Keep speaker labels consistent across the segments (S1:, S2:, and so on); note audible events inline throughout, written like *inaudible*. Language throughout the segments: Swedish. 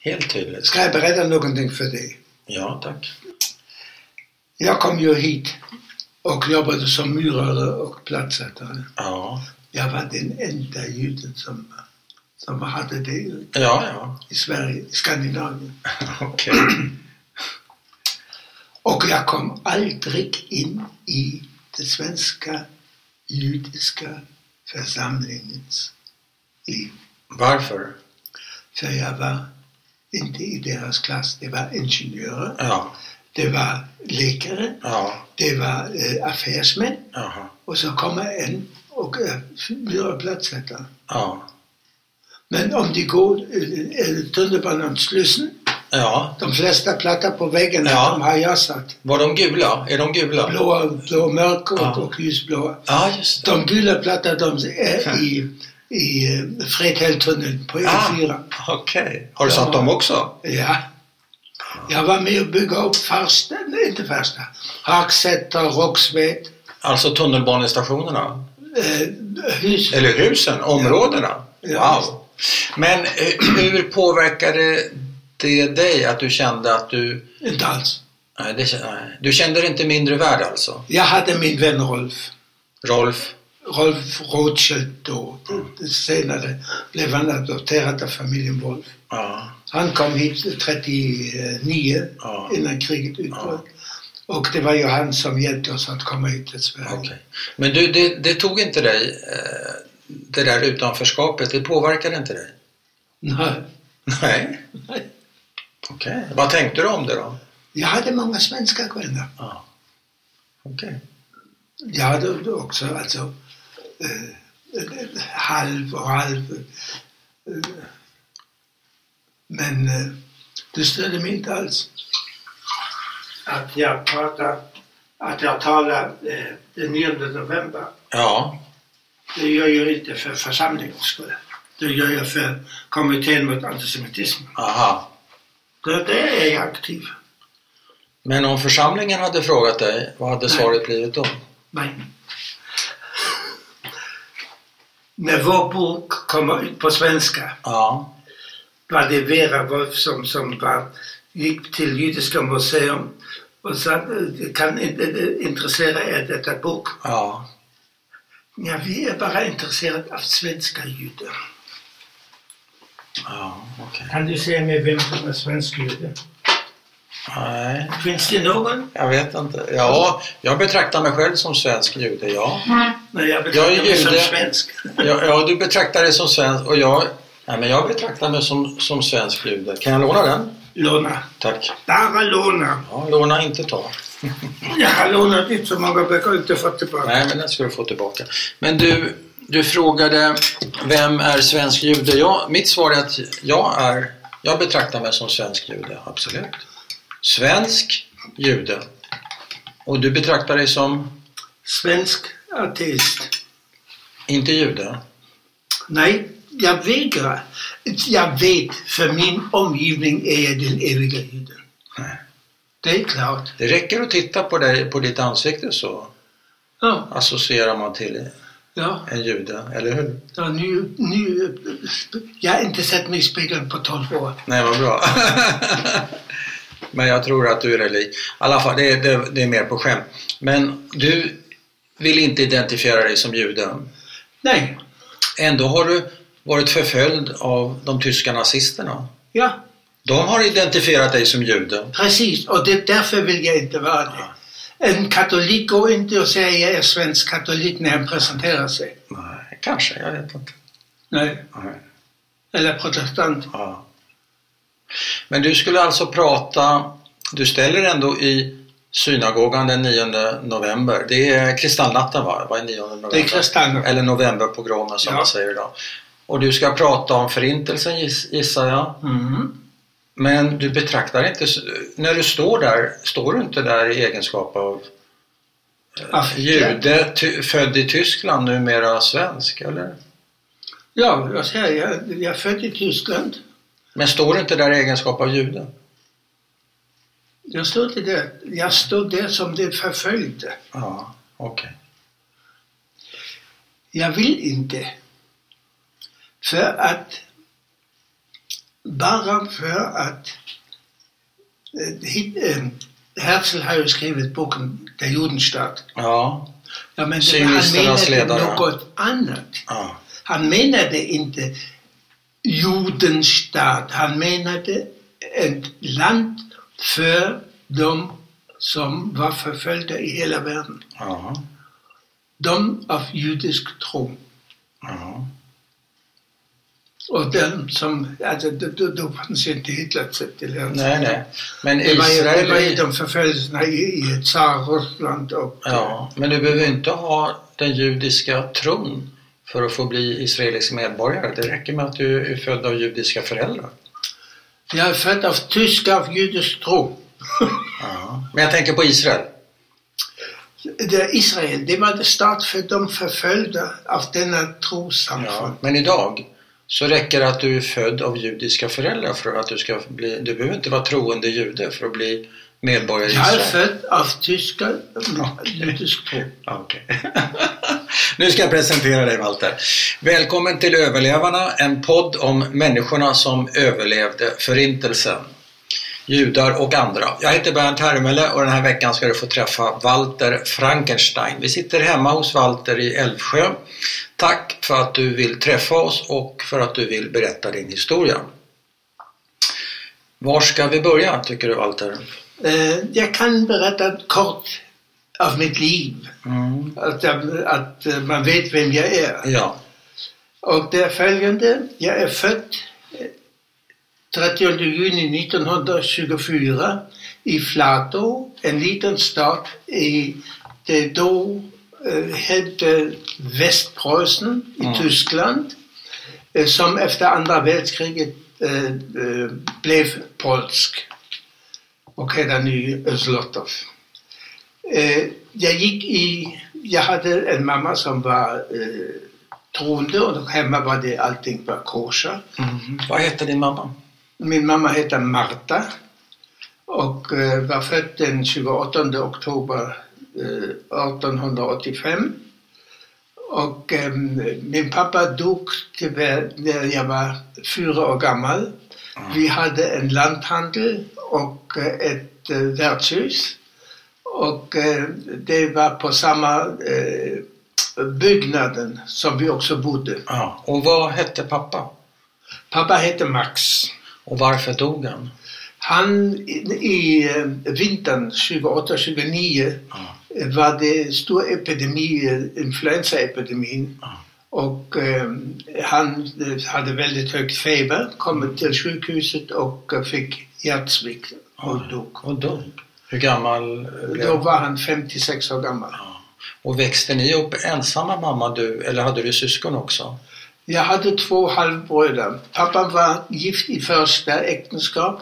S1: Helt tydligt.
S2: Ska jag berätta någonting för dig?
S1: Ja, tack.
S2: Jag kom ju hit och jobbade som murare och plattsättare.
S1: Ja,
S2: Jag var den enda juden som, som hade det
S1: ja, ja.
S2: i Sverige, i Skandinavien.
S1: Okej.
S2: Och jag kom aldrig in i den svenska judiska församlingens liv.
S1: Varför?
S2: För jag var inte i deras klass. Det var ingenjörer,
S1: Ja,
S2: det var läkare,
S1: ja,
S2: det var eh, affärsmän
S1: jaha,
S2: och så kommer en och eh, fyra plattsättare.
S1: ja.
S2: Men om de går eh, tunnelbanan Slussen,
S1: Ja,
S2: de flesta plattor på väggen
S1: Ja.
S2: de har jag satt.
S1: var de gula? Är de gula?
S2: Blåa, blå mörk och,
S1: Ja.
S2: och ljusblåa.
S1: Ja, just det.
S2: De gula plattorna de är i, i eh, Fredhälltunneln på E E4.
S1: Okej. Har du satt dem också?
S2: Ja. Jag var med och bygga upp Farsta, nej inte Farsta, Hagsätra, Roxved,
S1: Alltså tunnelbanestationerna?
S2: eh, hus.
S1: Eller husen? Områdena?
S2: Ja,
S1: Wow. Men eh, hur påverkade det dig att du kände att du...
S2: Inte alls.
S1: Nej, det, kän- nej. du kände dig inte mindre värd alltså?
S2: Jag hade min vän Rolf.
S1: Rolf?
S2: Rolf Rothschild då. Senare blev han adopterad av familjen Wolf.
S1: Ja,
S2: Han kom hit 39
S1: Ja.
S2: innan kriget utbröt. Och det var ju han som hjälpte oss att komma hit till Sverige.
S1: okej. Men du, det, det tog inte dig, eh, det där utanförskapet, det påverkade inte dig?
S2: Nej.
S1: Nej.
S2: Nej.
S1: Okej. Vad tänkte du om det då?
S2: Jag hade många svenska vänner.
S1: Ja. Okej.
S2: Jag hade också alltså eh, halv och halv. Eh, men eh, det störde mig inte alls. Att jag pratar, att jag talar eh, den 9 november.
S1: Ja,
S2: Det gör jag inte för församlingens skull. Det gör jag för kommittén mot antisemitism.
S1: aha.
S2: Där där är jag aktiv.
S1: Men om församlingen hade frågat dig, vad hade
S2: Nej.
S1: svaret blivit då?
S2: Nej. När vår bok kommer ut på svenska
S1: Ja,
S2: var det Vera Wolf som, som var, gick till Judiska museum och sa, "Eh, kan inte eh, intressera er detta bok?
S1: ja,
S2: Ja, vi är bara intresserade av svenska judar.
S1: ja, okej.
S2: Kan du säga mig vem som är svensk jude?
S1: Nej,
S2: Finns det någon?
S1: jag vet inte. Ja, jag betraktar mig själv som svensk jude, ja.
S2: Nej, jag betraktar
S1: Jag är
S2: mig som
S1: jude.
S2: svensk.
S1: Ja, ja du betraktar dig som svensk och jag, nej men jag betraktar mig som, som svensk jude. Kan jag låna den?
S2: Låna.
S1: Tack.
S2: Bara låna.
S1: Ja, låna inte ta.
S2: Jag har lånat ut så många böcker och inte fått tillbaka.
S1: Nej, men den ska du få tillbaka. Men du, du frågade vem är svensk jude? Ja, mitt svar är att jag är, jag betraktar mig som svensk jude, absolut. Svensk jude. Och du betraktar dig som
S2: Svensk ateist.
S1: inte jude?
S2: Nej, jag vägrar. Jag vet, för min omgivning är jag den eviga juden.
S1: Nej.
S2: Det är klart.
S1: Det räcker att titta på, dig, på ditt ansikte så
S2: Ja,
S1: associerar man till
S2: ja.
S1: en jude, eller hur?
S2: ja nu, nu, jag har inte sett mig i spegeln på 12 år.
S1: Nej, vad bra. Men jag tror att du är det lik. I alla fall, det, är- det, det är mer på skämt. Men du vill inte identifiera dig som jude.
S2: Nej,
S1: Ändå har du varit förföljd av de tyska nazisterna.
S2: ja,
S1: De har identifierat dig som jude.
S2: precis. Och det, därför vill jag inte vara det. En katolik går inte och säger jag är svensk katolik när han presenterar sig.
S1: Nej, kanske. Jag vet inte.
S2: Nej.
S1: Nej.
S2: Eller protestant.
S1: Ja. Men du skulle alltså prata, du ställer ändå i synagogan den 9 november. Det är kristallnatten va? Vad är 9 november?
S2: Det är kristallnatten.
S1: Eller novemberpogromen som
S2: Ja.
S1: man säger idag. Och du ska prata om förintelsen giss- gissar jag.
S2: Mm.
S1: Men du betraktar inte, när du står där, står du inte där i egenskap av
S2: Ja.
S1: jude, ty, född i Tyskland, numera svensk eller?
S2: Ja, jag säger, jag, jag är född i Tyskland.
S1: Men står du inte där i egenskap av jude?
S2: Jag stod inte där. Jag stod där som den förföljde.
S1: Ja, okej.
S2: Jag vill inte. För att bara för att eh, hit, eh, Herzl har ju skrivit boken Der Judenstaat.
S1: Ja.
S2: Ja, men det, han
S1: Sionisternas
S2: menade
S1: ledare.
S2: något annat.
S1: ja.
S2: Han menade inte Judenstaat. Han menade ett land för de som var förföljda i hela världen.
S1: ja.
S2: De av judisk tro.
S1: ja.
S2: Och den som, also alltså då, då, då fanns ju inte Hitler till hans
S1: Nej, nej. Men
S2: Det var, ju, det var ju
S1: Israel...
S2: de förföljelserna i, i Tsar-Ryssland och...
S1: Ja, men du behöver inte ha den judiska tron för att få bli israelisk medborgare. Det räcker med att du är född av judiska föräldrar.
S2: Jag är född av tyskar av judisk tro.
S1: Ja. Men jag tänker på Israel.
S2: Det är Israel, det var det stat för de förföljda av denna trossamfund.
S1: Ja. Men idag så räcker det att du är född av judiska föräldrar för att du ska bli... Du behöver inte vara troende jude för att bli medborgare i
S2: Jag är
S1: Israel.
S2: född av tyskar av
S1: Okej.
S2: judisk tro.
S1: Ja, okej. *laughs* nu ska jag presentera dig Walter. Välkommen till Överlevarna, en podd om människorna som överlevde Förintelsen. Judar och andra. Jag heter Bernt Hermele och den här veckan ska du få träffa Walter Frankenstein. Vi sitter hemma hos Walter i Älvsjö. Tack för att du vill träffa oss och för att du vill berätta din historia. Var ska vi börja tycker du Walter?
S2: Eh, Jag kan berätta kort av mitt liv, att, jag, att eh, Also, man vet vem jag är.
S1: Ja.
S2: Och det är följande, jag är född eh, 30 juni 1924 i Flato, en liten stad i det då eh, hette Västpreussen i
S1: Mm.
S2: Tyskland, eh, som efter andra världskriget eh, eh, blev polsk och hette nu Östlottov. Eh, jag gick i, jag hade en mamma som var eh, troende och hemma var det allting var kosher.
S1: Mm. Vad heter din mamma?
S2: Min mamma hette Marta och eh, var född den 28 oktober eh, 1885. Och eh, min pappa dog tyvärr när jag var fyra år gammal. Vi hade en lanthandel och eh, ett eh, värdshus. Och eh, det var på samma eh, byggnaden som vi också bodde.
S1: Ja. Och vad hette pappa?
S2: Pappa hette Max.
S1: Och varför dog han?
S2: Han i, i eh, vintern 28-29
S1: Ja.
S2: var det stor epidemi, eh, influensaepidemin.
S1: Ja.
S2: Och eh, han eh, hade väldigt hög feber, kom till sjukhuset och eh, fick hjärtsvikt och dog.
S1: Och dog. Hur gammal blev
S2: Då
S1: han?
S2: var han 56 år gammal.
S1: Och växte ni upp ensamma mamma du? Eller hade du syskon också?
S2: Jag hade två halvbröder. Pappa var gift i första äktenskap.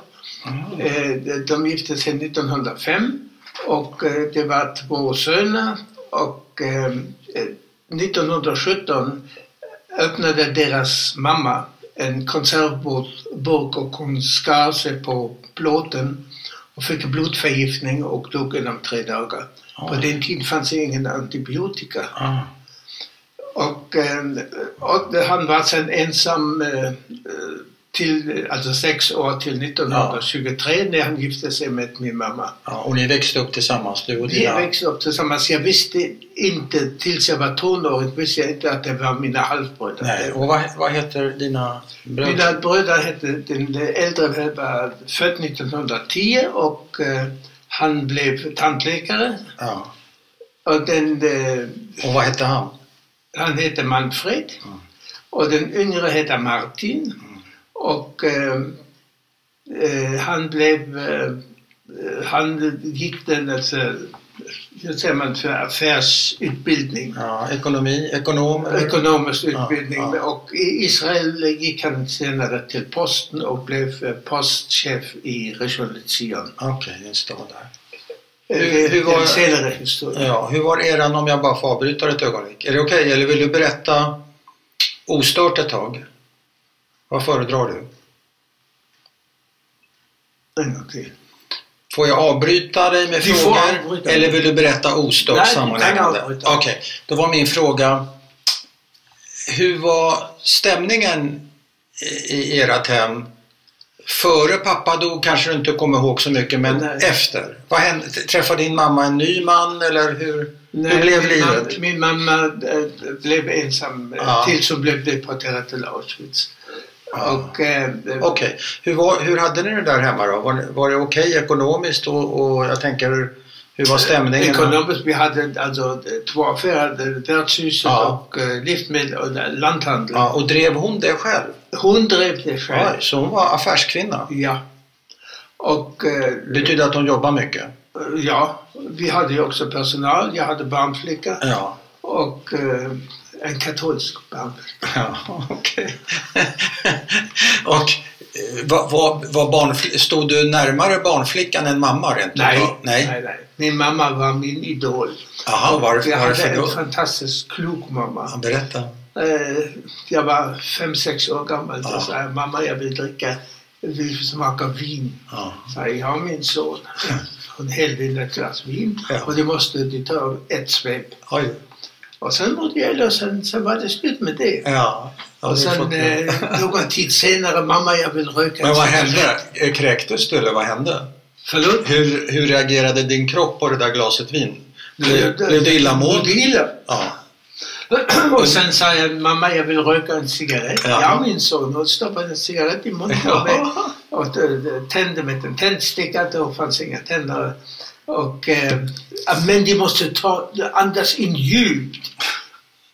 S2: Eh, De gifte sig 1905 och eh, det var två söner och eh, eh, 1917 öppnade deras mamma en konservburk och hon skar sig på plåten och fick blodförgiftning och dog inom tre dagar. På den tiden fanns det ingen antibiotika.
S1: Ah.
S2: Och, eh, och han var sen ensam eh, till, alltså sex år till 1923 när han gifte sig med min mamma.
S1: Ja, och ni växte upp tillsammans du och
S2: Vi
S1: dina...
S2: växte upp tillsammans. Jag visste inte, tills jag var tonåring, visste jag inte att det var mina halvbröder.
S1: Nej, och vad, vad heter dina bröder?
S2: Mina bröder hette, den äldre var född 1910 och eh, han blev tandläkare.
S1: Ja.
S2: Och den eh,
S1: Och vad hette han?
S2: Han heter Manfred
S1: Mm.
S2: och den yngre heter Martin. Och eh, eh, han blev, eh, han gick den, alltså, hur säger man, för affärsutbildning.
S1: Ja, ekonomi, ekonom? eller?
S2: Ekonomisk
S1: Mm. Ja,
S2: utbildning.
S1: ja.
S2: Och i Israel gick han senare till posten och blev eh, postchef i Rishon LeZion.
S1: Okej, just det. var Där. Hur-
S2: Hur,
S1: hur var-
S2: var... En senare historia.
S1: Ja, hur var eran om jag bara får avbryta ett ögonblick? Är det okej eller vill du berätta ostört ett tag? Vad föredrar du?
S2: En gång till.
S1: Får jag avbryta dig med
S2: Du får
S1: frågor?
S2: avbryta.
S1: Eller vill du berätta ostört
S2: Nej, du kan
S1: sammanhängande? Okej,
S2: avbryta.
S1: då var min fråga. Hur var stämningen i- i ert hem Före pappa dog kanske du inte kommer ihåg så mycket, men
S2: Nej.
S1: efter? Vad hände? Träffade din mamma en ny man eller hur, hur blev
S2: min, mam-
S1: livet?
S2: min mamma eh, blev ensam eh,
S1: Ja.
S2: tills hon blev deporterad till Auschwitz.
S1: Ja.
S2: Och, eh,
S1: Okej. Hur, var, hur hade ni det där hemma då? Var, var det okej ekonomiskt och, och jag tänker hur, hur
S2: Eh,
S1: var stämningen?
S2: Ekonomiskt, vi hade alltså två affärer, värdshuset
S1: Ja.
S2: och eh, livsmedel och lanthandel.
S1: Ja, och drev hon det själv?
S2: Hon drev det
S1: Ja,
S2: själv.
S1: så hon var affärskvinna?
S2: Ja. Och eh,
S1: Det betyder att hon jobbar mycket?
S2: ja, vi hade ju också personal. Jag hade barnflicka
S1: Ja.
S2: och eh, en katolsk barnflicka.
S1: Ja, *laughs* okej. och eh, var, var, var barnfl- stod du närmare barnflickan än mamma rent utav? Nej.
S2: nej, nej. Min mamma var min idol.
S1: Jaha, var,
S2: Jag
S1: var det
S2: hade
S1: för
S2: en
S1: då?
S2: fantastiskt klok mamma.
S1: Ja, berätta.
S2: Eh, jag var fem, sex år gammal.
S1: Ja.
S2: Då sa jag, mamma jag vill dricka, jag vill smaka vin.
S1: Ja.
S2: Sa jag, jag har min son. *laughs* Hon hällde in ett glas vin
S1: Ja.
S2: och det måste du ta ett svep.
S1: Oj.
S2: Och sen mådde jag lösa sen, sen var det slut med det.
S1: Ja. Ja,
S2: och
S1: det är
S2: sen
S1: fått-
S2: eh, någon tid senare, mamma jag vill
S1: *laughs*
S2: röka.
S1: Men vad
S2: en cigarett."
S1: hände? Eh, Kräktes du eller vad hände?
S2: Förlåt?
S1: Hur, hur reagerade din kropp på det där glaset vin? Blev,
S2: Det-
S1: blev det
S2: Mådde
S1: illamående?
S2: illa. *clears throat*
S1: Ja.
S2: Och sen sa jag, mamma jag vill röka en cigarett.
S1: Ja.
S2: Ja, min son. Och stoppade en cigarett i munnen på
S1: *laughs*
S2: mig.
S1: ja.
S2: och eh, tände med en tändsticka, då fanns inga tändare. Och, eh, men de måste ta, andas in djupt.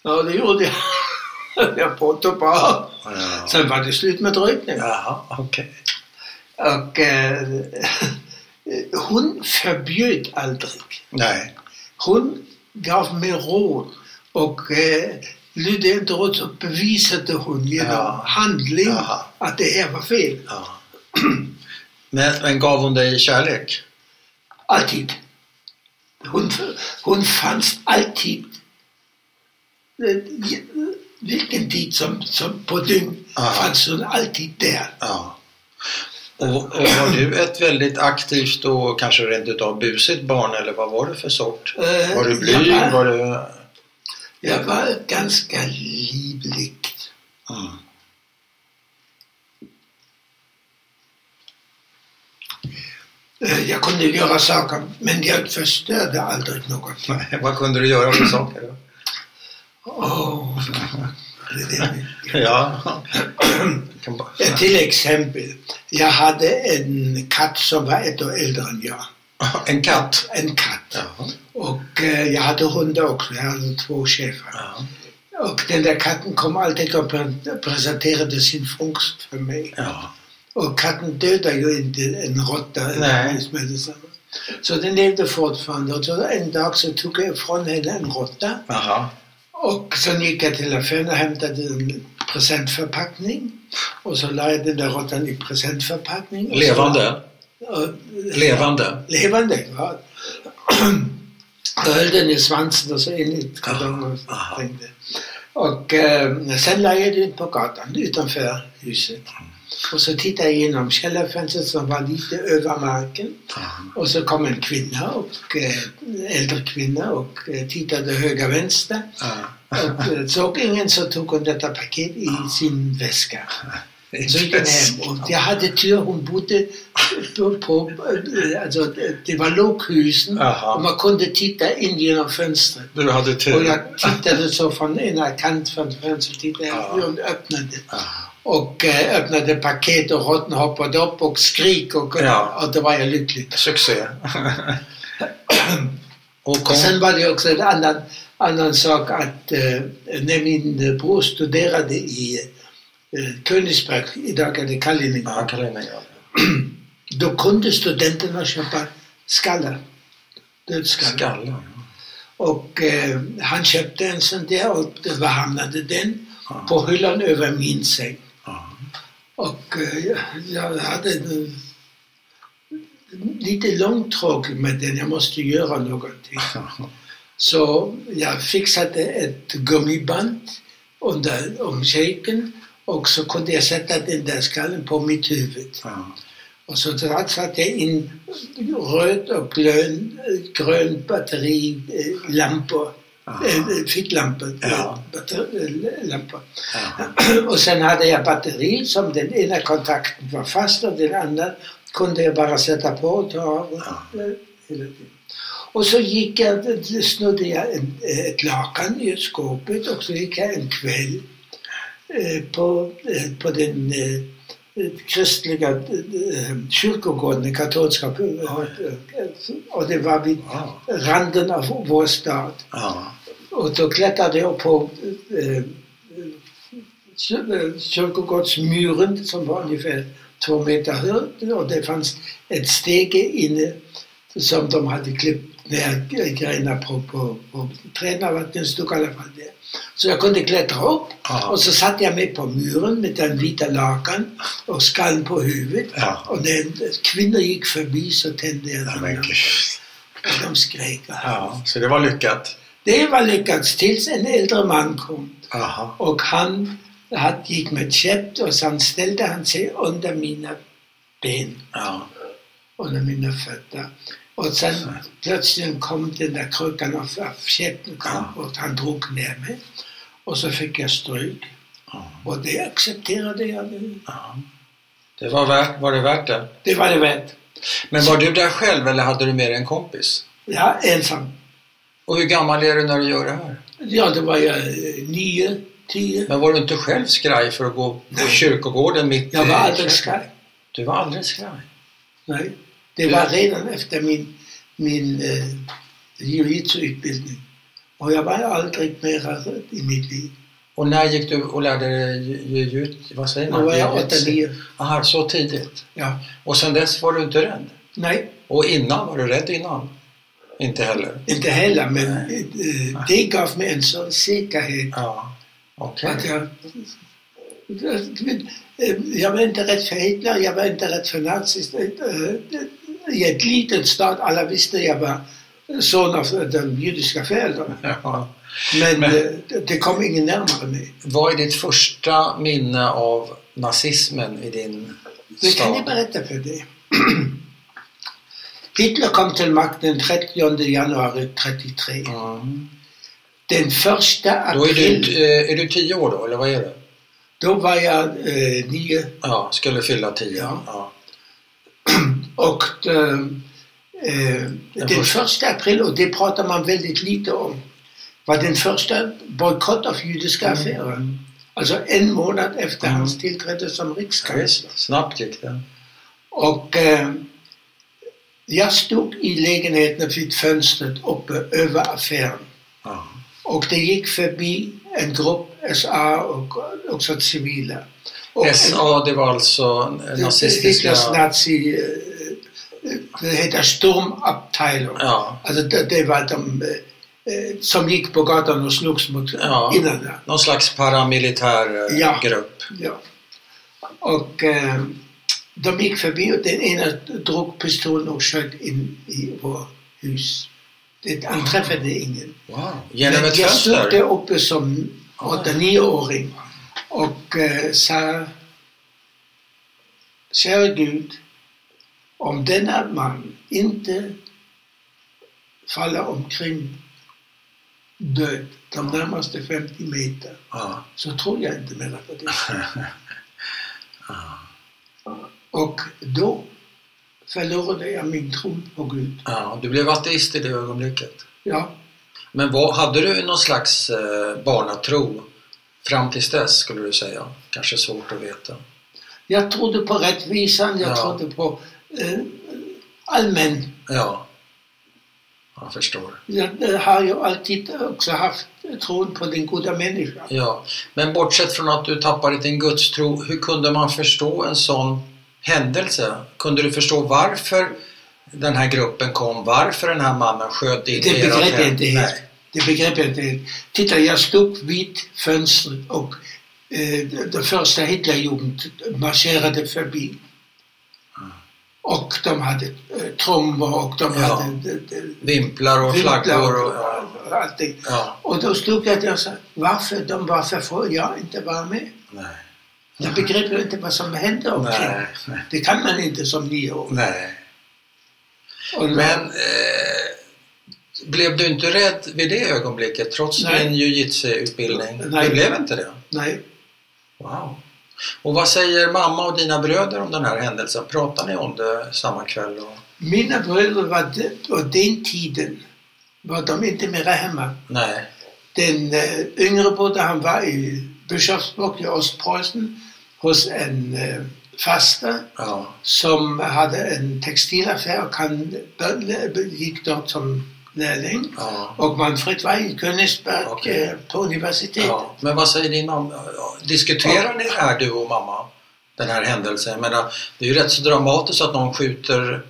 S2: Ja, det gjorde jag. Jag *laughs* påtog bara. Sen var det slut med rökning.
S1: Jaha, okej.
S2: Och eh, *laughs* hon förbjöd aldrig.
S1: Nej.
S2: Hon gav mig råd och eh, lydde jag inte råd så bevisade hon genom
S1: Ja.
S2: handling
S1: Jaha.
S2: att det här var fel.
S1: Ja. *clears throat* Men, men gav hon dig kärlek?
S2: Alltid. Hon, hon fanns alltid. Eh, Vilken tid som, som på dygn
S1: Aha.
S2: fanns hon alltid där.
S1: Ja. Och, och var du ett väldigt aktivt och kanske rent utav busigt barn eller vad var du för sort?
S2: Eh,
S1: Var du blyg?
S2: Jag var,
S1: Var du...
S2: jag var ganska livlig.
S1: Mm. *laughs*
S2: Eh, Jag kunde göra saker men jag förstörde aldrig
S1: *laughs*
S2: något.
S1: Nej, Vad kunde du göra för saker? då?
S2: Åh, det är det.
S1: Ja. Kan bara-
S2: Eh, Till exempel, jag hade en katt som var ett år äldre än jag.
S1: En katt?
S2: En katt.
S1: Jaha.
S2: Och eh, jag hade hundar också, jag hade två schäfer.
S1: Ja.
S2: Och den där katten kom alltid och pre- presenterade sin fångst för mig.
S1: Ja.
S2: Och katten dödar ju inte en råtta
S1: Nej.
S2: eller livsmedelsam. Så den levde fortfarande. Och så en dag så tog jag ifrån henne en råtta.
S1: Jaha.
S2: Och sen gick jag till affären och hämtade en presentförpackning. Och så la jag den där råttan i presentförpackning. Och så-
S1: Levande?
S2: Och,
S1: Levande?
S2: levande. Ja. Jag höll den i svansen och så in i kartongen
S1: Aha.
S2: och tänkte. Och eh, sen la jag den på gatan utanför huset. Och så tittade jag genom källarfönstret som var lite över marken. Och så kom en kvinna, och, eh, en äldre kvinna och eh, tittade höger vänster.
S1: Ja.
S2: Och eh, såg ingen så tog hon detta paket i sin väska. Så gick hon hem och jag hade tur, hon bodde på, på eh, alltså det var låghusen
S1: Aha.
S2: och man kunde titta in genom fönstret.
S1: Du hade
S2: Och
S1: tur.
S2: jag tittade så från ena kant från fönstret, tittade jag
S1: Ja.
S2: hur hon öppnade.
S1: Ja.
S2: Och eh, öppnade paket och råttan hoppade upp och skrik och,
S1: Ja.
S2: och då var jag lycklig.
S1: *laughs* Succé. Och
S2: Och sen
S1: kom...
S2: var det också en annan, annan sak att eh, när min eh, bror studerade i eh, Königsberg, idag är det
S1: Ja,
S2: Kaliningrad,
S1: Kaliningrad.
S2: då kunde studenterna köpa skallar. Dödsskallar.
S1: Skallar.
S2: Och eh, han köpte en sån där och det var hamnade den
S1: Ja.
S2: på hyllan över min säng.
S1: Ja.
S2: Och eh, jag hade en, lite långtråkigt med den, jag måste göra någonting. Så jag fixade ett gummiband under omkejken och så kunde jag sätta den där skallen på mitt huvud.
S1: Ja.
S2: Och så satte jag in röd och grön, grön batterilampor Eh, Fick lampor.
S1: Ja.
S2: batter- lampor.
S1: Jaha.
S2: *clears throat* Och sen hade jag batteri som den ena kontakten var fast och den andra kunde jag bara sätta på och ta av.
S1: Ja.
S2: eh, hela tiden. Och så gick jag, snodde jag en, ett lakan ur skåpet och så gick jag en kväll eh, på, eh, på den eh, kristliga eh, kyrkogården, den katolska, eh, och det var vid
S1: Wow.
S2: randen av vår stad.
S1: Ja.
S2: Och då klättrade jag på eh, eh, kyr- eh, kyrkogårdsmuren som var ungefär två meter hög och det fanns ett stege inne som de hade klippt ner grenar på, på, på träden, det var en stuck i alla fall där. Så jag kunde klättra upp
S1: Ja.
S2: och så satt jag mig på muren med den vita lakan och skallen på huvudet.
S1: Ja.
S2: Och när kvinnor gick förbi så tände jag
S1: Ja,
S2: den.
S1: men gud.
S2: och de skrek.
S1: Ja, så det var lyckat.
S2: Det var lyckat tills en äldre man kom.
S1: Aha.
S2: Och han hat, gick med käpp och sen ställde han sig under mina ben,
S1: Ja.
S2: under mina fötter. Och sen plötsligt kom den där krukan av, av käppen kom, och han drog ner mig. Och så fick jag stryk.
S1: Ja.
S2: Och det accepterade jag.
S1: ja. Det var, värt, var det värt det?
S2: Det var det värt.
S1: Men var du där själv eller hade du med dig en kompis?
S2: Ja, ensam.
S1: Och hur gammal är du när du gör det här?
S2: Ja, då var jag eh, nio, tio.
S1: Men var du inte själv skraj för att gå på kyrkogården mitt
S2: Jag
S1: i-
S2: var aldrig skraj.
S1: Du var aldrig skraj?
S2: Nej. Det var redan efter min, min eh, jiu-jitsu-utbildning. Och jag var aldrig mera i mitt liv.
S1: Och när gick du och lärde dig jujutsu? Vad säger
S2: Då
S1: man?
S2: var jag åtta,
S1: Jujutsu.
S2: nio.
S1: Aha, så tidigt.
S2: Ja.
S1: Och sen dess var du inte rädd?
S2: Nej,
S1: Och innan, var du rädd innan? Inte heller?
S2: inte heller, men eh, det gav mig en sån säkerhet.
S1: Ja. Okej.
S2: Att jag, eh, jag var inte rädd för Hitler, jag var inte rädd för nazister. Eh, I ett litet stad, alla visste jag var son av de judiska föräldrarna.
S1: Ja.
S2: Men,
S1: Men-
S2: eh, det- det kom ingen närmare mig.
S1: Vad är ditt första minne av nazismen i din
S2: Det kan jag
S1: stad?
S2: berätta för dig. *clears throat* Hitler kom till makten den 30 januari 33.
S1: Mm.
S2: Den första
S1: Då är du,
S2: april,
S1: eh, är du tio år då, eller vad är du?
S2: då var jag eh, nio
S1: Ja, skulle fylla tio.
S2: Ja.
S1: Ja.
S2: och eh, eh, den
S1: första.
S2: första april, och det pratar man väldigt lite om, var den första bojkott av judiska affärer. Alltså en månad efter
S1: Mm.
S2: hans tillträde som
S1: Ja,
S2: rikskansler.
S1: visst. Snabbt gick det.
S2: Och eh, jag stod i lägenheten vid fönstret uppe över affären.
S1: Ja.
S2: Och det gick förbi en grupp SA och också civila. Och
S1: SA, det var alltså
S2: en-
S1: nazistiska...
S2: Hitlers nazi... eh, eh, Det heter Sturmabteilung.
S1: Ja.
S2: Alltså det, det var Also, de eh, eh, som gick på gatan och slogs mot
S1: Ja.
S2: invandrare.
S1: Någon slags paramilitär eh,
S2: Ja.
S1: grupp.
S2: Ja. Och eh, de gick förbi och den ena drog pistolen och sköt in i vårt hus. Det, han träffade ingen.
S1: Wow. Genom
S2: Men
S1: ett
S2: jag stod där
S1: fönster?
S2: uppe som åtta, nioåring och eh, sa Käre Gud, om denna man inte faller omkring död de närmaste 50 meter
S1: Ja.
S2: så tror jag inte mer på det. Och då förlorade jag min tro på Gud.
S1: ja. Du blev ateist i det ögonblicket.
S2: Ja,
S1: Men vad, hade du någon slags eh, barnatro fram tills dess skulle du säga? Kanske svårt att veta.
S2: jag trodde på rättvisan, jag
S1: Ja.
S2: trodde på eh, allmän.
S1: Ja, jag förstår.
S2: Jag eh, har ju alltid också haft tron på den goda människan.
S1: Ja. Men bortsett från att du tappade din gudstro, hur kunde man förstå en sån händelse? Kunde du förstå varför den här gruppen kom, varför den här mannen sköt in
S2: Det
S1: i ert
S2: begrep jag
S1: hem?
S2: inte helt.
S1: Nej.
S2: Det begrep jag inte helt. Titta, jag stod vid fönstret och eh, den första Hitlerjugend marscherade förbi. Och de hade eh, trummor och de
S1: Ah. Ja.
S2: hade de, de,
S1: Vimplar och flaggor och... Ja.
S2: och allting.
S1: ja.
S2: Och då stod jag där och sa, varför de var för få, jag inte var med.
S1: Nej.
S2: Jag begrep ju inte vad som hände omkring.
S1: Nej. Nej.
S2: Det kan man inte som nioåring.
S1: Nej.
S2: Och-
S1: Men eh, Blev du inte rädd vid det ögonblicket trots
S2: Nej.
S1: din jujutsu-utbildning?
S2: Nej.
S1: Du blev inte det?
S2: Nej,
S1: Wow. Och vad säger mamma och dina bröder om den här händelsen? Pratar ni om det samma kväll? Och...
S2: mina bröder var de- på den tiden var de inte mera hemma.
S1: Nej.
S2: Den eh, yngre broder han var i Bischofsburg i Ostpreußen hos en eh, faster
S1: Ja.
S2: som hade en textilaffär och han bör- gick dort som lärling.
S1: ja.
S2: Och Manfred var i Königsberg
S1: Okej.
S2: eh, på universitetet.
S1: ja. Men vad säger din mamma? Ja, Diskuterar ni det här du och mamma? Den här händelsen? Jag menar, det är ju rätt så dramatiskt att någon skjuter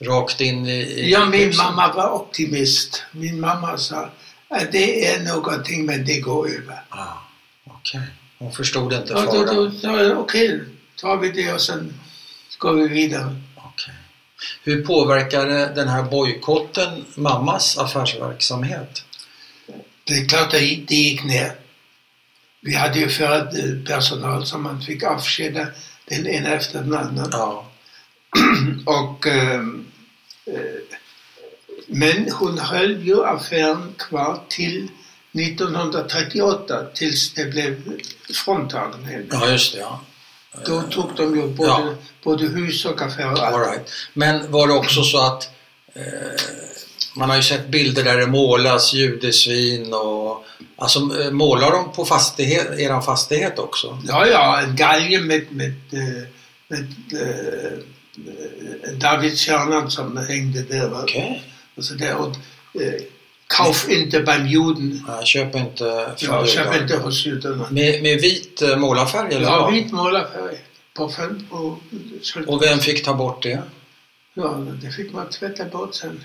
S1: rakt in i... i
S2: Ja, min
S1: huset.
S2: mamma var optimist. Min mamma sa att det är någonting men det går över.
S1: Ah, Okej. Hon förstod inte
S2: Och då, då,
S1: faran.
S2: då, okej, tar vi det och sen går vi vidare.
S1: Okej. Hur påverkade den här bojkotten mammas affärsverksamhet?
S2: Det är klart, det gick, det gick ner. Vi hade ju förut eh, personal som man fick avskeda den ena efter den andra.
S1: Ja.
S2: Och, ehm, eh, men hon höll ju affären kvar till 1938 tills det blev fronttagen. henne.
S1: Ja, just det. Ja.
S2: Då tog de ju både,
S1: Ja.
S2: både hus och affärer. och allt.
S1: All right. Men var det också så att eh, man har ju sett bilder där det målas judesvin och alltså eh, målar de på fastighet, eran fastighet också?
S2: Ja, ja, en galge med, med, eh, med, eh, eh, Davidstjärnan som hängde där. va.
S1: Okej.
S2: Alltså där och, eh, kauf inte beim Juden.
S1: Okay. Köp inte från judar.
S2: Ja, köp inte hos judarna.
S1: Med, med vit eh, målarfärg eller?
S2: Ja,
S1: vad?
S2: vit målarfärg på fem på
S1: Och vem fick ta bort det?
S2: Ja, det fick man tvätta bort sen.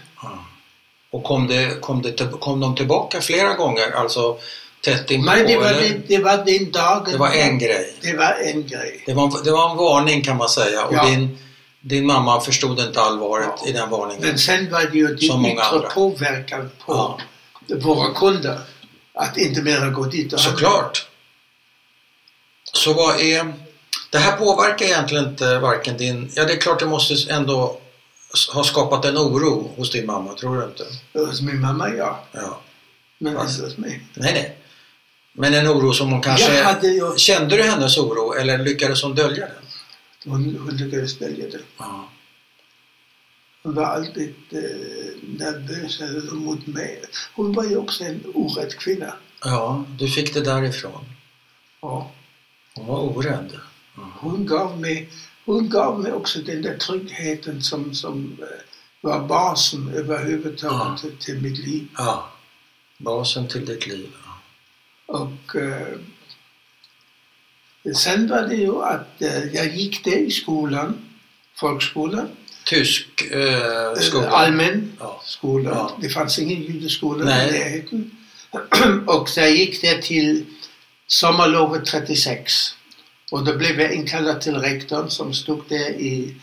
S1: Och kom, det, kom, det, till- kom de tillbaka flera gånger? Alltså tätt in
S2: Men det var,
S1: eller?
S2: den, det var den dagen.
S1: det var en grej.
S2: Det var en grej.
S1: Det var, det var en varning kan man säga och
S2: Ja.
S1: din, din mamma förstod inte allvaret
S2: Ja.
S1: i den varningen.
S2: Men sen var det
S1: Som
S2: ju den
S1: många
S2: yttre
S1: andra.
S2: påverkan på
S1: Ja.
S2: våra kunder. Att inte mera gå dit och handla.
S1: Såklart. Så vad är... Det här påverkar egentligen inte varken din... Ja, det är klart det måste ändå ha skapat en oro hos din mamma, tror du inte?
S2: Hos min mamma, ja.
S1: Ja.
S2: Men
S1: Fast-
S2: inte hos mig.
S1: Nej, nej. Men en oro som hon kanske...
S2: Jag hade ju...
S1: Kände du hennes oro eller lyckades hon dölja den?
S2: Hon, hon lyckades välja det.
S1: Ja.
S2: Hon var alltid eh, nervös alltså, mot mig. Hon var ju också en orädd kvinna.
S1: ja, du fick det därifrån.
S2: Ja.
S1: Hon var orädd.
S2: Hon, gav mig, hon gav mig också den där tryggheten som, som eh, var basen överhuvudtaget till, till mitt liv.
S1: Ja. Basen till ditt liv.
S2: Och eh, sen var det ju att eh, jag gick det i skolan, folkskolan,
S1: Tysk eh,
S2: eh,
S1: skola.
S2: allmän äh,
S1: Ja.
S2: skola.
S1: Ja.
S2: Det fanns ingen judeskola i
S1: Nej.
S2: *clears throat* närheten. Och där gick det till sommarlovet 36. Och då blev jag inkallad till rektorn som stod där i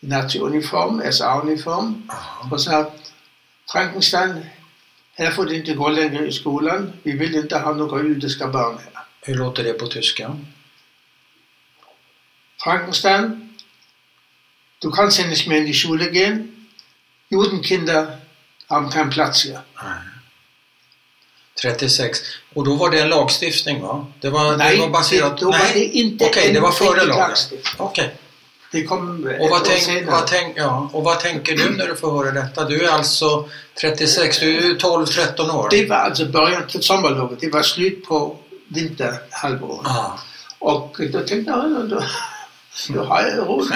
S2: naziuniform, SA-uniform
S1: Ja.
S2: och sa Frankenstein, här får du inte gå längre i skolan. Vi vill inte ha några judiska barn här.
S1: Hur låter det på tyska?
S2: Frankenstein, du kannst ja nicht mehr in die Schule gehen. Judenkinder haben keinen Platz hier.
S1: Nej. 36. Och då var det en lagstiftning va? Det var, det var baserat...
S2: då var det inte
S1: Okej,
S2: en
S1: det var före
S2: riktig
S1: lagen.
S2: lagstiftning.
S1: Okej.
S2: Det kom eh, ett
S1: Och, vad
S2: år
S1: tänk,
S2: senare.
S1: vad tänk, ja. och vad tänker du när du får höra detta? Du är alltså 36, du är ju 12-13 år.
S2: Det var alltså början till sommarlovet. Det var slut på vinterhalvåret.
S1: Ah.
S2: Och då tänkte jag, ja, då, då har
S1: *laughs*
S2: jag råd.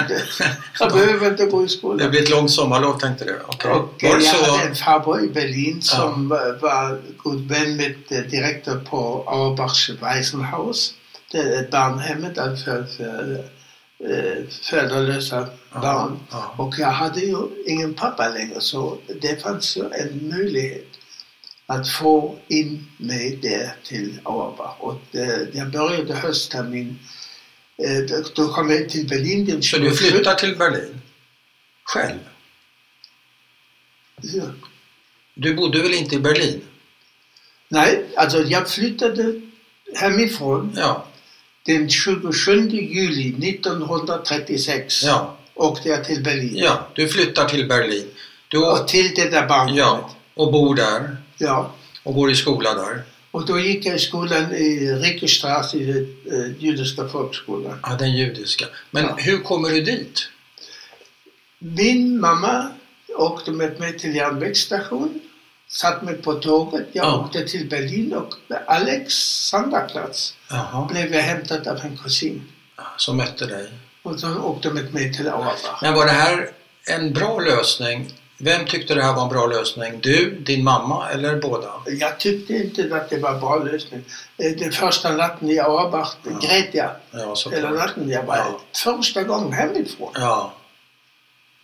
S2: Jag behöver inte gå i
S1: Det
S2: skolan.
S1: blir ett långt sommarlov tänkte du? Okej.
S2: Och eh,
S1: Var det
S2: jag
S1: så?
S2: hade en farbror i Berlin som var, var god vän med eh, direktor på Auerbachs Waisenhaus. Det är barnhemmet där för, för eh, föräldralösa barn.
S1: Ja.
S2: Och jag hade ju ingen pappa längre så det fanns ju en möjlighet att få in mig där till Auerbach. Och eh, jag började hösttermin. Eh, då- Då kom jag till Berlin den
S1: Så du flyttar till Berlin? Själv?
S2: Ja.
S1: Du bodde väl inte i Berlin?
S2: Nej, alltså jag flyttade hemifrån
S1: Ja.
S2: den 27 juli 1936.
S1: ja.
S2: Åkte jag till Berlin.
S1: Ja, du flyttar till Berlin. Du
S2: Och till det där barnet.
S1: Ja, och bor där
S2: Ja.
S1: och går i skola där.
S2: Och då gick jag i skolan i Rickerstrasse, i eh, judiska folkskolan.
S1: Ja, den judiska. Men
S2: Ja.
S1: hur kommer du dit?
S2: Min mamma åkte med mig till järnvägsstation, satt mig på tåget. Jag
S1: Ja.
S2: åkte till Berlin och vid Alexanderplatz
S1: Jaha.
S2: blev jag hämtad av en kusin.
S1: Som mötte dig.
S2: Och de åkte med mig till Auerbach.
S1: Men var det här en bra lösning? Vem tyckte det här var en bra lösning? Du, din mamma eller båda?
S2: Jag tyckte inte att det var en bra lösning. Eh, Den första natten i Auerbach
S1: Ja.
S2: grät jag.
S1: Ja,
S2: Hela
S1: såklart.
S2: natten. Jag var
S1: Ja.
S2: första gången hemifrån.
S1: Ja.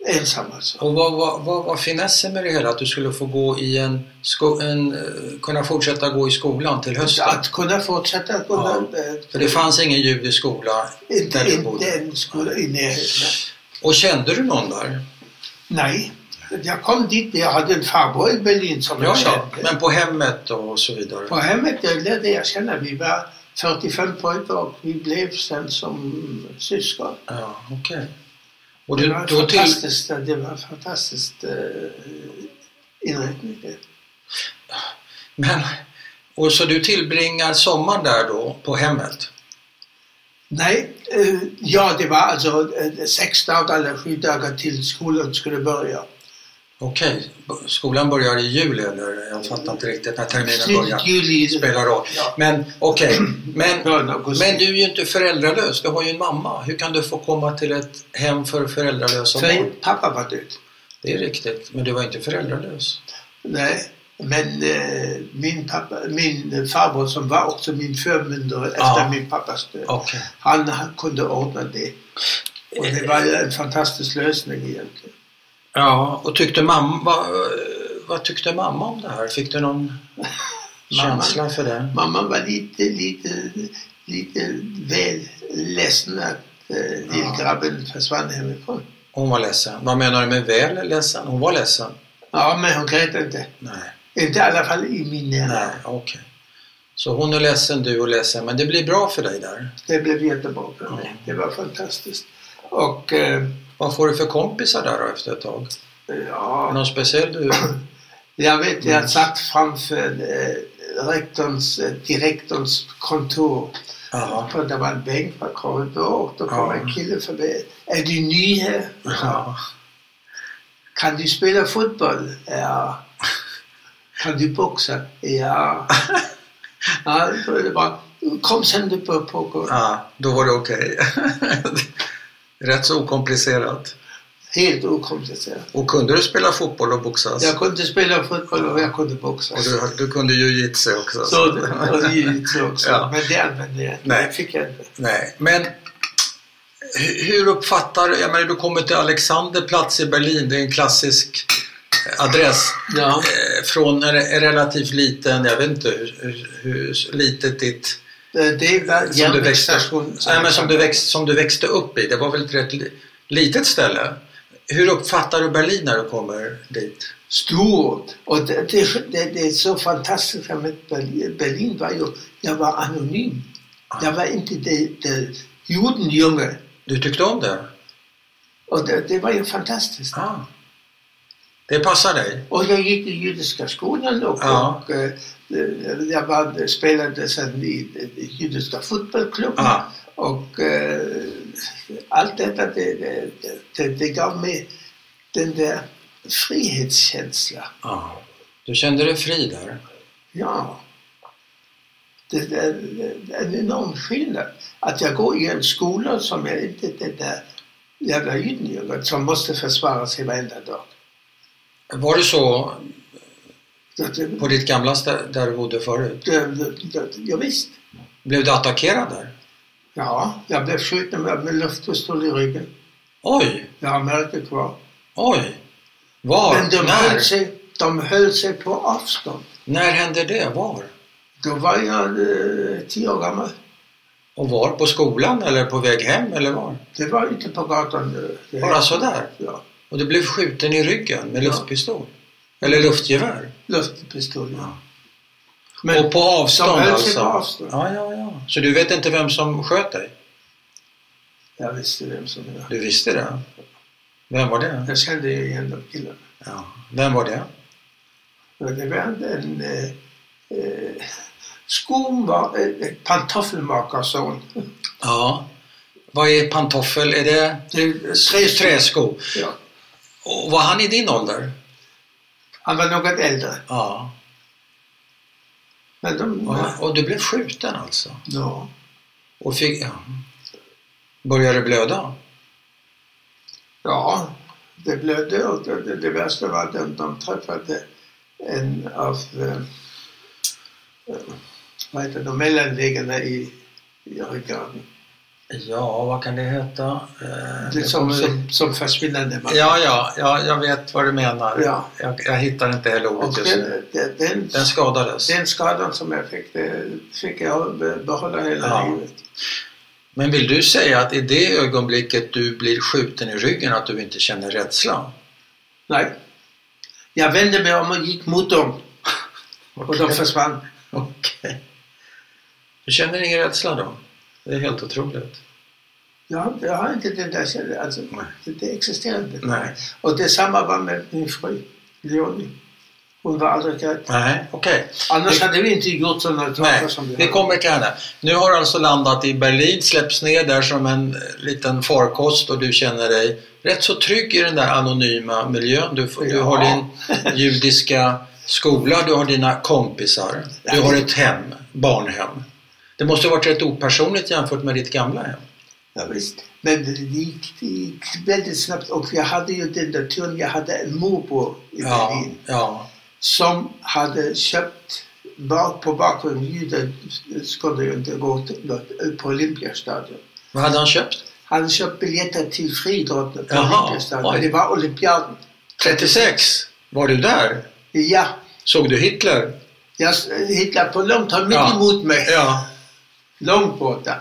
S2: Ensam alltså.
S1: Och vad, vad, vad var finessen med det hela? Att du skulle få gå i en, sko- en eh, kunna fortsätta gå i skolan till hösten?
S2: Att kunna fortsätta att kunna... eh,
S1: För det fanns ingen judisk skola
S2: Inte,
S1: där du
S2: inte
S1: bodde?
S2: en skola i närheten.
S1: Och kände du någon där?
S2: Nej, jag kom dit. Jag hade en farbror i Berlin som
S1: Ja,
S2: jag
S1: ja.
S2: kände.
S1: Men på hemmet och så vidare?
S2: På hemmet jag lärde jag känna. Vi var 45 pojkar och vi blev sen som syskon.
S1: Ja, okej. Och
S2: Det
S1: du,
S2: var
S1: då till,
S2: fantastiskt. Det var en fantastisk eh, inrättning. det.
S1: men, och så du tillbringar sommaren där då, på hemmet?
S2: Nej, eh, ja det var alltså eh, sex dagar eller sju dagar till skolan skulle börja.
S1: Okej, B- skolan börjar i juli eller? Jag fattar inte riktigt när terminen
S2: Slut
S1: börjar.
S2: juli.
S1: Det spelar roll.
S2: Ja.
S1: Men okej, men,
S2: Början av augusti.
S1: men du är ju inte föräldralös, du har ju en mamma. Hur kan du få komma till ett hem för föräldralösa
S2: För
S1: barn?
S2: pappa var död.
S1: Det är riktigt, men du var inte föräldralös.
S2: Nej, men eh, min, pappa, min farbror som var också min förmyndare
S1: Ja.
S2: efter min pappas död,
S1: Okej.
S2: han, han kunde ordna det. Och det var ju en fantastisk lösning egentligen.
S1: Ja, och tyckte mamma, vad, vad tyckte mamma om det här? Fick du någon känsla för det?
S2: Mamma var lite, lite, lite väl ledsen att eh, lillgrabben försvann hemifrån.
S1: Hon var ledsen. Vad menar du med väl ledsen? Hon var ledsen?
S2: Ja, men hon grät inte.
S1: Nej.
S2: Inte i alla fall i min
S1: Nej,
S2: närhet.
S1: okej. Så hon är ledsen, du är ledsen, men det blir bra för dig där.
S2: Det blev jättebra för mig. Det var fantastiskt. Och eh,
S1: Vad får du för kompisar där då efter ett tag?
S2: ja,
S1: Är Någon speciell du?
S2: Jag vet, jag satt framför eh, rektorns, eh, direktorns kontor.
S1: Jaha.
S2: Och det var en bänk på korridor och då kom
S1: Ja.
S2: en kille förbi. Är du ny här?
S1: Ja.
S2: Kan du spela fotboll? Ja. Kan du boxa?
S1: *laughs*
S2: Ja. ja då är det bara, kom sen du på pågå.
S1: ja, då var det okej. *laughs* Rätt så okomplicerat.
S2: Helt okomplicerat.
S1: Och kunde du spela fotboll och boxas?
S2: Jag kunde spela fotboll och jag kunde boxa.
S1: Alltså. Och du, du kunde jujutsu också?
S2: Så, och jujutsu också.
S1: Ja.
S2: Men det använde jag inte.
S1: Nej.
S2: Det fick jag inte.
S1: Nej, men hu- hur uppfattar du, jag menar du kommer till Alexanderplatz i Berlin, det är en klassisk eh, adress.
S2: Ja.
S1: Eh, Från en re- en relativt liten, jag vet inte hur, hur, hur litet ditt...
S2: Det det var
S1: Som du, växte,
S2: järnvägsstation.
S1: nej, men som, du växt, som du växte upp i, det var väl ett rätt li- litet ställe. Hur uppfattar du Berlin när du kommer dit?
S2: Stort! Och det, det, det, det är så fantastiskt med Berlin. Berlin var ju, jag var anonym. Jag var inte det, det judenjunge.
S1: Du tyckte om det?
S2: Och det, det var ju fantastiskt.
S1: Ah. Det passar dig?
S2: Och jag gick i judiska skolan och,
S1: Ja.
S2: och eh, jag var, spelade sen i i judiska fotbollsklubben.
S1: Ja.
S2: Och eh, allt detta det, det, det, det gav mig den där frihetskänslan.
S1: Ja. Ah. Du kände dig fri där?
S2: Ja. Det, det, det är en enorm skillnad. Att jag går i en skola som jag inte det där jävla junior som måste försvara sig varenda dag.
S1: Var det så
S2: Det, det,
S1: på ditt gamla ställe där du bodde förut?
S2: det, det, det, ja, visst.
S1: Blev du attackerad där?
S2: Ja, jag blev skjuten med, med luftpistol i ryggen.
S1: Oj,
S2: Jag har märket kvar.
S1: oj! Var?
S2: Men de höll,
S1: när?
S2: sig, de höll sig på avstånd.
S1: När hände det? Var?
S2: Då var jag eh, tio år gammal.
S1: Och var? På skolan eller på väg hem eller var?
S2: Det var ute på gatan. eh, det-
S1: Bara sådär?
S2: Ja,
S1: Och du blev skjuten i ryggen med luftpistol? Eller luftgevär?
S2: luftpistol. Ja.
S1: och på avstånd
S2: de höll sig
S1: alltså?
S2: på avstånd.
S1: Ja, ja, ja. Så du vet inte vem som sköt dig?
S2: jag visste vem som det var.
S1: Du visste det? Vem var det?
S2: Jag kände ju igen de killarna.
S1: Ja. Vem var det?
S2: Men det var en eh, eh, skoma, eh, pantoffelmakarson.
S1: Ja. Vad är pantoffel? Är det
S2: Tre
S1: träsko?
S2: Ja.
S1: Och var han i din ålder?
S2: Han var något äldre.
S1: Ja.
S2: Men de,
S1: Och, och du blev skjuten alltså?
S2: ja.
S1: Och fick... Ja. Började det blöda?
S2: ja, det blödde och det, det, det värsta var att de, de träffade en av eh, eh, vad heter de, mellanläggarna i, i ryggraden.
S1: Ja, vad kan det heta? Eh,
S2: Det som, som, som försvinnande man.
S1: Ja, ja, ja, jag vet vad du menar.
S2: Ja.
S1: Jag, jag hittar inte heller
S2: Och
S1: ordet just nu.
S2: den, den, den,
S1: Den skadades.
S2: den skadan som jag fick, det fick jag be- behålla hela
S1: Ja.
S2: livet.
S1: Men vill du säga att i det ögonblicket du blir skjuten i ryggen att du inte känner rädsla?
S2: Nej. Jag vände mig om och gick mot dem och de försvann.
S1: Okej. Du känner ingen rädsla då? Det är helt otroligt.
S2: Jag, har- jag har inte den där känslan, alltså,
S1: Nej.
S2: det, det existerar inte.
S1: Nej.
S2: Och detsamma var med min fru, Leonie. Hon var aldrig rädd.
S1: Nej, okej.
S2: Annars
S1: Det-
S2: hade vi inte gjort sådana saker
S1: Nej,
S2: som vi
S1: vi
S2: har.
S1: kommer till henne. Nu har du alltså landat i Berlin, släpps ner där som en eh, liten farkost och du känner dig rätt så trygg i den där anonyma miljön. Du, får- du
S2: Ja.
S1: har din judiska skola, du har dina kompisar, du har ett hem, barnhem. Det måste ha varit rätt opersonligt jämfört med ditt gamla hem.
S2: Ja, visst. Men det gick, det gick väldigt snabbt och jag hade ju den där turen, jag hade en morbror i
S1: Ja,
S2: Berlin
S1: ja,
S2: som hade köpt bak, på bakgrunden, juden skulle ju inte gå till- på Olympiastadion.
S1: vad hade han köpt?
S2: Han köpte biljetter till friidrotten på
S1: Jaha,
S2: Olympiastadion.
S1: oj.
S2: Men det var olympiaden.
S1: 36! Var du där?
S2: Ja,
S1: Såg du Hitler?
S2: jag hittade på långt håll, mitt
S1: Ja.
S2: emot mig.
S1: Ja,
S2: Långt borta.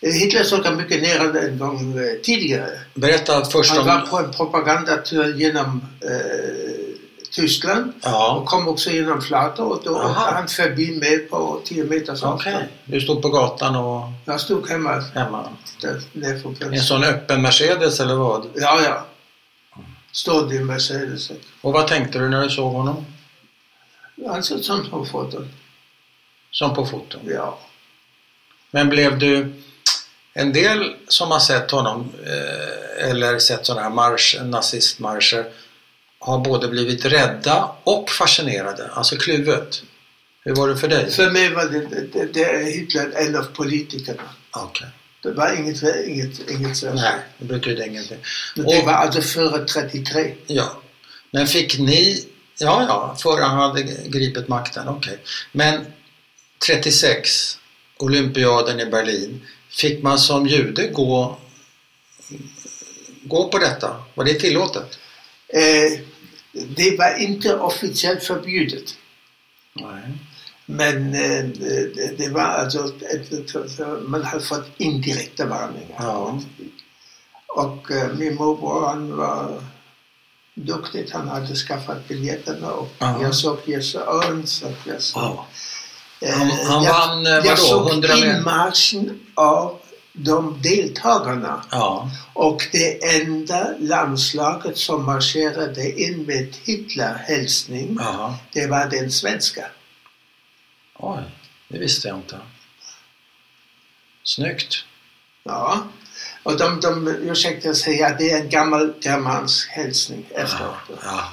S2: Eh, Hitler såg mycket närande än gång eh, tidigare.
S1: berätta först
S2: Han var
S1: om...
S2: på en propagandatur genom eh, Tyskland och
S1: Ja,
S2: kom också genom Flator och då
S1: Aha.
S2: åkte han förbi mig på 10 meters
S1: okej.
S2: avstånd.
S1: Du stod på gatan och
S2: Jag stod hemma
S1: hemma.
S2: där nere på
S1: En
S2: fönstret.
S1: sån öppen Mercedes eller vad?
S2: Ja, ja. Stod i Mercedes.
S1: Och vad tänkte du när du såg honom?
S2: Han såg ut som på foton.
S1: Som på foton.
S2: Ja.
S1: Men blev du... En del som har sett honom eh, eller sett sådana här marsch, nazistmarscher har både blivit rädda och fascinerade, alltså kluvet. Hur var det för dig?
S2: För mig var det, det, det Hitler en av politikerna.
S1: Okej.
S2: Det var inget, inget, inget så.
S1: Nej, det betyder ingenting.
S2: Det var alltså före 33.
S1: Ja. Men fick ni... Ja, ja, före han hade gripit makten. Okej. Men 36, olympiaden i Berlin. Fick man som jude gå, gå på detta? Var det tillåtet?
S2: Eh, det var inte officiellt förbjudet.
S1: Nej.
S2: Men eh, det, det var alltså, ett- ett- man hade fått indirekta varningar.
S1: Ja.
S2: Och eh, min morbror han var duktig, han hade skaffat biljetterna och
S1: Ja.
S2: jag såg Jesse Örns. att jag såg-
S1: Ja.
S2: Eh,
S1: Han- han
S2: jag-
S1: vann, eh, vadå,
S2: Jag såg
S1: 100 meter?
S2: inmarschen av de deltagarna.
S1: ja.
S2: Och det enda landslaget som marscherade in med Hitlerhälsning,
S1: ja.
S2: det var den svenska.
S1: Oj, det visste jag inte. Snyggt.
S2: Ja. Och de, de ursäktar sig att det är en gammal germansk hälsning efteråt.
S1: Ja.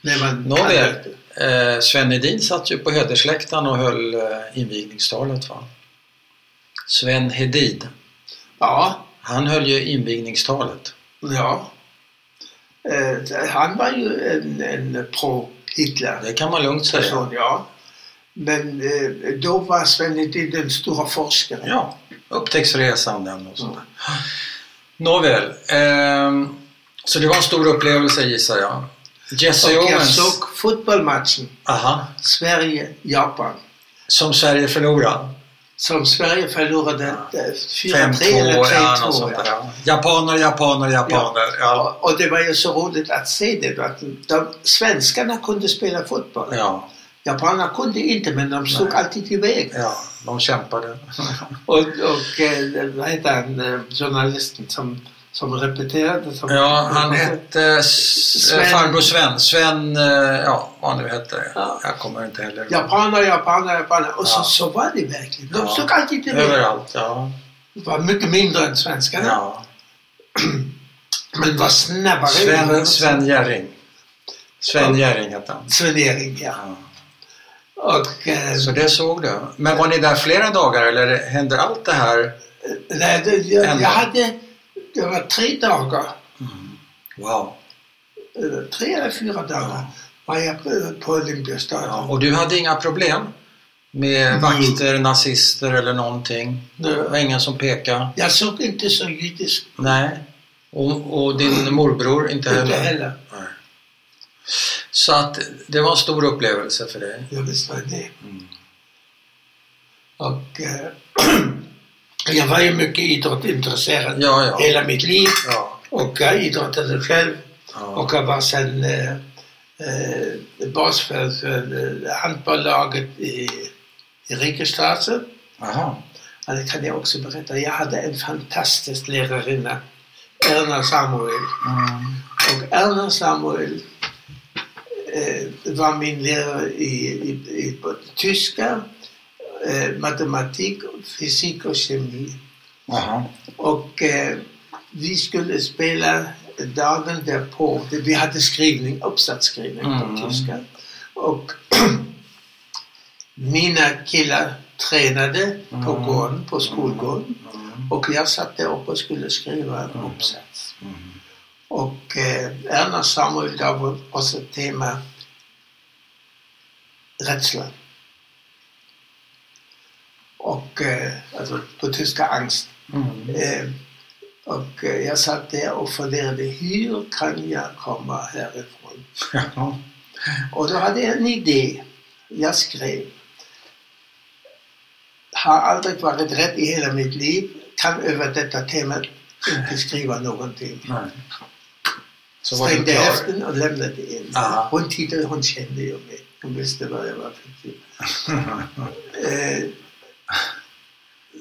S2: När man
S1: Nåväl,
S2: kan-
S1: eh, Sven Hedin satt ju på hedersläktaren och höll eh, invigningstalet. Va? Sven Hedin,
S2: Ja,
S1: han höll ju invigningstalet.
S2: ja. Eh, han var ju en, en pro-Hitler-person,
S1: Det kan man lugnt säga.
S2: ja. Men eh, då var Sven Hedin den stora forskaren.
S1: Ja, upptäcktsresan den och sånt.
S2: Mm.
S1: Nåväl, ehm, så det var en stor upplevelse gissar jag. Jesse
S2: Och jag
S1: Owens,
S2: såg fotbollsmatchen
S1: aha,
S2: Sverige-Japan.
S1: som Sverige förlorade.
S2: Som Sverige förlorade eh,
S1: 5-2
S2: 4-3 eller 3-2.
S1: eller något sånt där.
S2: ja.
S1: ja. Japaner, japaner, japaner. Ja.
S2: Ja, och det var ju så roligt att se det. Att de, svenskarna kunde spela fotboll.
S1: Ja,
S2: Japanerna kunde inte, men de stod
S1: Nej.
S2: alltid i väg.
S1: ja, de kämpade.
S2: Och, och eh, vad heter han, eh, journalisten som som repeterade. Som
S1: Ja, han *laughs* hette S-
S2: Sven.
S1: farbror Sven. Sven, eh, ja vad han nu hette.
S2: Ja.
S1: Jag kommer inte heller ihåg.
S2: Japaner, japaner, japaner.
S1: Ja.
S2: Och så, så var det verkligen. De
S1: Ja.
S2: stod alltid till det.
S1: Överallt, ja.
S2: var mycket mindre än svenskarna.
S1: ja.
S2: Men var snabbare.
S1: Sven, Sven Jerring. Sven Jerring hette han.
S2: Sven Erik, ja.
S1: Ja.
S2: Och, eh,
S1: Så det såg du. Men var ni där flera dagar eller hände allt det här?
S2: nej, det, jag,
S1: En
S2: jag
S1: dag.
S2: hade, det var tre dagar,
S1: Wow.
S2: eller tre eller fyra dagar var jag på- på
S1: Ja.
S2: Olympiastadion.
S1: Och du hade inga problem med vakter, nazister eller någonting? Mm. Det var ingen som pekade?
S2: Jag såg inte så jiddisk
S1: Nej. Och, och din morbror Mm. inte
S2: inte
S1: heller?
S2: heller.
S1: Nej. Så att det var en stor upplevelse för dig?
S2: Jag visste vad det.
S1: Mhm.
S2: Och eh, *clears throat* jag var ju mycket idrottintresserad
S1: Ja, ja.
S2: hela mitt liv
S1: Ja.
S2: och jag idrottade själv.
S1: ja.
S2: Och jag var sen eh, eh, bas för, för eh, handbollslaget i, i Rikestraße.
S1: Aha.
S2: Also Ja, det kan jag också berätta. Jag hade en fantastisk lärarinna, Erna Samuel.
S1: Mm.
S2: Och Erna Samuel eh, var min lärare i, i, i både tyska, eh, matematik, fysik och kemi.
S1: Aha.
S2: Och eh, vi skulle spela dagen därpå. Vi hade skrivning, uppsatsskrivning
S1: Mm.
S2: på tyska. Och *clears throat* mina killar tränade på
S1: Mm.
S2: gården, på skolgården.
S1: Mm.
S2: Och jag satt där uppe och skulle skriva en uppsats.
S1: Mm.
S2: Och eh, Erna Samuel gav oss ett tema rädsla. Och eh, alltså på tyska angst.
S1: Mm.
S2: Eh, och eh, jag satt där och funderade, hur kan jag komma härifrån?
S1: Ja.
S2: Och då hade jag en idé. Jag skrev. Har aldrig varit rädd i hela mitt liv. Kan över detta tema inte skriva någonting.
S1: Nej. Så var du
S2: Stängde
S1: klar?
S2: häften och lämnade in.
S1: Aha.
S2: Hon tittade, hon kände ju mig. Hon visste vad jag var
S1: *laughs*
S2: för typ. Eh,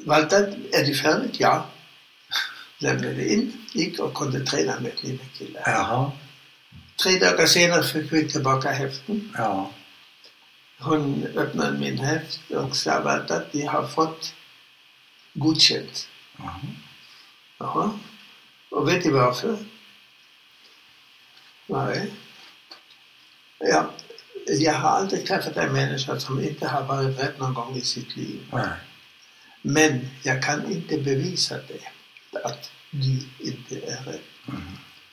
S2: Walter, är du färdig? Ja. Lämnade in, gick och kunde träna med mina killar.
S1: Jaha.
S2: Tre dagar senare fick vi tillbaka häften.
S1: Ja.
S2: Hon öppnade min häft och sa Walter, de har fått godkänt.
S1: Jaha.
S2: Jaha. Och vet du varför? Nej. Ja, jag har aldrig träffat en människa som inte har varit rädd någon gång i sitt liv.
S1: Nej.
S2: Men jag kan inte bevisa det, att du inte är rädd.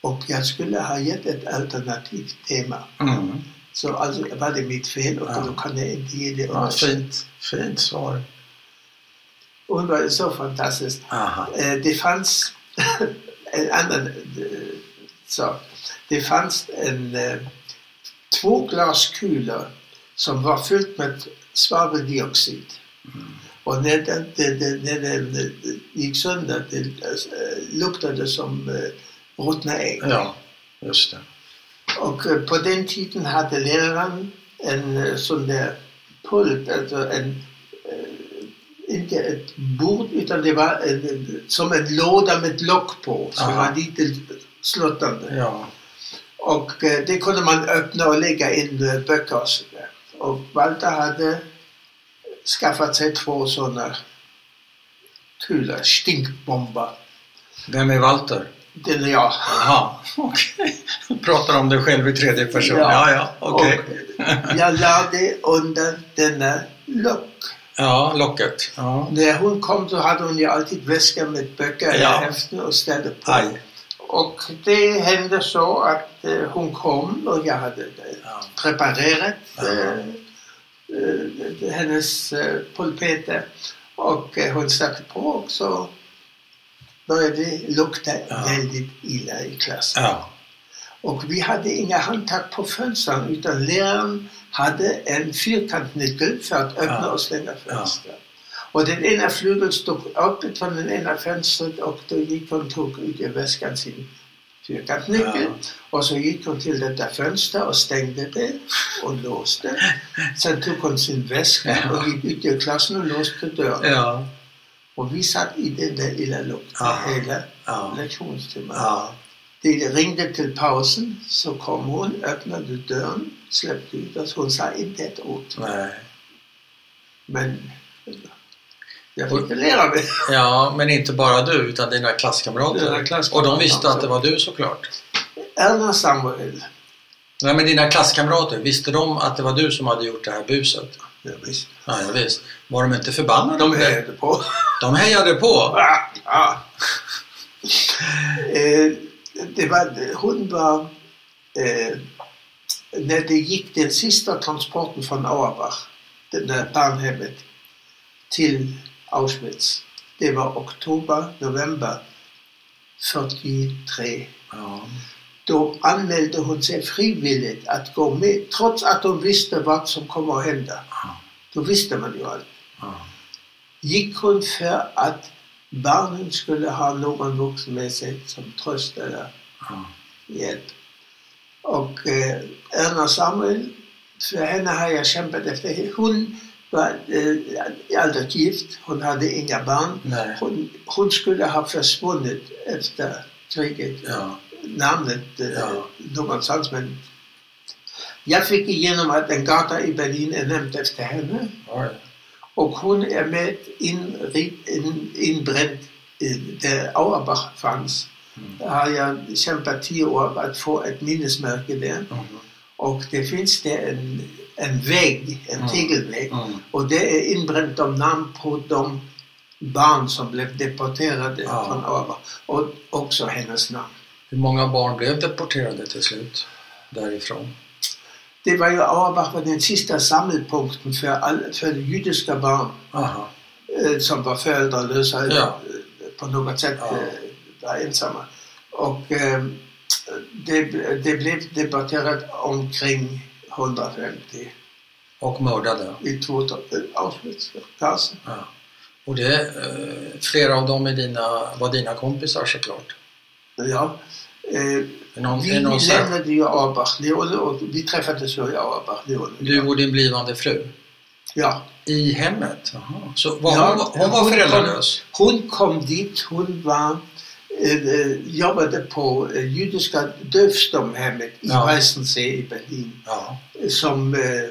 S2: Och jag skulle ha gett ett alternativt tema.
S1: Mm.
S2: Så alltså var det mitt fel och
S1: Ja.
S2: då kan jag inte ge det
S1: Ja,
S2: underkänt.
S1: fint. Fint svar.
S2: Hon var ju så fantastisk.
S1: Aha.
S2: Eh, Det fanns *laughs* en annan eh, sak. Det fanns en, eh, två glas kulor som var fyllt med svaveldioxid. Och när den, den, den, den, den, den gick sönder, det eh, luktade som eh, ruttna ägg.
S1: Ja, just det.
S2: Och eh, på den tiden hade läraren en eh, sån där pult, alltså en, eh, inte ett bord utan det var en, en, som en låda med lock på som
S1: Aha.
S2: var lite sluttande.
S1: Ja.
S2: Och eh, det kunde man öppna och lägga in eh, böcker och sådär. Och Walter hade skaffat sig två sådana kulor, stinkbomber.
S1: Vem är Walter?
S2: Den är jag.
S1: Jaha, *laughs* okej. Pratar om dig själv i tredje person. Ja, ja, okej.
S2: Och eh, jag lade under denna lock.
S1: Ja, locket. Ja.
S2: När hon kom så hade hon ju alltid väska med böcker i
S1: Ja.
S2: häften och ställde på.
S1: Aj.
S2: Och det hände så att eh, hon kom och jag hade eh,
S1: Ja.
S2: preparerat eh,
S1: Ja.
S2: eh, hennes eh, pulpeter och eh, hon satte på och så började det lukta
S1: Ja.
S2: väldigt illa i klassen.
S1: Ja.
S2: Och vi hade inga handtag på fönstren utan läraren hade en fyrkantnyckel för att öppna
S1: Ja.
S2: och stänga fönster. Och den ena flygeln stod öppet från den ena fönstret och då gick hon och tog ut ur väskan sin fyrkantnyckel och så gick hon till detta fönster och stängde det och
S1: *laughs*
S2: låste. Sen tog hon sin väska
S1: Ja.
S2: och gick ut ur klassen och låste dörren.
S1: Ja.
S2: Och vi satt i den där illa lukten
S1: Ja.
S2: hela
S1: Ja.
S2: lektionstimmar.
S1: Ja.
S2: De ringde till pausen, så kom hon, öppnade dörren, släppte ut oss. Hon sa inte ett ord.
S1: Nej.
S2: Men jag fick väl lära mig.
S1: Ja, men inte bara du utan dina klasskamrater.
S2: Dina
S1: Och
S2: klasskamrater
S1: de visste att det
S2: också.
S1: var du såklart.
S2: Erna Samuel.
S1: Nej, men dina klasskamrater, visste de att det var du som hade gjort det här buset?
S2: Ja, visst.
S1: Ja, ja visst. Var de inte förbannade?
S2: De
S1: på dig?
S2: hejade på.
S1: de hejade på!
S2: Ah, ah. Eh, det var, hon var... Eh, när det gick ne, den sista transporten från Auerbach, det där barnhemmet, till Auschwitz. Det var oktober, november 43.
S1: Ja.
S2: Då anmälde hon sig frivilligt att gå med, trots att hon visste vad som kommer att hända. Då visste man ju allt.
S1: Ja.
S2: gick hon för att barnen skulle ha någon vuxen med sig som tröst eller
S1: Ja.
S2: hjälp. Och eh, Erna Samuel, för henne har jag kämpat efter. Hon var eh, aldrig gift, hon hade inga barn.
S1: Nej.
S2: Hon, hon skulle ha försvunnit efter kriget.
S1: Ja.
S2: Namnet eh,
S1: Ja.
S2: någonstans men jag fick igenom att en gata i Berlin är nämnd efter henne.
S1: Var det?
S2: Och hon är med in, in, inbränd i der Auerbach fanns.
S1: Mm.
S2: Da har jag kämpat tio år för att få ett minnesmärke där.
S1: Mhm.
S2: Och det finns där en, en vägg, en
S1: Mm.
S2: tegelvägg.
S1: Mm.
S2: Och det är inbränt av namn på de barn som blev deporterade
S1: Ja.
S2: från Auerbach. Och också hennes namn.
S1: Hur många barn blev deporterade till slut därifrån?
S2: Det var ju Auerbach var den sista sammelpunkten för, all, för judiska barn.
S1: Aha.
S2: eh, som var föräldralösa eller,
S1: Ja.
S2: eh, på något sätt
S1: Ja.
S2: eh, var ensamma. Och eh, det, det blev debatterat omkring 150
S1: Och mördade?
S2: i två eh, avsnitt. Alltså,
S1: Ja. Och det, eh, flera av dem är dina, var dina kompisar såklart.
S2: ja. Eh,
S1: Är någon,
S2: vi
S1: är någon särskild-
S2: lämnade ju Auerbach, Leone, och vi träffades ju i Auerbach, Leone.
S1: du och din blivande fru?
S2: Ja.
S1: I hemmet? Jaha. Så var,
S2: Ja,
S1: hon, var- hon var
S2: hon
S1: föräldralös?
S2: Hon kom dit, hon var, eh, eh, jobbade på eh, judiska dövstumhemmet i
S1: Ja.
S2: Weißensee i Berlin.
S1: Ja.
S2: som eh, eh,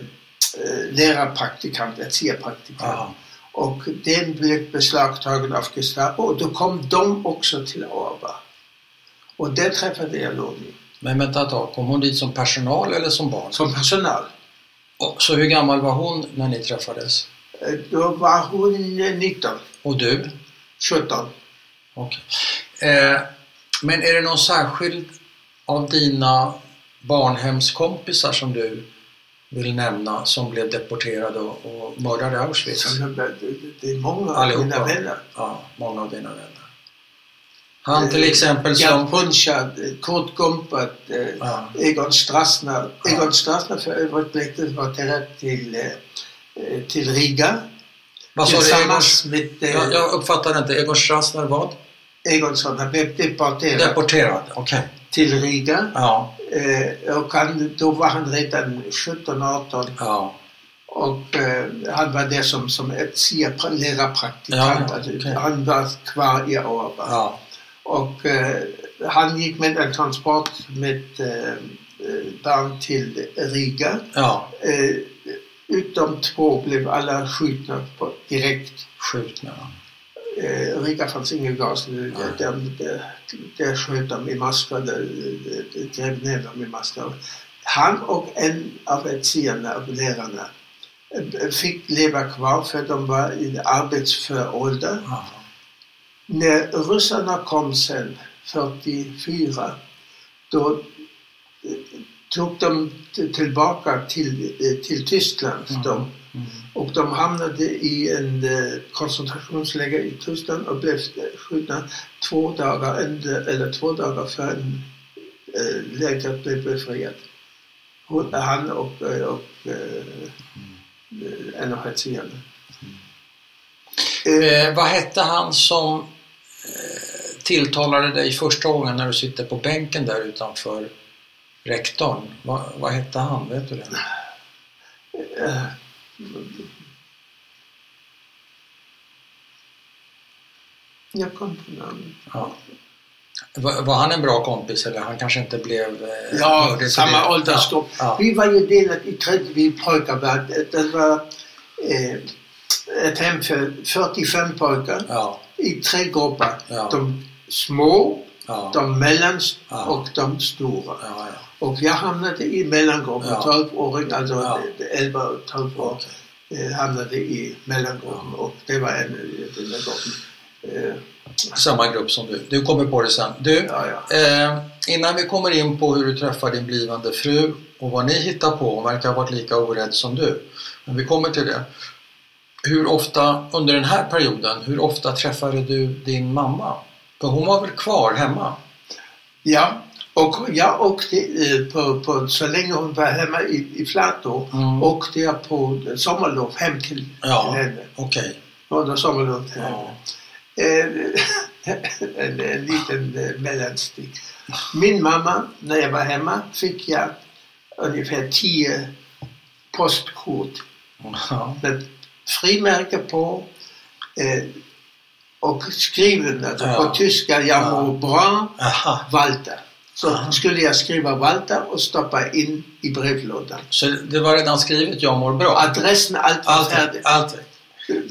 S2: lärarpraktikant, erzieherpraktikant.
S1: ja.
S2: Och den blev beslagtagen av Gestapo och då kom de också till Auerbach. Och där träffade jag Loni
S1: Men vänta ett tag, kom hon dit som personal eller som barn?
S2: som personal.
S1: Och, så hur gammal var hon när ni träffades?
S2: Eh, Då var hon eh, 19,
S1: Och du?
S2: 17.
S1: Okej. Eh, men är det någon särskild av dina barnhemskompisar som du vill nämna som blev deporterade och, och mördade i Auschwitz?
S2: Så det- det- Det är många av
S1: Allihopa.
S2: mina vänner.
S1: Ja, många av dina vänner. Han till
S2: Eh,
S1: exempel
S2: Gerd
S1: som...
S2: Punschert, eh, Kurt Gumpert, eh,
S1: Ja.
S2: Egon Strassner.
S1: Ja.
S2: Egon Strassner för övrigt blev deporterad till, eh, eh, till Riga.
S1: Vad sa du? Egon,
S2: Tillsammans med eh,
S1: jag, jag uppfattade inte. Egon Strassner vad?
S2: Egonsson. Han blev deporterad
S1: Deporterad, okej.
S2: till Riga.
S1: Ja,
S2: Eh, och han, då var han redan 17-18
S1: ja,
S2: och eh, han var där som, som erzieher, lärarpraktikant.
S1: Ja,
S2: alltså,
S1: okej.
S2: Han var kvar i Auerbach.
S1: ja.
S2: Och eh, han gick med en transport med eh, eh, barn till Riga.
S1: ja.
S2: Eh, utom två blev alla skjutna på, direkt.
S1: Skjutna.
S2: eh, Riga fanns ingen gas.
S1: Nej.
S2: Där, där, där sköt de i maskar, där, där, där grävde ner dem i maskar. Han och en av erzieherna, av lärarna, eh, fick leva kvar för de var i arbetsför ålder.
S1: Ja.
S2: När ryssarna kom sen, 44, då eh, tog de t- tillbaka till, eh, till Tyskland. De,
S1: Mm.
S2: och de hamnade i en eh, koncentrationsläger i Tyskland och blev eh, skjutna två dagar, en- eller två dagar förrän eh, lägret blev befriat. Hon- Han och, eh, och eh, eh, en av erzieherna. Eh,
S1: Eh, vad hette han som eh, tilltalade dig första gången när du sitter på bänken där utanför rektorn? Va, vad hette han? Vet du det?
S2: eh, Jag kom på namn.
S1: Ja. Var, var han en bra kompis eller han kanske inte blev... eh,
S2: Ja,
S1: hörde till
S2: samma
S1: det?
S2: åldersgrupp.
S1: Ja, ja.
S2: Vi var ju delat i 30 pojkar. va? Det var eh, ett hem för 45 pojkar
S1: Ja,
S2: i tre grupper.
S1: Ja.
S2: De små,
S1: ja, ja,
S2: de mellans
S1: Ja.
S2: och de stora.
S1: ja,
S2: Och jag hamnade i mellangruppen,
S1: Ja.
S2: 12-åring, alltså
S1: Ja.
S2: 11 och 12 år eh, hamnade i mellangruppen och det var en i den där gruppen. Eh,
S1: Samma grupp som du. Du kommer på det sen. Du,
S2: ja, ja.
S1: eh, innan vi kommer in på hur du träffar din blivande fru och vad ni hittar på, hon verkar ha varit lika orädd som du. Men vi kommer till det. Hur ofta, under den här perioden, hur ofta träffade du din mamma? För hon var väl kvar hemma?
S2: ja, och jag åkte eh, på, på, så länge hon var hemma i, i Flatå,
S1: Mm.
S2: åkte jag på sommarlov hem till,
S1: Ja.
S2: till henne.
S1: Okej.
S2: Under sommarlov till henne.
S1: Ja.
S2: en, Eh, *laughs* en liten eh, mellanstick. Min mamma, när jag var hemma, fick jag ungefär tio postkort
S1: Ja.
S2: med frimärke på eh, och skriven alltså,
S1: Ja.
S2: på tyska, jag mår bra,
S1: Aha.
S2: Walter. Så
S1: Aha.
S2: skulle jag skriva Walter och stoppa in i brevlådan.
S1: Så det var redan skrivet, jag mår bra?
S2: Adressen, allt var
S1: Allt,
S2: färdigt.
S1: allt,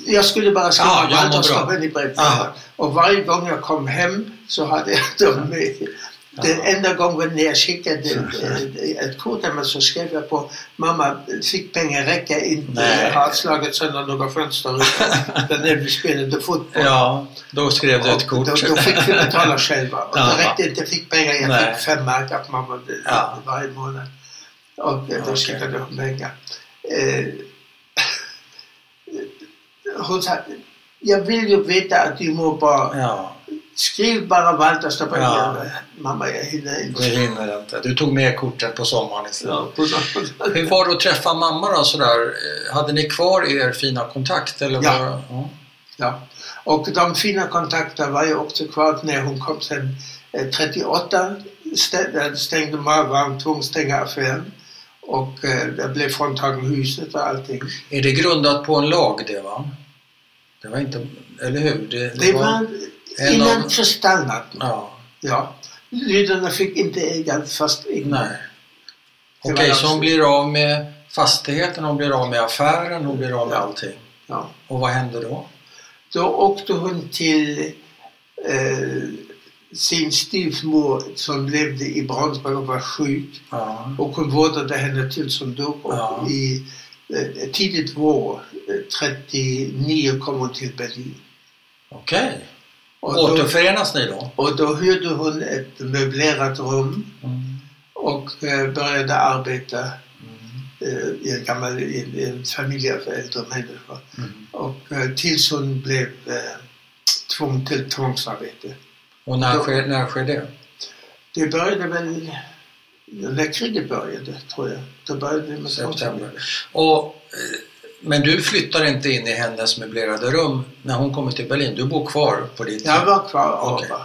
S2: Jag skulle bara skriva
S1: Ah, jag mår
S2: Walter och
S1: bra.
S2: stoppa in i
S1: Ah.
S2: brevlådan. Och varje gång jag kom hem så hade jag *laughs* dem med. Den enda gången när jag skickade eh, ett kort hemma så skrev jag på mamma fick pengar räcka inte.
S1: Nej.
S2: Jag har slagit sönder
S1: *laughs*
S2: några fönsterrutor. Den när vi spelade fotboll.
S1: Ja, då skrev du ett
S2: Och
S1: kort.
S2: Då, då fick vi betala själva.
S1: *laughs*
S2: Och
S1: Ja.
S2: det räckte inte, jag fick pengar. Jag
S1: Nej.
S2: fick fem mark av mamma det-
S1: Ja.
S2: varje månad. Och eh, då
S1: Okej.
S2: skickade hon pengar. Eh, hon sa, jag vill ju veta att du mår bra.
S1: Ja,
S2: Skriv bara Walter stoppar
S1: Ja.
S2: ja. Mamma, jag hinner
S1: det
S2: inte.
S1: hinner inte. Du tog med kortet på sommaren istället.
S2: Ja, hon sa-
S1: Hur var det att träffa mamma då sådär? Eh, Hade ni kvar er fina kontakt? Eller
S2: Ja.
S1: Var... ja.
S2: Ja, och de fina kontakterna var ju också kvar när hon kom sen. eh, 38 stä- eh, stängde man, var en tvungen att stänga affären. Och eh, det blev fråntagen huset och allting.
S1: Är det grundat på en lag det va? Det var inte, eller hur? Det,
S2: Det var
S1: en
S2: innan
S1: av-
S2: förstallnaden.
S1: Ja,
S2: Ja. Lydarna fick inte äga fast egendom.
S1: nej.
S2: Det var
S1: Okej,
S2: jag
S1: så hon
S2: också.
S1: blir av med fastigheten, hon blir av med affären, hon blir av med
S2: Ja.
S1: allting.
S2: Ja.
S1: Och vad hände då?
S2: Då åkte hon till eh, sin styvmor som levde i Brunnsberg och var sjuk.
S1: Ja,
S2: Och hon vårdade henne tills hon dog. Och
S1: Ja.
S2: i eh, tidigt vår, eh, 39, kom hon till Berlin.
S1: okej.
S2: Och då,
S1: Återförenas ni då?
S2: och då hyrde hon ett möblerat rum Mm. och eh, började arbeta
S1: Mm.
S2: eh, i en gammal i en, i en familj för äldre människor.
S1: Mm.
S2: Och eh, tills hon blev eh, tvungen till tvångsarbete.
S1: Och när
S2: Då-
S1: sker, när sker det?
S2: Det började väl när kriget började, tror jag. Då började det med
S1: September.
S2: tvångsarbete.
S1: Och, eh, men du flyttar inte in i hennes möblerade rum när hon kommer till Berlin. Du bor kvar på ditt
S2: Jag var kvar
S1: Okej.
S2: okay.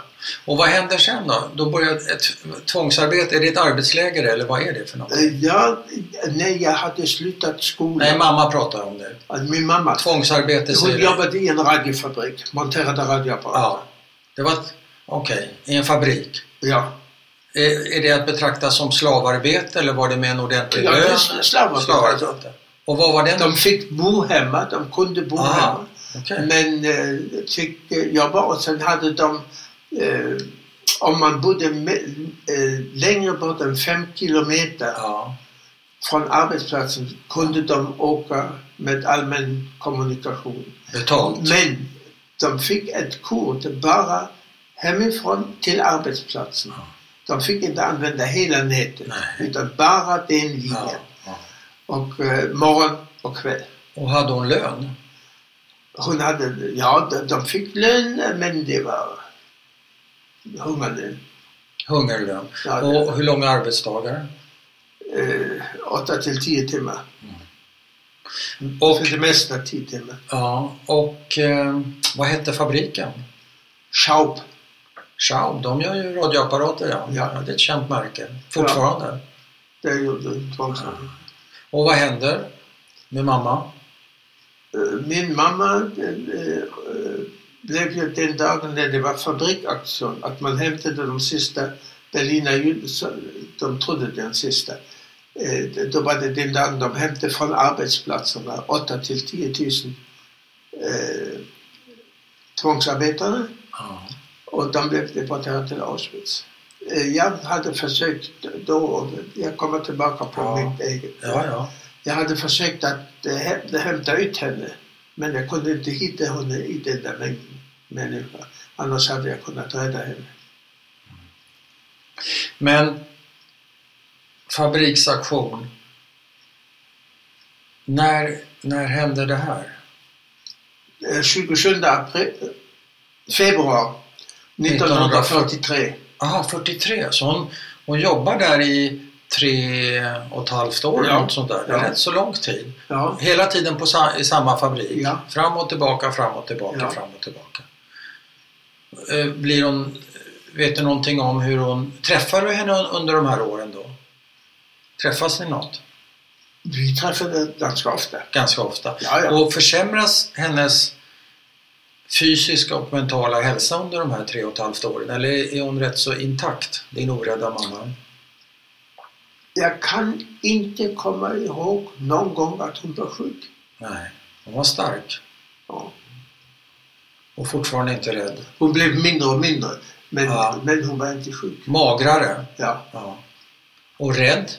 S1: Och vad händer sen då? Då börjar ett tvångsarbete. Är det ett arbetsläger eller vad är det för något?
S2: Jag, Eh, nej, jag hade slutat
S1: Nej,
S2: skolan.
S1: mamma pratar om det.
S2: Alltså, min mamma,
S1: Tvångsarbete
S2: hon
S1: säger du.
S2: jobbade i en radiofabrik, monterade radioapparater.
S1: Ja, det var ett- Okej, i en fabrik. Eh,
S2: Ja.
S1: Är, är det att betrakta som slavarbete eller var det med en ordentlig
S2: Ja, det är
S1: lön?
S2: sl- slavarbete.
S1: Och vad var den?
S2: De fick bo hemma, de kunde bo
S1: Ah,
S2: hemma.
S1: Okej.
S2: Men eh, fick eh, jobba och sen hade de, eh, om man bodde me- eh, längre bort än fem kilometer
S1: Ja,
S2: från arbetsplatsen kunde de åka med allmän kommunikation.
S1: betalt.
S2: Men de fick ett kort bara hemifrån till arbetsplatsen. De fick inte använda hela nätet
S1: Nej.
S2: utan bara den linjen.
S1: Ja, ja.
S2: Och eh, morgon och kväll.
S1: Och hade hon lön?
S2: Hon hade, ja de, de fick lön men det var hungerlön.
S1: Hungerlön.
S2: Ja, det-
S1: Och hur långa arbetsdagar?
S2: Eh, 8 till 10 timmar.
S1: Och,
S2: För det mesta 10 timmar.
S1: ja, och eh, vad hette fabriken?
S2: Schaub.
S1: Schaub, de gör ju radioapparater ja.
S2: Ja.
S1: ja. Det är ett känt märke. Fortfarande.
S2: Där gjorde hon tvångsarbete.
S1: Och vad händer med mamma?
S2: Øh, Eh, Min mamma eh, eh, blev det den dagen när det var fabrikaktion, att man hämtade de sista Berliner judarna, de trodde den sista. Eh, Då var det den dagen de hämtade från arbetsplatserna 8 till 10 000 eh, tvångsarbetare
S1: Ja.
S2: och de blev deporterade till Auschwitz. Eh, Jag hade försökt då, jag kommer tillbaka på
S1: Ja.
S2: mitt eget.
S1: Ja, ja.
S2: Jag hade försökt att eh, hä- hämta ut henne men jag kunde inte hitta henne i den där mängden människor. Annars hade jag kunnat rädda henne.
S1: Men fabriksaktion. När, när hände det här?
S2: Eh, 27 april, eh, februari 1943.
S1: Aha, 43. Så hon, hon jobbar där i tre och ett halvt år
S2: Ja.
S1: eller något sånt där. Det är
S2: Ja.
S1: rätt så lång tid.
S2: Ja,
S1: Hela tiden på sa, i samma fabrik.
S2: Ja.
S1: Fram och tillbaka, fram och tillbaka,
S2: Ja.
S1: fram och tillbaka. Eh, Blir hon, vet du någonting om hur hon... Träffar du henne un- under de här åren då? Träffas ni något?
S2: vi träffade ganska ofta.
S1: Ganska ofta.
S2: Ja, ja.
S1: Och försämras hennes fysiska och mentala hälsa under de här tre och ett halvt åren? Eller är hon rätt så intakt, din orädda mamma?
S2: Jag kan inte komma ihåg någon gång att hon var sjuk.
S1: Nej, hon var stark
S2: Ja.
S1: och fortfarande inte rädd.
S2: Hon blev mindre och mindre, men,
S1: Ja.
S2: men hon var inte sjuk.
S1: Magrare.
S2: Ja.
S1: Ja. Och rädd.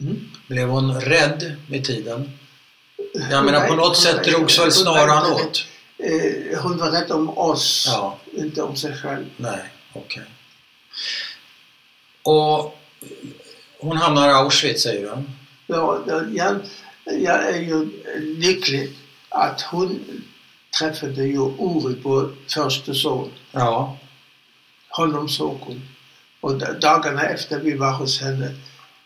S2: Mm.
S1: Blev hon rädd med tiden? Jag
S2: Hon
S1: menar
S2: var
S1: på
S2: inte-
S1: något
S2: hon
S1: sätt
S2: var inte-
S1: drogs
S2: hon
S1: väl
S2: var
S1: snaran
S2: inte-
S1: åt?
S2: Eh, hon var rädd om oss,
S1: Ja,
S2: inte om sig själv.
S1: nej, okej. Och hon hamnar i Auschwitz säger du?
S2: Ja, ja, jag, jag är ju lycklig att hon träffade ju Uri, vår första son.
S1: Ja.
S2: Honom såg hon. Och da- dagarna efter vi var hos henne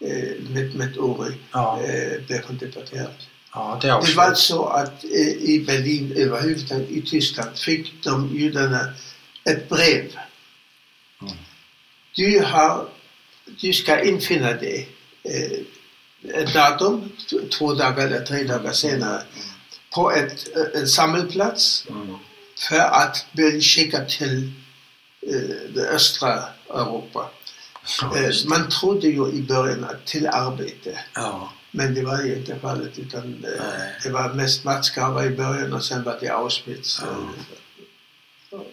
S2: eh, med, med Uri
S1: Ja,
S2: eh, blev hon deporterad.
S1: ja till
S2: Det var
S1: Auschwitz.
S2: så att eh, i Berlin överhuvudtaget, i Tyskland, fick de judarna ett brev.
S1: Mm.
S2: Du, har, du ska infinna dig eh, ett datum, t- två dagar eller tre dagar senare, på ett, eh, en samlingsplats
S1: Mm.
S2: för att bli skickad till eh, det östra Europa.
S1: Ja,
S2: Eh,
S1: just det.
S2: man trodde ju i början att till arbete.
S1: ja,
S2: Men det var ju inte fallet utan eh,
S1: Nej.
S2: det var mest matskarvar i början och sen var det Auschwitz.
S1: Ja.
S2: eh, och-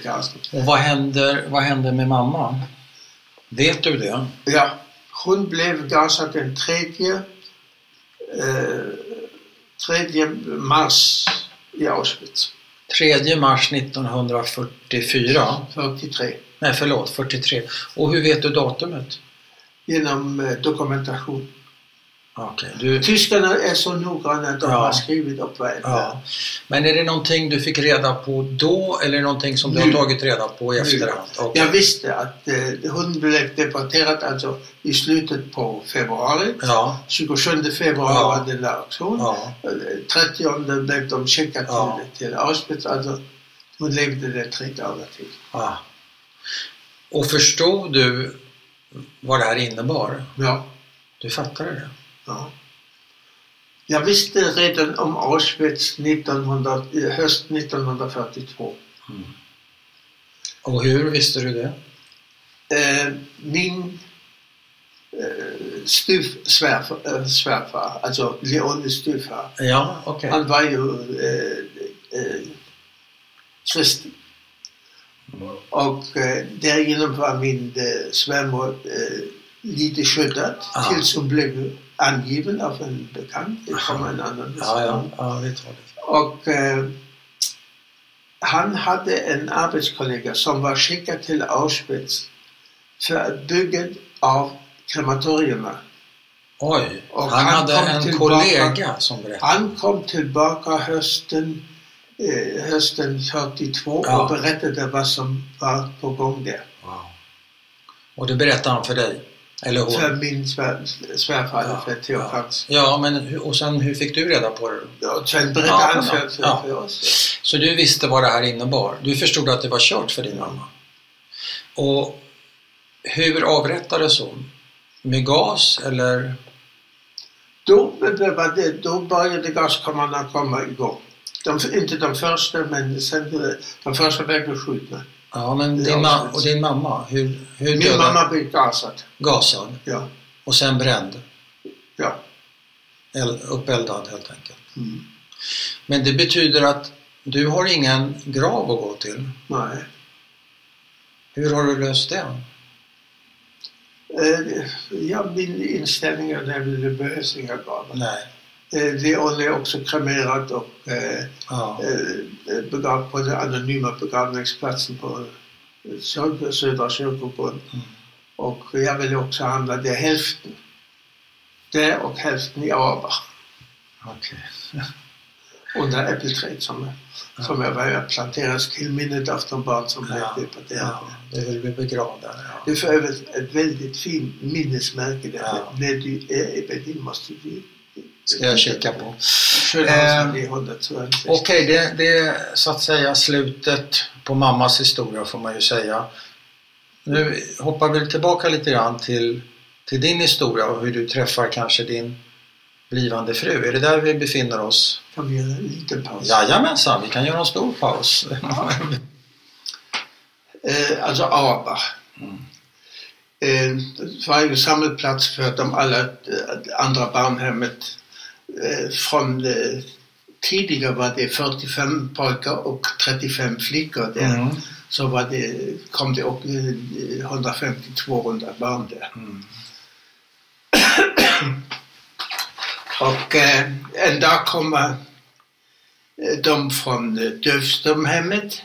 S2: och Auschwitz.
S1: Och vad händer, vad händer med mamma? Vet du det?
S2: Ja, hon blev gasad den 3, eh, 3 mars i Auschwitz,
S1: 3 mars 1944.
S2: 43.
S1: Nej, förlåt, 43. Och hur vet du datumet?
S2: Genom eh, dokumentation.
S1: Okej, du...
S2: Tyskarna är så noggranna att de
S1: Ja.
S2: har skrivit upp varenda.
S1: Ja. Eh, Men är det någonting du fick reda på då eller någonting som du har
S2: Nu.
S1: tagit reda på i
S2: Nu.
S1: efterhand? Okej.
S2: Jag visste att eh, hon blev deporterad alltså i slutet på februari.
S1: Ja.
S2: 27 februari
S1: Ja.
S2: var den där aktionen.
S1: ja.
S2: 30 eh, blev de skickade
S1: Ja.
S2: till, till Auschwitz. Alltså, hon levde där tre dagar till.
S1: ja. Och förstod du vad det här innebar?
S2: Ja.
S1: Du fattade det?
S2: ja. Jag visste redan om Auschwitz 1900, eh, höst 1942.
S1: Och hur visste du det?
S2: Eh, min eh, styv, svärfar, eh, svärfar, alltså Leonis styvfar,
S1: Ja, okej.
S2: han var ju eh, eh, kristen. Och eh, därigenom var min eh, svärmor eh, lite skyddad
S1: Ah.
S2: tills hon blev angiven av en bekant från en annan
S1: Ja, ja, ja, vi tar det.
S2: Och eh, han hade en arbetskollega som var skickad till Auschwitz för att bygga av krematorierna.
S1: Oj,
S2: Och
S1: han,
S2: han
S1: hade
S2: kom
S1: en
S2: tillbaka-
S1: kollega som berättade.
S2: Han kom tillbaka hösten, eh, hösten 42
S1: Ja.
S2: och berättade vad som var på gång där.
S1: Wow. Och det berättade han för dig? Eller hon?
S2: För min svär, svärfar,
S1: Ja,
S2: för Theo Franz.
S1: Ja, men hur- och sen hur fick du reda på det?
S2: Och sen berättade
S1: Ja,
S2: han
S1: ja,
S2: för, för,
S1: ja.
S2: för oss.
S1: Så du visste vad det här innebar? Du förstod att det var kört för din mamma? Och hur avrättades hon? Med gas eller?
S2: Då, var det, då började gaskammaren komma igång. De, inte de första, men sen, de första blev beskjutna.
S1: Ja, men din,
S2: Ja,
S1: ma-
S2: precis.
S1: och din mamma, hur, hur
S2: Min
S1: dödade-
S2: mamma blev gasad.
S1: Gasad
S2: Ja,
S1: och sen bränd.
S2: ja.
S1: El- uppeldad helt enkelt.
S2: Mm.
S1: Men det betyder att du har ingen grav att gå till.
S2: Nej.
S1: Hur har du löst det?
S2: Eh, Ja, min inställning är nämligen det behövs inga gravar.
S1: Nej.
S2: Eh, Det hon är också kremerat och eh,
S1: Ja.
S2: eh, begrav på den anonyma begravningsplatsen på eh, Sö- Södra kyrkogården.
S1: Mm.
S2: Och jag vill också handla där hälften. Där och hälften i Aber.
S1: Okej.
S2: Under äppelträd som, som jag var planteras till minnet av de barn som
S1: Ja.
S2: blev deporterade.
S1: Ja, du vill bli begravd där.
S2: Det är för övrigt ett väldigt fint minnesmärke där.
S1: Ja.
S2: När du är i Berlin måste du...
S1: Ska jag kika på.
S2: Schönhausen i 126.
S1: Okej, det, det är så att säga slutet på mammas historia får man ju säga. Nu hoppar vi tillbaka lite grann till, till din historia och hur du träffar kanske din blivande fru. Är det där vi befinner oss?
S2: Kan vi göra en liten paus?
S1: Jajamensan, vi kan göra en stor paus.
S2: Eh, alltså aber. Eh, det var ju samlingsplats för de alla eh, andra barnhemmet. Eh, från, eh, tidigare var det 45 pojkar och 35 flickor där.
S1: Mm.
S2: Så var det, kom det upp eh, 150-200 barn där.
S1: Mm.
S2: Och eh, en dag kommer eh, de från eh, Dövstumhemmet.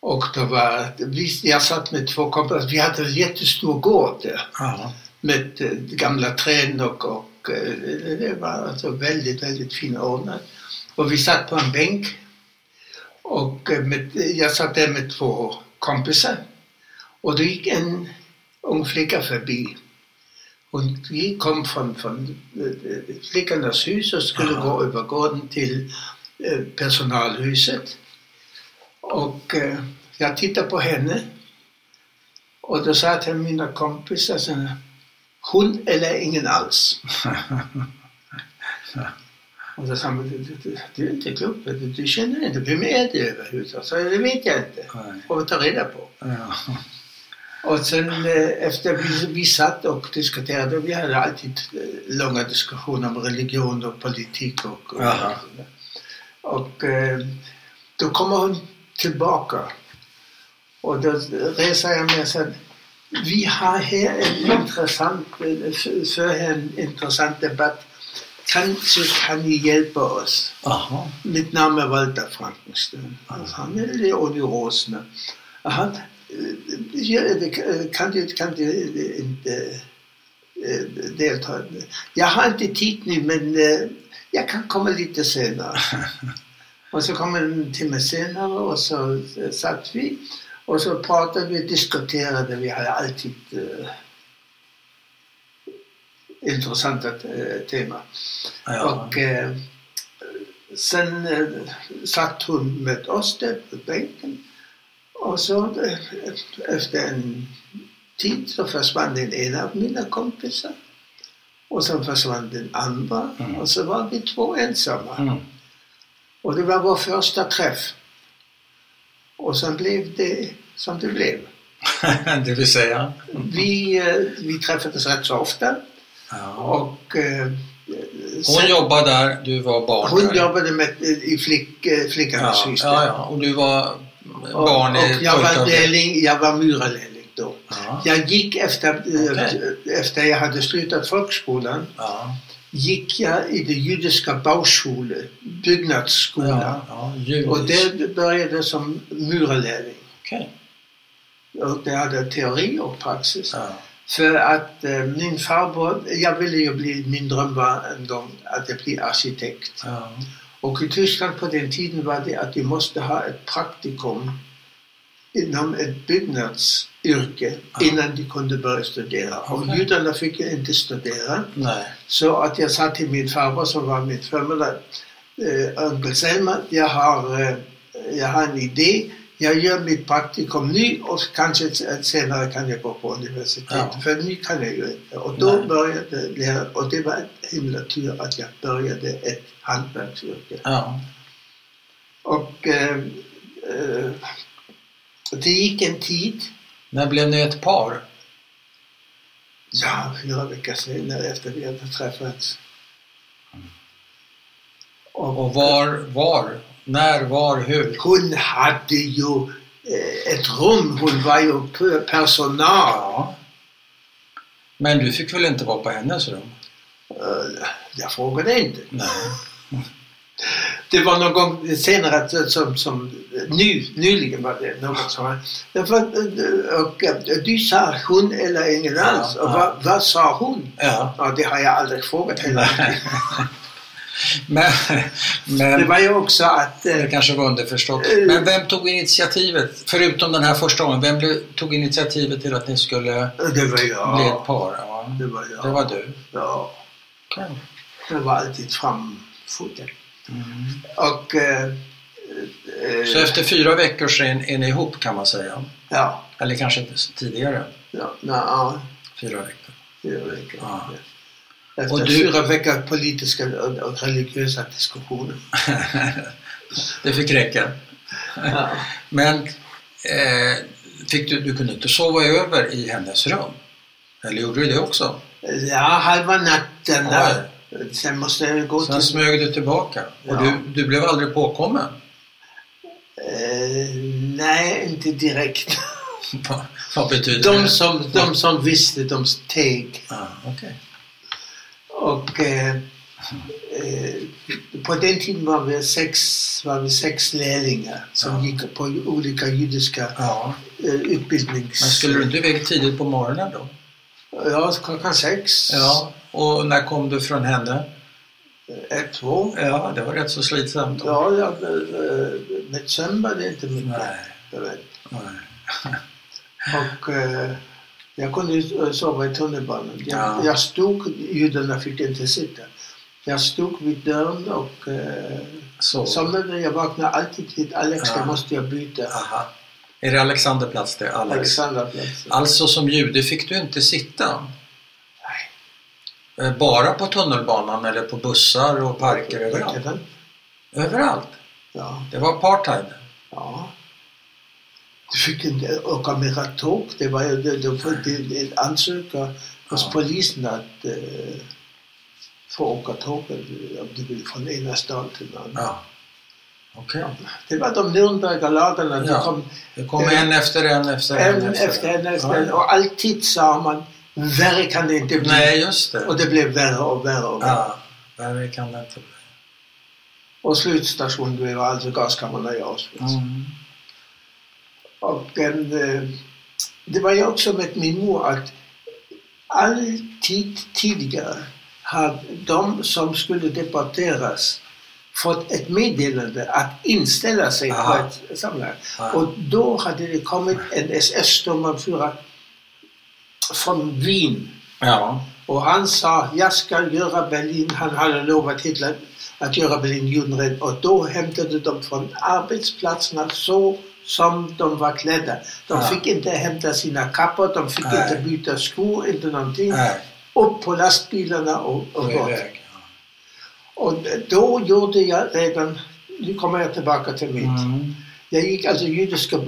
S2: Och då var, vi, jag satt med två kompisar, vi hade en jättestor gård där
S1: Ja.
S2: med eh, gamla träd och, och eh, det- det var alltså väldigt, väldigt finordnat. Och vi satt på en bänk och eh, med, jag satt där med två kompisar och då gick en ung flicka förbi. Hon vi kom från, från eh, flickornas hus och skulle
S1: Aha.
S2: gå över gården till eh, personalhuset. Och eh, jag tittade på henne och då sa jag till mina kompisar så här, hon eller ingen alls. Och då sa han, "Du- du- du- du är inte klok, du, du känner inte, vem är det överhuvudtaget? Så det vet jag inte,
S1: Nej.
S2: får vi ta reda på.
S1: Ja.
S2: Och sen eh, efter vi, vi satt och diskuterade, vi hade alltid eh, långa diskussioner om religion och politik och, och,
S1: Aha.
S2: och eh, då kommer hon tillbaka och då reser jag med sig vi har här en intressant, eh, för- för här en intressant debatt. Kanske kan ni hjälpa oss?
S1: Aha.
S2: Mitt Name Walter Frankenstein. Das haben wir Leonie Rosner. eh, Er hat äh, hier äh, kannte, kannte äh, in der äh, deltagande. Jag har inte tid nu men äh, jag kan komma lite senare. och så kom en timme senare och så äh, satt vi och så pratade vi, diskuterade, vi hade alltid äh, intressanta äh, teman.
S1: Ja.
S2: Och eh, sen eh, satt hon med oss där på bänken. Och så eh, efter en tid så försvann den ena av mina kompisar. Och sen försvann den andra.
S1: Mm.
S2: Och så var vi två ensamma.
S1: Mm. *laughs*
S2: Och det var vår första träff. Och sen blev det som det blev.
S1: det vill säga?
S2: Vi, eh, vi träffades rätt så ofta.
S1: Ja.
S2: Och, eh,
S1: Hon
S2: sen-
S1: jobbade där, du var barn
S2: hon
S1: där.
S2: jobbade med, i flick, eh, flickornas
S1: ja.
S2: hus. där.
S1: ja, ja, och du var
S2: Och,
S1: barn
S2: och
S1: i
S2: jag var
S1: pojkavdelningen.
S2: lärling, jag var murarlärling då.
S1: Ja.
S2: Jag gick efter, eh,
S1: Okej.
S2: efter jag hade slutat folkskolan,
S1: Ja.
S2: gick jag i det judiska Bauschule,
S1: Ja.
S2: byggnadsskola.
S1: Ja. Judisk.
S2: Och där började jag som murarlärling.
S1: Okej.
S2: Och där hade jag teori och praxis.
S1: Ja.
S2: För att eh, min farbror, jag ville ju bli, min dröm var en gång att jag blir arkitekt.
S1: Ja.
S2: Och i Tyskland på den tiden var det att vi måste ha ett praktikum inom ett byggnadsyrke
S1: Ja.
S2: innan de kunde börja studera. Och
S1: Okej.
S2: judarna fick ju inte studera.
S1: Nej.
S2: Så att jag sa till min farbror som var min förmiddag, eh, onkel Selma, jag har, eh, jag har en idé. Jag gör mitt praktikum nu och kanske s- senare kan jag gå på universitet.
S1: Ja.
S2: För nu kan jag ju inte. Och då
S1: Nej.
S2: började jag lära, och det var en himla tur att jag började ett hantverksyrke.
S1: Ja.
S2: Och eh, eh, det gick en tid,
S1: När blev ni ett par?
S2: ja, fyra veckor senare efter vi hade träffats.
S1: Och var, var? När, var, hur?
S2: Hon hade ju eh, ett rum, hon var ju pe- personal.
S1: Ja. Men du fick väl inte vara på hennes rum?
S2: Eh, Jag frågade inte.
S1: Nej.
S2: Det var någon gång senare, att- eh, som, som nu, nyligen var det någon som var- Därför att, eh, och, eh, Du sa hon eller ingen
S1: Ja,
S2: alls. Och
S1: ja.
S2: vad, vad sa hon?
S1: Ja.
S2: Ja, det har jag aldrig frågat
S1: *laughs*
S2: henne.
S1: Nej. Men,
S2: Det
S1: men
S2: var ju också att eh,
S1: det kanske var underförstått. Men vem tog initiativet? Förutom den här första gången, vem blev- tog initiativet till att ni skulle
S2: det var
S1: bli ett
S2: jag.
S1: par? Ja.
S2: Det var jag.
S1: Det var du?
S2: Ja, jag var alltid framfoten.
S1: Mm.
S2: Och... Eh, eh,
S1: Så efter fyra veckor så är är ni ihop kan man säga.
S2: Ja,
S1: Eller kanske inte så- tidigare.
S2: ja, na, ja.
S1: Fyra veckor.
S2: Fyra veckor.
S1: Ja.
S2: Efter
S1: Och du-
S2: fyra veckor politiska och, och religiösa
S1: *laughs*
S2: diskussioner.
S1: det fick räcka.
S2: Ja.
S1: Men eh, fick du, du kunde inte sova över i hennes rum? Eller gjorde du det också?
S2: ja, halva natten där. Sen måste jag gå
S1: Sen
S2: till...
S1: smög du tillbaka och
S2: Ja.
S1: du, du blev aldrig påkommen. *laughs*
S2: Eh, nej, inte
S1: *laughs*
S2: direkt.
S1: Vad- Vad betyder
S2: De
S1: det?
S2: som, de som visste, de steg.
S1: Ah, okej.
S2: Och eh, eh, på den tiden var vi sex, var vi sex lärlingar som
S1: Ja.
S2: gick på olika judiska
S1: Ja.
S2: eh, utbildnings...
S1: Men skulle du inte iväg tidigt på morgonen då?
S2: Ja, klockan sex.
S1: Ja. Och när kom du från henne?
S2: Ett, två.
S1: Ja, det var rätt så slitsamt.
S2: Ja, ja eh, med sömn var det inte mycket.
S1: Nej.
S2: jag vet.
S1: nej.
S2: Och eh, jag kunde ju, eh, sova i tunnelbanan. Jag,
S1: Ja.
S2: jag stod, judarna fick inte sitta. Jag stod vid dörren och eh,
S1: Så.
S2: somnade. Jag vaknade alltid vid Alex,
S1: Ja.
S2: då måste jag byta.
S1: Aha. Är det Alexanderplatz det, Alex?
S2: Alexanderplatsen.
S1: Alltså som jude fick du inte sitta?
S2: Nej.
S1: Eh, Bara på tunnelbanan eller på bussar och parker överallt?
S2: Parker,
S1: Överallt.
S2: Ja.
S1: Det var apartheid.
S2: ja. Du fick inte åka med tåg. Det var ju det, det var det, en ansökan hos
S1: Ja.
S2: polisen att eh, få åka tåg eller om du vill från ena stan till den andra.
S1: Ja. Okej.
S2: Det var de Nürnbergaladerna. Det
S1: Ja.
S2: kom
S1: Det kom
S2: Eh,
S1: en efter en efter en
S2: en efter en efter en.
S1: Ja. Ah.
S2: Och alltid sa man, värre kan det inte bli.
S1: Nej, just det.
S2: Och det blev värre och värre och värre.
S1: Ja, värre kan det inte bli.
S2: Och slutstationen blev alltså gaskammaren i Auschwitz.
S1: Mm.
S2: Och eh, det var ju också med min mor att alltid tidigare hade de som skulle deporteras fått ett meddelande att inställa sig
S1: Aha.
S2: på ett samlag.
S1: Ja.
S2: Och då hade det kommit en SS-stormförare från Wien
S1: Ja.
S2: och han sa jag ska göra Berlin, han hade lovat Hitler att göra Berlin judenrent och då hämtade de från arbetsplatserna så som de var klädda. De
S1: Ja.
S2: fick inte hämta sina kappor, de fick
S1: Nej.
S2: inte byta skor, inte någonting.
S1: Nej,
S2: Upp på lastbilarna och,
S1: gå
S2: och bort.
S1: iväg.
S2: Och då gjorde jag redan, nu kommer jag tillbaka till mitt.
S1: Mm.
S2: Jag gick alltså judiska eh,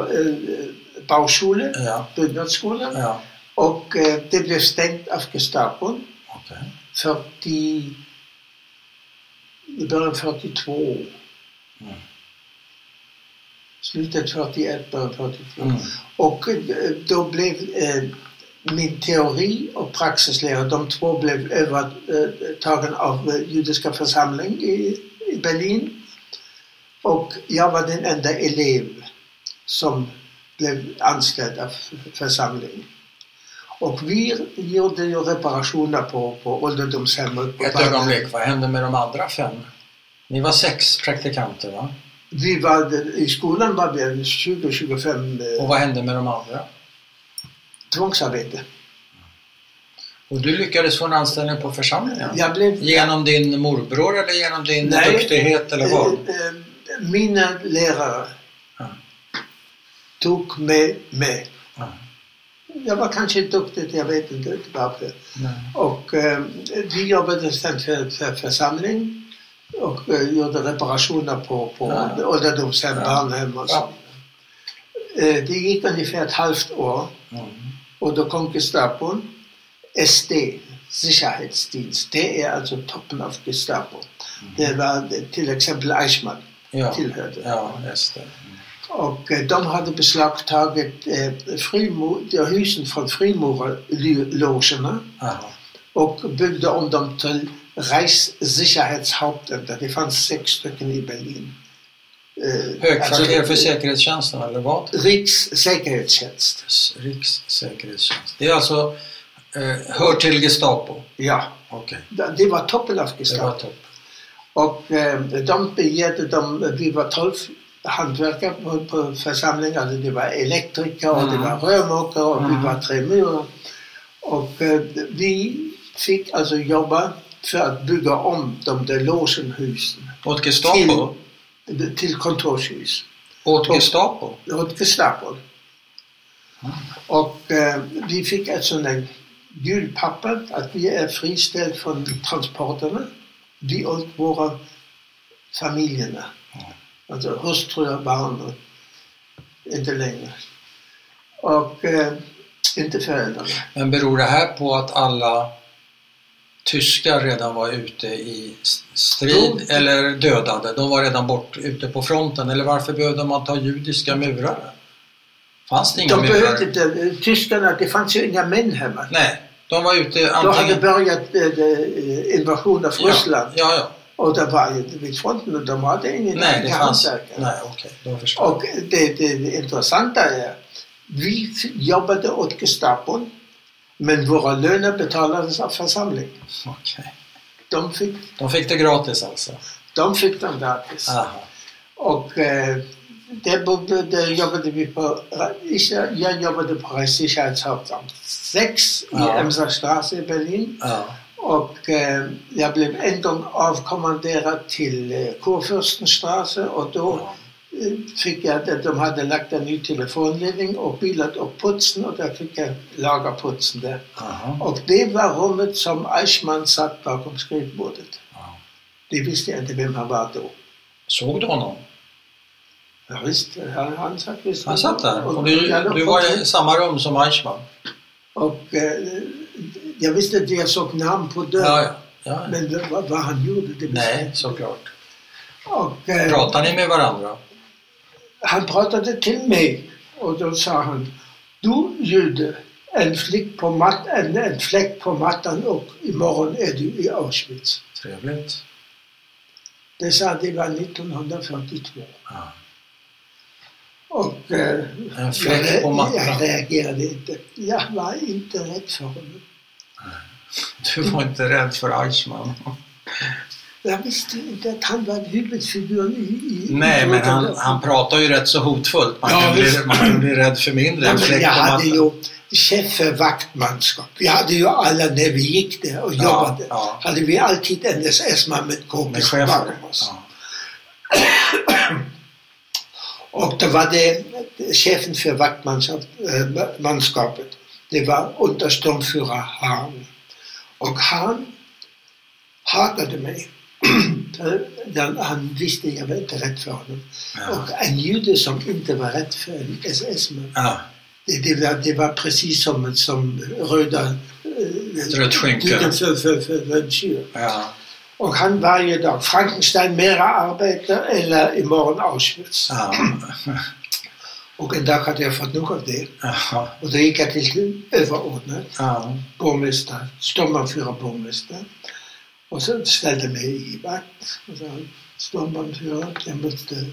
S2: Bauschule,
S1: Ja.
S2: byggnadsskolan
S1: Ja.
S2: och eh, det blev stängt av Gestapon.
S1: Okej.
S2: 40, i början 42.
S1: Mm.
S2: Slutet 41, början 42.
S1: Mm.
S2: Och eh, då blev eh, min teori och praxislära, de två blev övertagen av eh, judiska församling i, i Berlin. Och jag var den enda elev som blev anställd av församlingen. Och vi gjorde ju reparationer på, på ålderdomshemmet. på
S1: Ett
S2: Waldorf.
S1: ögonblick, vad hände med de andra fem? Ni var sex praktikanter va?
S2: Vi var, I skolan var vi 20-25
S1: Och
S2: eh,
S1: vad hände med de andra?
S2: tvångsarbete.
S1: Och du lyckades få en anställning på församlingen?
S2: Jag blev
S1: Genom din morbror eller genom din
S2: Nej.
S1: duktighet eller vad?
S2: Eh, eh, Mina lärare
S1: Ja.
S2: tog mig med.
S1: Ja.
S2: Jag var kanske duktig, jag vet inte varför.
S1: Nej.
S2: äh, Och eh, vi jobbade sedan för, för församling och eh, gjorde reparationer på, på
S1: Ah, Ja.
S2: ålderdomshem,
S1: Ja.
S2: barnhem och så.
S1: Ja.
S2: Eh, Det gick ungefär ett halvt år
S1: Mm.
S2: och då kom Gestapon. SD, Sicherheitsdienst, det är alltså toppen av Gestapo.
S1: Mhm.
S2: Det var eh, till exempel Eichmann
S1: Ja,
S2: tillhörde.
S1: ja just det.
S2: Och eh, de hade beslagtagit eh, frimur, de husen från frimurarlogerna
S1: Aha.
S2: och byggde om dem till Reichssicherheitshauptämter. Det fanns sex stycken i Berlin. Eh,
S1: Högkvarter för
S2: alltså,
S1: säkerhetstjänsten, eller vad?
S2: Rikssäkerhetstjänst.
S1: Rikssäkerhetstjänst. Det är alltså, eh, hör till Gestapo.
S2: Ja,
S1: Okej,
S2: det var toppen av
S1: det var
S2: Gestapo.
S1: topp.
S2: Och eh, de begärde, de, vi var tolv hantverkare på, på församlingen. Alltså det var elektriker och det
S1: Mm.
S2: var rörmokare och
S1: Mm.
S2: vi var tre murer. Och eh, vi fick alltså jobba för att bygga om de där logenhusen
S1: Åt Gestapo?
S2: till kontorshus.
S1: Åt Gestapo?
S2: åt Gestapo. Och eh, vi fick alltså en gul papper att vi är friställd från transporterna. Vi och våra familjerna. Alltså hustrur, barn och inte längre. Och eh, inte föräldrarna.
S1: Men beror det här på att alla tyskar redan var ute i s- strid
S2: Jo.
S1: eller dödade? De var redan bort ute på fronten. Eller varför behövde man ta judiska murare? Fanns det inga
S2: De
S1: murare?
S2: behövde inte, eh, tyskarna, det fanns ju inga män hemma.
S1: Nej, de var ute
S2: Då hade
S1: antingen...
S2: börjat eh, eh, invasionen av Ryssland
S1: Ja, ja, ja.
S2: och de var ju vid fronten och de hade ingen
S1: Nej, det
S2: inga
S1: fanns...
S2: hantverkare.
S1: Nej, okej. Då förstår jag.
S2: Och det, det, det intressanta är, vi f- jobbade åt Gestapon, men våra löner betalades av församlingen.
S1: Okej.
S2: De fick,
S1: De fick det gratis alltså?
S2: de fick dem gratis.
S1: Aha.
S2: Och eh, där, bodde, där jobbade vi på, ich, jag jobbade på Reichssicherheitshauptamt 6
S1: Ja.
S2: i Emser Straße i Berlin.
S1: Ja.
S2: Och eh, jag blev en gång avkommenderad till eh, Kurfürstenstraße och då fick jag att de hade lagt en ny telefonledning och bilat upp putsen och där fick jag laga putsen där.
S1: Aha.
S2: Och det var rummet som Eichmann satt bakom skrivbordet.
S1: Ja.
S2: Det visste jag inte vem han var då.
S1: Såg du honom?
S2: Ja, visst, han, han satt visst.
S1: Han satt där.
S2: Och,
S1: Och du,
S2: jag låg
S1: du var i
S2: bakom.
S1: samma rum som Eichmann?
S2: och eh, jag visste inte, jag såg namn på dörren.
S1: Ja, ja. ja.
S2: Men det- vad, vad han gjorde, det visste jag
S1: Nej,
S2: inte.
S1: såklart.
S2: Och, eh,
S1: Pratar ni med varandra?
S2: Han pratade till mig och då sa han, du jude, en, flick på matt, en, en fläck på mattan och imorgon är du i Auschwitz.
S1: Trevligt.
S2: Det sa det var 1942.
S1: Ja.
S2: Och eh,
S1: En
S2: jag,
S1: fläck på
S2: re-
S1: mattan.
S2: jag reagerade inte. Jag var inte rädd för honom.
S1: Du var inte rädd för Eichmann.
S2: Jag visste inte att han var huvudfiguren i... i
S1: Nej,
S2: i
S1: men han, han pratar ju rätt så hotfullt. Man, kan,
S2: Ja,
S1: bli,
S2: visst.
S1: man kan bli rädd för mindre.
S2: Ja,
S1: En
S2: men
S1: fläck
S2: jag
S1: på
S2: hade
S1: mattan.
S2: ju chef för vaktmanskap. Vi hade ju alla när vi gick där och
S1: Ja,
S2: jobbade.
S1: ja.
S2: Hade vi alltid en SS-man med
S1: Med
S2: kompis
S1: chefen.
S2: bakom oss.
S1: Ja.
S2: Och då var det chefen för vaktmanskapet. Äh, manskapet. det var understormförare Hahn. Och Hahn hatade mig. *clears throat* Den- Han visste jag var inte rätt för honom.
S1: Ja.
S2: Och en jude som inte var rätt för en SS-man
S1: Ja.
S2: Det, det, var, det var precis som, som röda... äh,
S1: Ett rött skynke.
S2: För, för, för, för en tjur.
S1: Ja.
S2: Och han varje dag, Frankenstein mera arbete eller imorgon Auschwitz.
S1: Ja.
S2: Och en dag hade jag fått nog av det.
S1: Ja.
S2: Och då gick jag till överordnad,
S1: Ja.
S2: borgmästare, stormbandförare borgmästare. Och så ställde mig i vakt och sa, stormbandförare, jag måste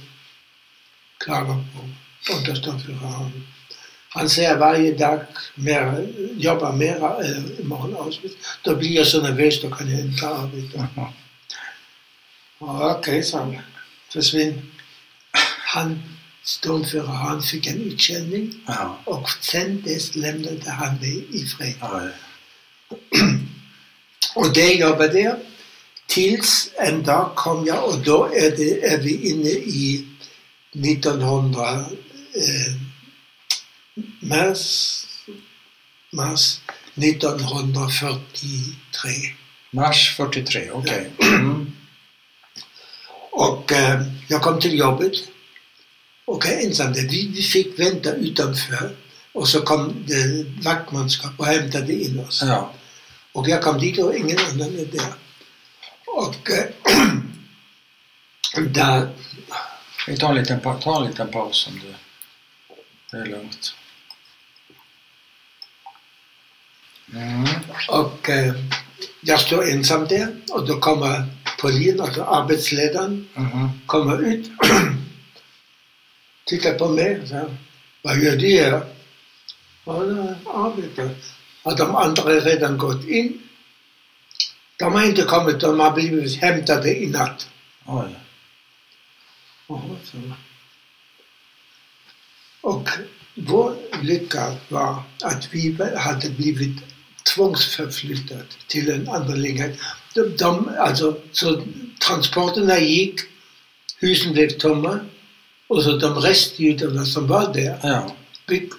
S2: klaga på understormbandföraren. Han säger varje dag, mer, eh, jobba mera, eller imorgon Auschwitz. Då blir jag så nervös, då kan jag inte arbeta. Ja, Okej, sa han. Försvinn. Han, stormförare, han fick en utkänning.
S1: Ja.
S2: Och sen dess lämnade han mig i fred.
S1: Ja.
S2: Och det jobbade jag tills en dag kom jag och då är, det, är vi inne i 1900 eh, mars, mars 1943.
S1: Mars 43, okej. Mm.
S2: Och eh, jag kom till jobbet och jag ensamma. Vi, vi fick vänta utanför och så kom det vaktmanskap och hämtade in oss.
S1: Ja.
S2: Och jag kom dit och ingen annan är där. Och eh, där,
S1: Vi tar en liten, pa- ta en liten paus om du... Det är lugnt. Mm.
S2: och eh, jag står ensam där och då kommer polisen, alltså arbetsledaren,
S1: Mhm.
S2: kommer *clears throat* ut, tittar på mig och säger Vad gör du här? Ja, jag arbetar. Och de andra är redan gått in. De har inte kommit, de har blivit hämtade i natt.
S1: Oj.
S2: Jaha, så. Och vår lycka var att vi hade blivit tvångsförflyttat till en annan lägenhet. De, de, alltså, så transporterna gick, husen blev tomma och så de restjudarna som var där
S1: Ja.
S2: fick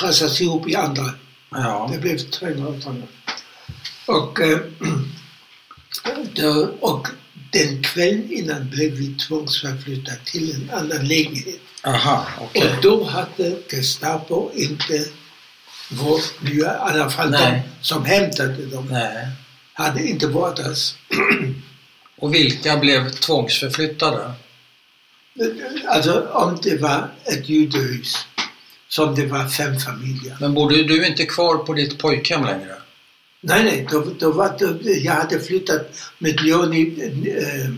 S2: pressas ihop i andra
S1: Ja.
S2: det blev trängre och trängre. Och, eh, då, och den kvällen innan blev vi tvångsförflyttade till en annan lägenhet.
S1: Aha, okej.
S2: Och då hade Gestapo inte vår nya, i alla fall de
S1: Nej.
S2: som hämtade dem,
S1: Nej.
S2: hade inte varit oss.
S1: Och vilka blev tvångsförflyttade?
S2: Alltså om det var ett judehus som det var fem familjer.
S1: Men bodde du inte kvar på ditt pojkhem längre?
S2: Nej, nej, då, då var det, jag hade flyttat med Leonie, eh, eh,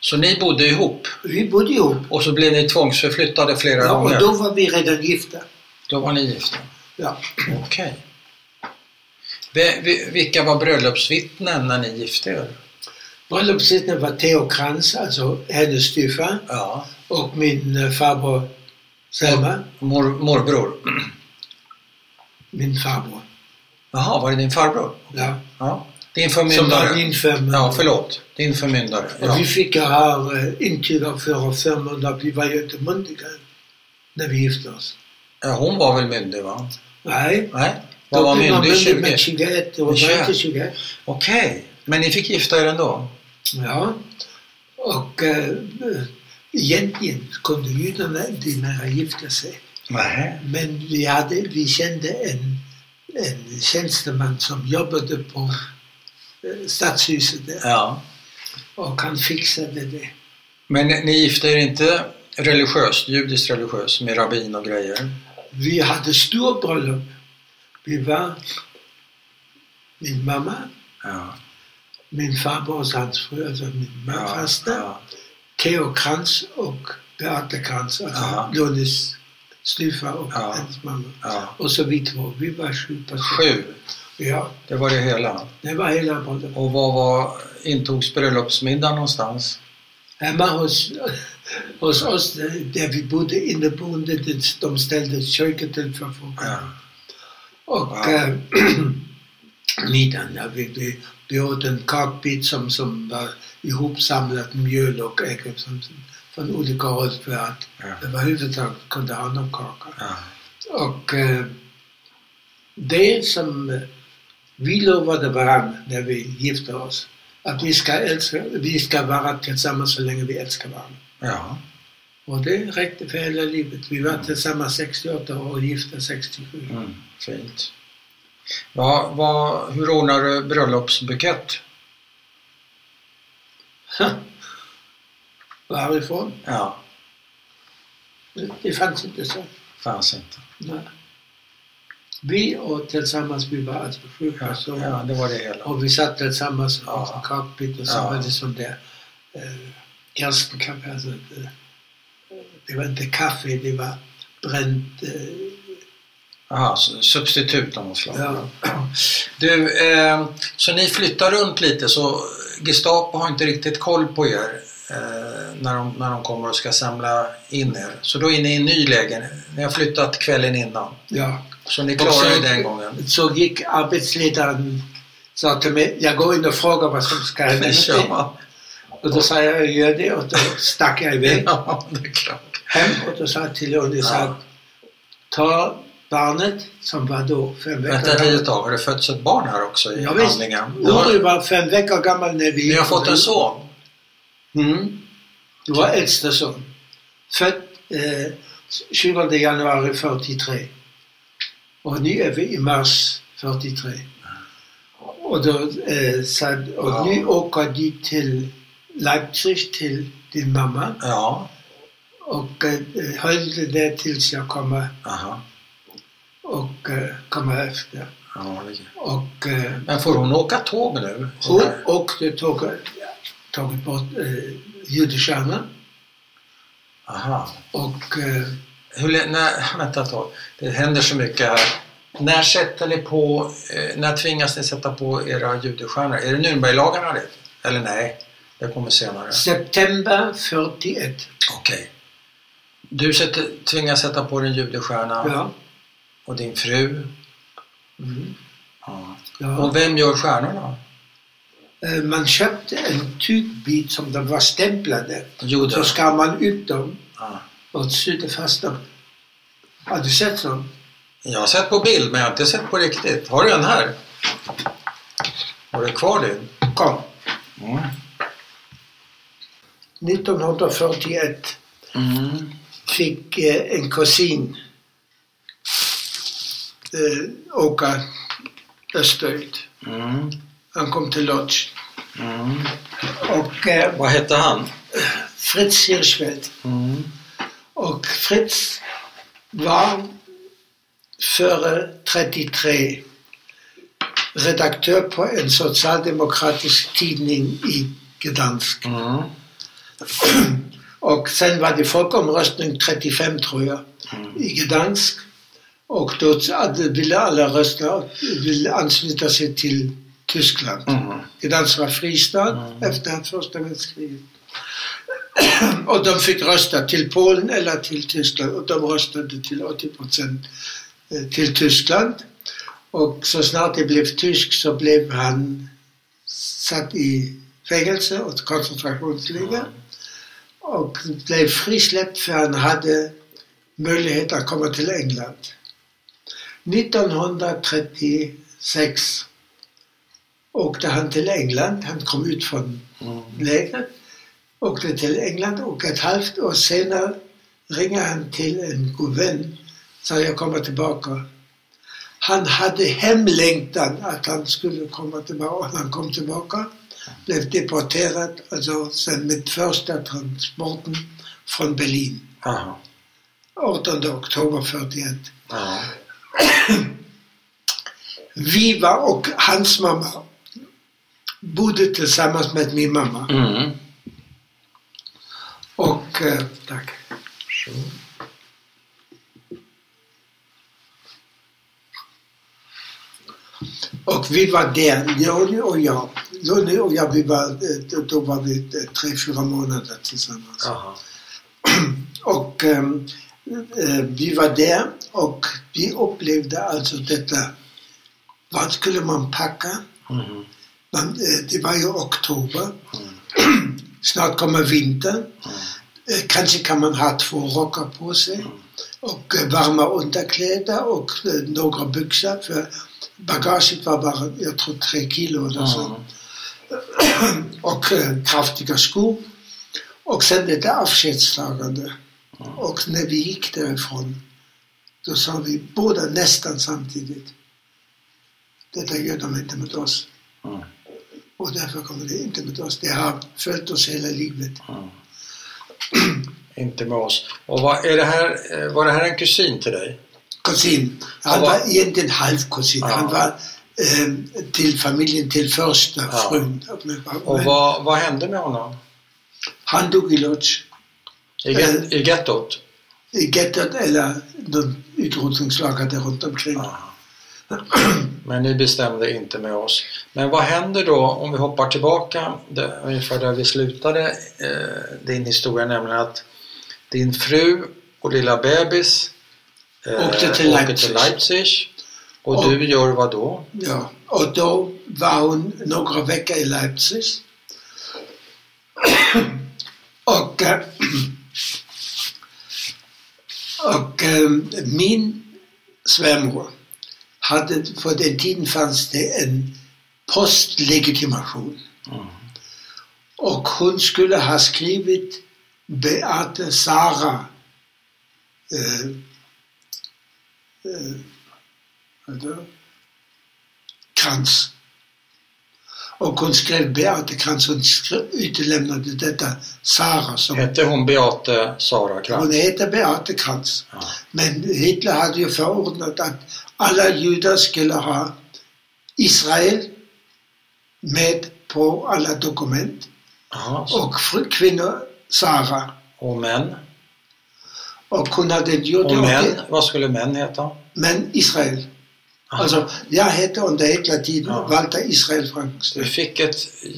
S1: Så ni bodde ihop
S2: vi bodde ihop.
S1: och så blev ni tvångsförflyttade flera
S2: Ja,
S1: gånger?
S2: och då var vi redan gifta.
S1: Då var ni gifta?
S2: Ja.
S1: Okej. Vi- vi- Vilka var bröllopsvittnen när ni gifte er?
S2: Bröllopsvittnen var Theo Kranz, also alltså hennes styvfar,
S1: Ja.
S2: och min eh, farbror Selma,
S1: Mor, morbror?
S2: min farbror.
S1: Jaha, var det din farbror?
S2: Ja.
S1: Ja. Din
S2: Som
S1: förmyndare?
S2: var min förmyndare.
S1: Ja, förlåt. Din förmyndare.
S2: Och
S1: Ja.
S2: vi fick ju ha eh, intyg av våra förmyndare, vi var ju inte myndiga när vi gifte oss.
S1: Ja, Hon var väl myndig, va?
S2: Nej,
S1: Nej? Vad var
S2: blev man
S1: myndig?
S2: myndig med
S1: 20?
S2: 21 och
S1: Tjugoett.
S2: var inte 21.
S1: Okej. Men ni fick gifta er ändå?
S2: Ja. Och eh, egentligen kunde judarna inte mera gifta sig.
S1: Nej.
S2: Men vi, hade, vi kände en, en tjänsteman som jobbade på eh, stadshuset där
S1: Ja.
S2: och han fixade det.
S1: Men ni gifte er inte religiöst, judiskt religiöst, med rabbin och grejer?
S2: Vi hade stor bröllop. Vi var min mamma,
S1: Ja.
S2: min farbror och hans fru, alltså min
S1: Ja,
S2: farfasta,
S1: ja.
S2: Theo Krantz och Beate Krantz, alltså
S1: Ja.
S2: Lonis styvfar och
S1: Ja.
S2: hennes mamma.
S1: ja.
S2: Och så vi två, vi var sju personer.
S1: Sju,
S2: Ja,
S1: det var det hela.
S2: det var hela bröllopet.
S1: Och var, var intogs bröllopsmiddagen någonstans?
S2: Hemma hos, hos oss eh, där vi bodde inneboende, det- de ställde köket till förfogande.
S1: Ja.
S2: Och
S1: Ja.
S2: eh, *clears throat* middagen, ja, vi, vi, vi åt en kakbit som, som var ihopsamlat mjöl och ägg som, som, från olika håll för att
S1: Ja.
S2: överhuvudtaget kunde ha någon kaka.
S1: Ja.
S2: Och eh, det som eh, vi lovade varandra när vi gifte oss, att vi ska, älska, vi ska vara tillsammans så länge vi älskar varandra.
S1: ja.
S2: Och det räckte för hela livet. Vi var tillsammans 68 år och gifta 67.
S1: Mm. Fint. Ja, vad, hur ordnar du bröllopsbukett?
S2: Varifrån?
S1: Ja,
S2: Det fanns inte så.
S1: fanns inte.
S2: Nej. Vi och tillsammans, vi var alltså sju
S1: Ja,
S2: personer.
S1: ja, det var det hela.
S2: Och vi satt tillsammans och
S1: Ja.
S2: åt en kakbit och så
S1: Ja.
S2: var det som det eh, gerstenkaffet. Alltså, det, det var inte kaffe, det var bränt. Eh,
S1: Jaha, så substitut av något slag.
S2: ja.
S1: Du, eh, så ni flyttar runt lite så Gestapo har inte riktigt koll på er eh, när, de, när de kommer och ska samla in er. Så då är ni i en ny lägenhet. Ni har flyttat kvällen innan.
S2: ja.
S1: Så ni klarar er den gången.
S2: Så gick arbetsledaren sa till mig, jag går in och frågar vad som ska hända.
S1: Ni kör va?
S2: Och då sa jag, jag gör det och då stack jag iväg
S1: Ja, det är klart.
S2: hem och då sa jag till Jonis
S1: Ja.
S2: att ta barnet som var då fem veckor
S1: Vänta
S2: gammal.
S1: lite tag, har det fötts ett barn här också i
S2: Ja, visst.
S1: handlingen?
S2: Uri var fem veckor gammal när vi
S1: Ni har fått en son?
S2: Mm. Du var äldsta son. Född eh, 20 januari 43. Och nu är vi i mars 43. Och då eh, sa, och
S1: Ja.
S2: nu åker du till Leipzig till din mamma
S1: Ja.
S2: och eh, höll det där tills jag kommer
S1: Aha.
S2: och eh, kommer efter.
S1: Ja, det-
S2: Och eh,
S1: men får hon åka tåg nu?
S2: hon åkte tåget, tagit bort eh, judestjärnan
S1: Aha.
S2: och eh,
S1: Hur, lä- när, *laughs* vänta ett tag. Det händer så mycket här. När sätter ni på, eh, när tvingas ni sätta på era judestjärnor? Är det Nürnberglagarna det? Eller nej, det kommer senare.
S2: september 41.
S1: Okej. Du sätter, tvingas sätta på din judestjärna
S2: Ja.
S1: och din fru.
S2: Mm.
S1: Ja.
S2: ja.
S1: Och vem gör stjärnorna?
S2: Eh, Man köpte en tygbit som de var stämplade.
S1: Jo,
S2: Så
S1: då.
S2: skar man ut dem
S1: Ja.
S2: och sydde fast dem. Har du sett dem?
S1: Jag har sett på bild men jag har inte sett på riktigt. Har du en här? Har du kvar din?
S2: Kom.
S1: Mm.
S2: 1941
S1: Mm.
S2: fick eh, en kusin eh, åka österut.
S1: Mm.
S2: Han kom till Lodz.
S1: Mm.
S2: Och eh,
S1: Vad hette han?
S2: Fritz Hirschfeldt.
S1: Mm.
S2: Och Fritz var före 33 redaktör på en socialdemokratisk tidning i Gdansk.
S1: Mm.
S2: Och sen var det folkomröstning 35 tror jag i Gdansk. Och då hade- ville alla rösta, ville ansluta sig till Tyskland.
S1: Mm.
S2: Gdansk var fristad efter första världskriget. *coughs* och de fick rösta till Polen eller till Tyskland och de röstade till 80 procent till Tyskland. Och så snart det blev tysk så blev han satt i fängelse och koncentrationsläger och blev frisläppt för han hade möjlighet att komma till England. 1936 åkte han till England. Han kom ut från
S1: Mm.
S2: lägret, åkte till England och ett halvt år senare ringer han till en god vän sa jag kommer tillbaka. Han hade hemlängtan att han skulle komma tillbaka. Han kom tillbaka, blev deporterad, alltså sen med första transporten från Berlin.
S1: Aha.
S2: 18 oktober 41.
S1: Ja.
S2: Vi var och hans mamma bodde tillsammans med min mamma.
S1: Mm.
S2: Och, eh, tack. Och vi var där, Jonny och jag. Jonny och jag, vi var, eh, då- då var vi eh, tre, fyra månader tillsammans.
S1: Aha.
S2: Och ehm, eh, vi var där och vi upplevde alltså detta. Vad skulle man packa?
S1: Mm.
S2: Man, eh, det var ju oktober. Snart kommer vintern. Eh, Kanske kan man ha två rockar på sig och eh, varma underkläder och eh, några byxor. För bagaget var bara, jag tror, tre kilo eller så.
S1: Mm.
S2: Och eh, kraftiga skor. Och sen det där avskedstagande. Och när vi gick därifrån, då sa vi båda nästan samtidigt. Detta gör de inte med oss.
S1: Mm.
S2: Och därför kommer det inte med oss. Det har följt oss hela livet.
S1: Inte med oss. Och vad, är det här, eh, var det här en kusin till dig?
S2: kusin. Han
S1: Han var-
S2: var egentligen halvkusin.
S1: Ja.
S2: Han var eh, till familjen, till första
S1: Ja.
S2: frun.
S1: Och vad, vad hände med honom?
S2: Han dog i Lodz,
S1: I, get, i gettot?
S2: i gettot eller de utrotningslagar där runt omkring.
S1: Aha. Men ni bestämde inte med oss. Men vad händer då om vi hoppar tillbaka där, ungefär där vi slutade eh, din historia, nämligen att din fru och lilla bebis eh,
S2: Åkte till
S1: åker
S2: Leipzig.
S1: till Leipzig. Och,
S2: Och-
S1: du gör vad då?
S2: Ja. Och då var hon några veckor i Leipzig. *coughs* och eh, och eh, min svärmor hade, på ähm, den tiden fanns det en postlegitimation. Och hon skulle ha skrivit Beate Sara. Eh, eh, vänta. Krantz. Och hon skrev Beate Krantz, hon skrev- utelämnade detta Sara som
S1: Hette hon Beate Sara
S2: hon
S1: Krantz?
S2: heter Beate Krantz.
S1: Ja.
S2: Men Hitler hade ju förordnat att alla judar skulle ha Israel med på alla dokument
S1: Jaha, så-
S2: och fru- kvinnor Sara.
S1: Och män?
S2: Och hon hade gjort
S1: Och
S2: det-
S1: män? Vad skulle män heta?
S2: men Israel.
S1: Aha.
S2: Alltså, jag hette under Hitlertiden
S1: Ja.
S2: Walter Israel
S1: Du
S2: Frankenstein.
S1: fick ett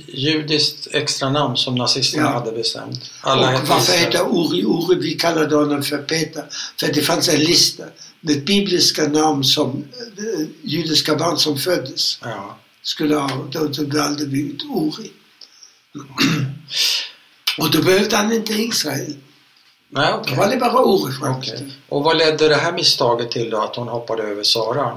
S1: judiskt extra namn som nazisterna
S2: Ja.
S1: hade bestämt.
S2: Och varför
S1: Israel.
S2: heter Uri Uri? Vi kallade honom för Peter. För det fanns en lista med bibliska namn som eh, judiska barn som föddes.
S1: Ja.
S2: skulle ha, då, då valde vi ut Uri. Och då behövde han inte Israel.
S1: Nej,
S2: Då
S1: okej.
S2: var det bara Uri
S1: Okej.
S2: Frankenstein.
S1: Och vad ledde det här misstaget till då, att hon hoppade över Sara?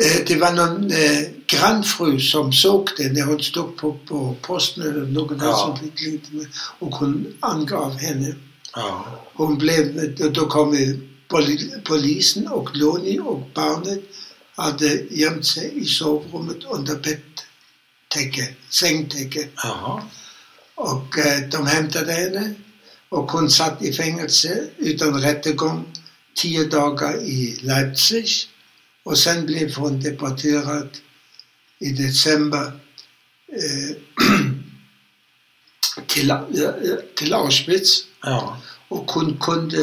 S2: Eh, Det var någon eh, grannfru som såg det när hon stod på, på posten eller någon
S1: Ja.
S2: ja. som fick lite med, och hon angav henne.
S1: Ja.
S2: Hon blev, då- då kom ju poli- polisen och Loni och barnet hade gömt sig i sovrummet under bettäcke, sängtäcke.
S1: Jaha.
S2: Och eh, de hämtade henne och hon satt i fängelse utan rättegång tio dagar i Leipzig och sen blev hon deporterad i december eh, *clears throat* till, eh, eh, till Auschwitz
S1: Ja.
S2: och hon kunde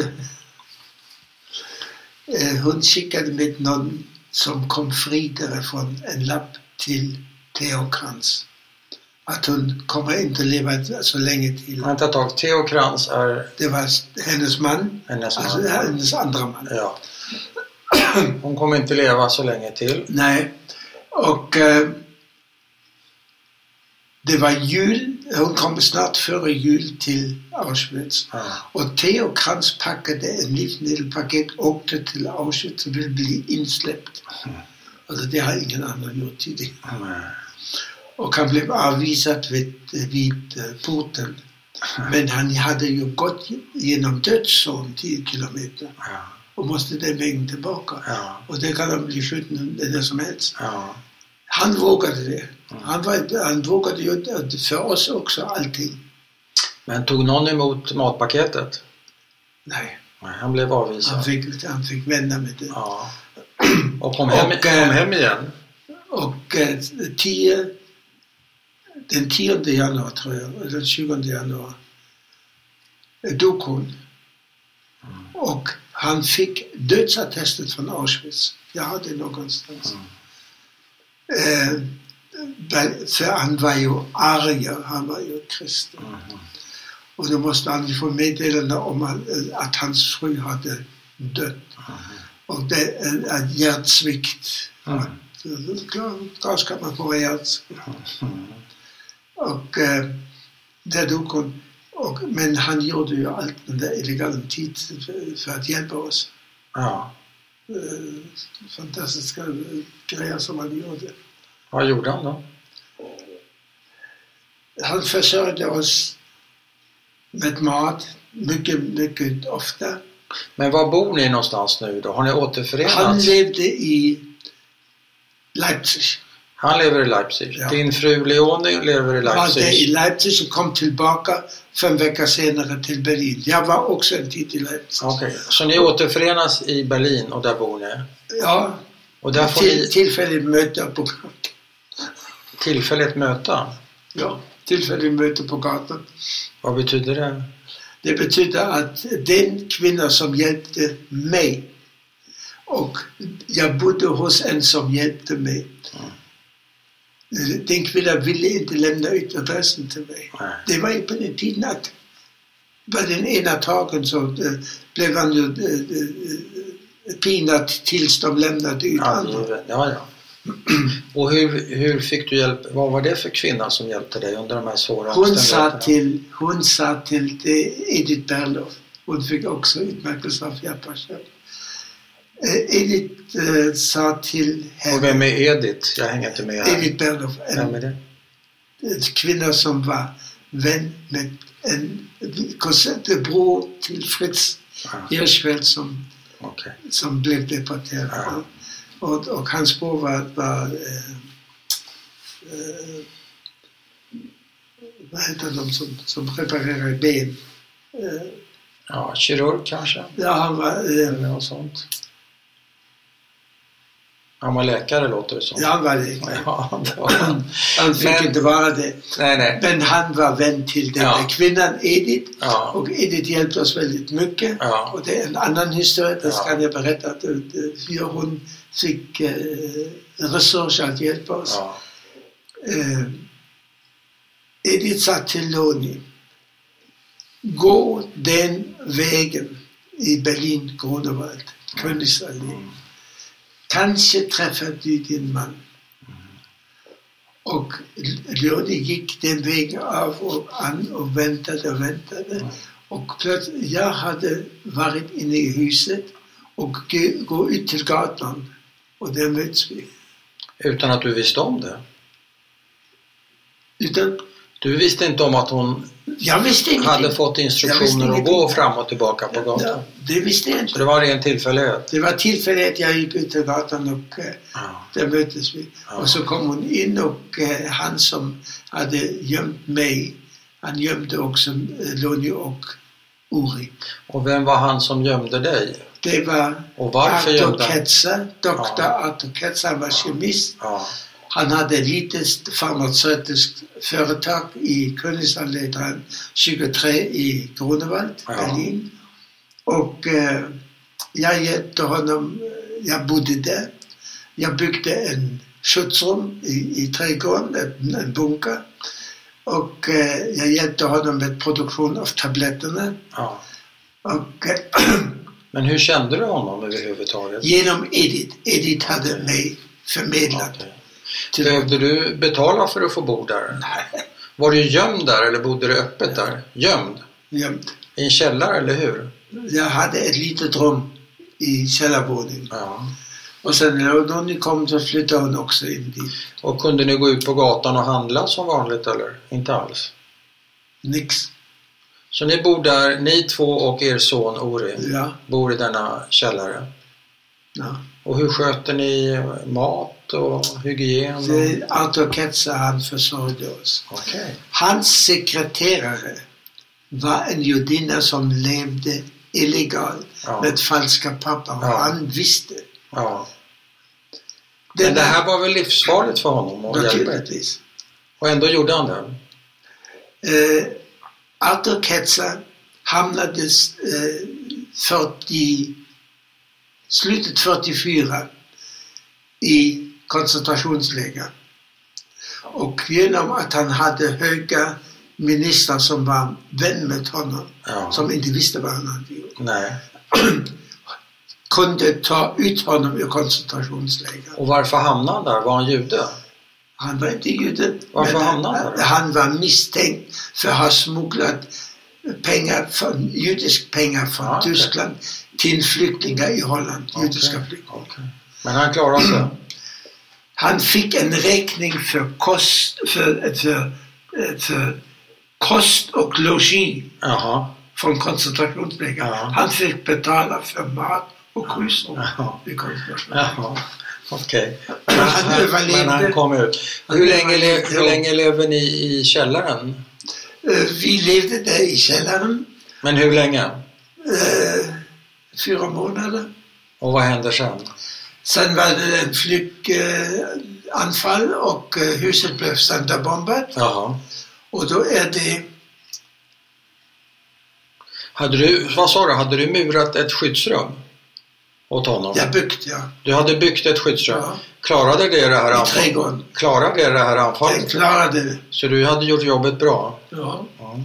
S2: eh, hon skickade med någon som kom fri därifrån en lapp till Theo Kranz att hon kommer inte leva så länge till.
S1: Vänta ett tag. Theo Krantz är
S2: Det var hennes man,
S1: hennes man.
S2: alltså hennes andra man.
S1: Ja. Hon kommer inte leva så länge till.
S2: Nej, och eh, det var jul, hon kom snart före jul till Auschwitz.
S1: Ja.
S2: Och Theo Kranz packade en livsmedelspaket, åkte till Auschwitz och ville bli insläppt. Alltså det har ingen annan gjort tidigare. Och han blev avvisad vid, vid eh, porten. Men han hade ju gått genom dödszon 10 kilometer
S1: Ja.
S2: och måste den vägen tillbaka.
S1: Ja.
S2: Och det kan han bli skjuten när som helst.
S1: Ja.
S2: Han vågade det. Han, var, han vågade ju det för oss också allting.
S1: Men tog någon emot matpaketet?
S2: Nej,
S1: Nej, han blev
S2: han
S1: avvisad.
S2: fick, han fick vända med det.
S1: Ja. Och kom hem,
S2: Och, eh,
S1: kom hem igen?
S2: Och eh, tio, den 10 januari tror jag, eller 20 januari, eh, dog hon. Och han fick dödsattestet från Auschwitz. Jag har det någonstans. Eh, väl, för han var ju arier, han var ju kristen.
S1: Mm.
S2: Och då måste han ju få meddelande om att, eh, att hans fru hade dött. Och det är en hjärtsvikt.
S1: Mm.
S2: Mhm, Gas kan man få rejält. Och eh, där dog hon. Och, men han gjorde ju allt den där illegala tid för, för att hjälpa oss.
S1: Ja.
S2: Eh, fantastiska eh, grejer som han gjorde.
S1: Vad gjorde han då?
S2: Han försörjde oss med mat mycket, mycket ofta.
S1: Men var bor ni någonstans nu då? Har ni
S2: Han
S1: återförenats?
S2: levde i Leipzig.
S1: Han lever i Leipzig.
S2: Ja.
S1: Din fru Leonie lever i
S2: var det i
S1: Leipzig.
S2: Leipzig och kom tillbaka fem veckor senare till Berlin. Jag var också en tid i Leipzig.
S1: Okej, så ni återförenas i Berlin och där bor ni?
S2: Ja,
S1: Och där får
S2: till,
S1: ni
S2: tillfälligt möte på gatan.
S1: tillfälligt möta?
S2: Ja, tillfälligt möte på gatan.
S1: Vad betyder det?
S2: Det betyder att den kvinna som hjälpte mig och jag bodde hos en som hjälpte mig. Den kvinnan ville inte lämna ut adressen till mig.
S1: Nej.
S2: Det var ju på den tiden att på den ena tagen så eh, blev han ju eh, eh, pinad tills de lämnade ut andra.
S1: Angiven. Ja, ja. Och hur, hur fick du hjälp? Vad var det för kvinna som hjälpte dig under de här svåra
S2: Hon sa
S1: omständigheterna?
S2: till, hon sa till det- Edith Berloff, hon fick också utmärkelse av Japasjö. Edith eh, sa till
S1: Och
S2: henne,
S1: vem är Edith? Jag hänger inte med här.
S2: Edith Berloff,
S1: Vem
S2: en,
S1: är det?
S2: en kvinna som var vän med en konsertbror till Fritz
S1: Ja,
S2: Hirschfeldt som,
S1: Okej.
S2: som blev deporterad.
S1: Ja.
S2: Och, och hans bror var, var eh, eh, vad heter de som, som reparerar ben? Eh,
S1: Ja, kirurg kanske?
S2: ja, han var, eh,
S1: Eller något sånt. Han var läkare låter det som.
S2: ja, han var det.
S1: Ja, det var han.
S2: Han fick
S1: Men-
S2: inte vara det.
S1: Nej, nej.
S2: Men han var vän till den
S1: Ja.
S2: där kvinnan, Edith.
S1: Ja,
S2: Och Edith hjälpte oss väldigt mycket.
S1: ja,
S2: Och det är en annan historia, det
S1: Ja.
S2: kan jag berätta, att, eh, hur hon fick eh, resurser att hjälpa oss.
S1: ja.
S2: Eh, Edith sa till Loni, gå den vägen i Berlin, Grunewald, Königsallee.
S1: Mm.
S2: Kanske träffar du din man. Och Loni gick den vägen av och an och väntade och väntade. Och plötsligt, jag hade varit inne i huset och gå- gå ut till gatan och där möts vi.
S1: Utan att du visste om det?
S2: Utan,
S1: Du visste inte om att hon
S2: jag visste ingenting.
S1: hade fått
S2: Jag visste
S1: instruktioner att
S2: ingenting.
S1: gå fram och tillbaka på
S2: Ja,
S1: gatan?
S2: det visste jag
S1: Så
S2: inte.
S1: det var ren tillfällighet?
S2: Det var tillfället jag gick ut till gatan och eh,
S1: Ja.
S2: där möttes vi.
S1: Ja.
S2: Och så kom hon in och eh, han som hade gömt mig, han gömde också eh, Lonnie och Uri.
S1: Och vem var han som gömde dig?
S2: Det var
S1: Och varför gömde
S2: Arthur
S1: han?
S2: Ketzer, doktor
S1: Ja.
S2: Arthur Ketzer, han var kemist.
S1: Ja,
S2: Han hade ett litet farmaceutiskt företag i Königsanläggningen 23 i Grunewald,
S1: Ja.
S2: Berlin. Och eh, jag hjälpte honom, eh, jag bodde där. Jag byggde en skyddsrum i, i trädgården, en, en bunker. Och eh, jag hjälpte honom med produktion av tabletterna.
S1: ja.
S2: Och eh, *clears throat*
S1: Men hur kände du honom överhuvudtaget?
S2: genom Edith, Edith hade mig förmedlat.
S1: Okej.
S2: till
S1: Behövde du betala för att få bo där?
S2: *laughs* Nej.
S1: Var du gömd där eller bodde du öppet där? Gömd?
S2: Gömt.
S1: I en källare, eller hur?
S2: Jag hade ett litet rum i källarvåningen.
S1: Ja.
S2: Och sen när Donny kom så flyttade hon också in dit.
S1: Och kunde ni gå ut på gatan och handla som vanligt eller? Inte alls?
S2: Nix.
S1: Så ni bor där, ni två och er son Ori
S2: Ja,
S1: bor i denna källare.
S2: ja.
S1: Och hur sköter ni mat och hygien? Och...
S2: Det är Arthur Ketzer han försörjde oss.
S1: Okej.
S2: Hans sekreterare var en judinna som levde illegalt
S1: Ja.
S2: med falska papper och
S1: Ja.
S2: han visste.
S1: Ja.
S2: Den
S1: Men det här var väl livsfarligt för honom? Och, hjälpa.
S2: Naturligtvis.
S1: och ändå gjorde han det?
S2: Eh, Arthur Ketzer hamnade eh, 40, slutet 44 i koncentrationsläger. Och genom att han hade höga ministrar som var vän med honom,
S1: Ja.
S2: som inte visste vad han hade gjort,
S1: Nej.
S2: kunde ta ut honom ur koncentrationsläger.
S1: Och varför hamnade han där? Var han jude?
S2: Han var inte jude.
S1: Varför
S2: men
S1: hamnade han där?
S2: Han var misstänkt för att ha smugglat pengar från, judisk pengar från
S1: Ah, okej. Ah,
S2: Tyskland till flyktingar i Holland, judiska
S1: Okej,
S2: flyktingar.
S1: okej. Men han klarade *clears throat* sig?
S2: Han fick en räkning för kost, för, för, för kost och logi
S1: Jaha.
S2: från koncentrationsläger.
S1: Ja. Ah.
S2: Han fick betala för mat och husrum
S1: Ja.
S2: i koncentrationsläger.
S1: Jaha. Okej. *clears throat*
S2: Men han överlevde.
S1: Men han kom ut.
S2: Han
S1: Hur länge, le-
S2: överlevde.
S1: hur länge lever ni i källaren?
S2: Eh, Vi levde där i källaren
S1: Men hur länge?
S2: eh, fyra månader.
S1: Och vad händer sen?
S2: Sen var det en flyganfall och eh, huset blev sönderbombat.
S1: Jaha.
S2: Och då är det,
S1: Hade du, vad sa du, hade du murat ett skyddsrum åt honom?
S2: jag byggt ja,
S1: Du hade byggt ett skyddsrum.
S2: Ja.
S1: Klarade det det här
S2: i
S1: anfallet?
S2: trädgården.
S1: Klarade det det här
S2: Den
S1: anfallet?
S2: klarade det.
S1: Så du hade gjort jobbet bra?
S2: Ja,
S1: Ja.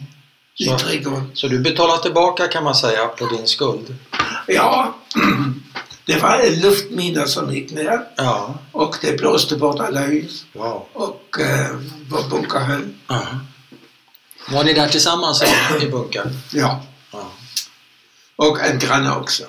S2: i
S1: Så,
S2: trädgården.
S1: så du betalar tillbaka kan man säga på din skuld?
S2: Ja, *clears throat* det var en luftmina som gick ner
S1: Ja.
S2: och det blåste bort alla hus
S1: Wow.
S2: och eh, vår bunker höll.
S1: Aha. Var ni där tillsammans i- i bunkern?
S2: Ja,
S1: Ja.
S2: och en granne också.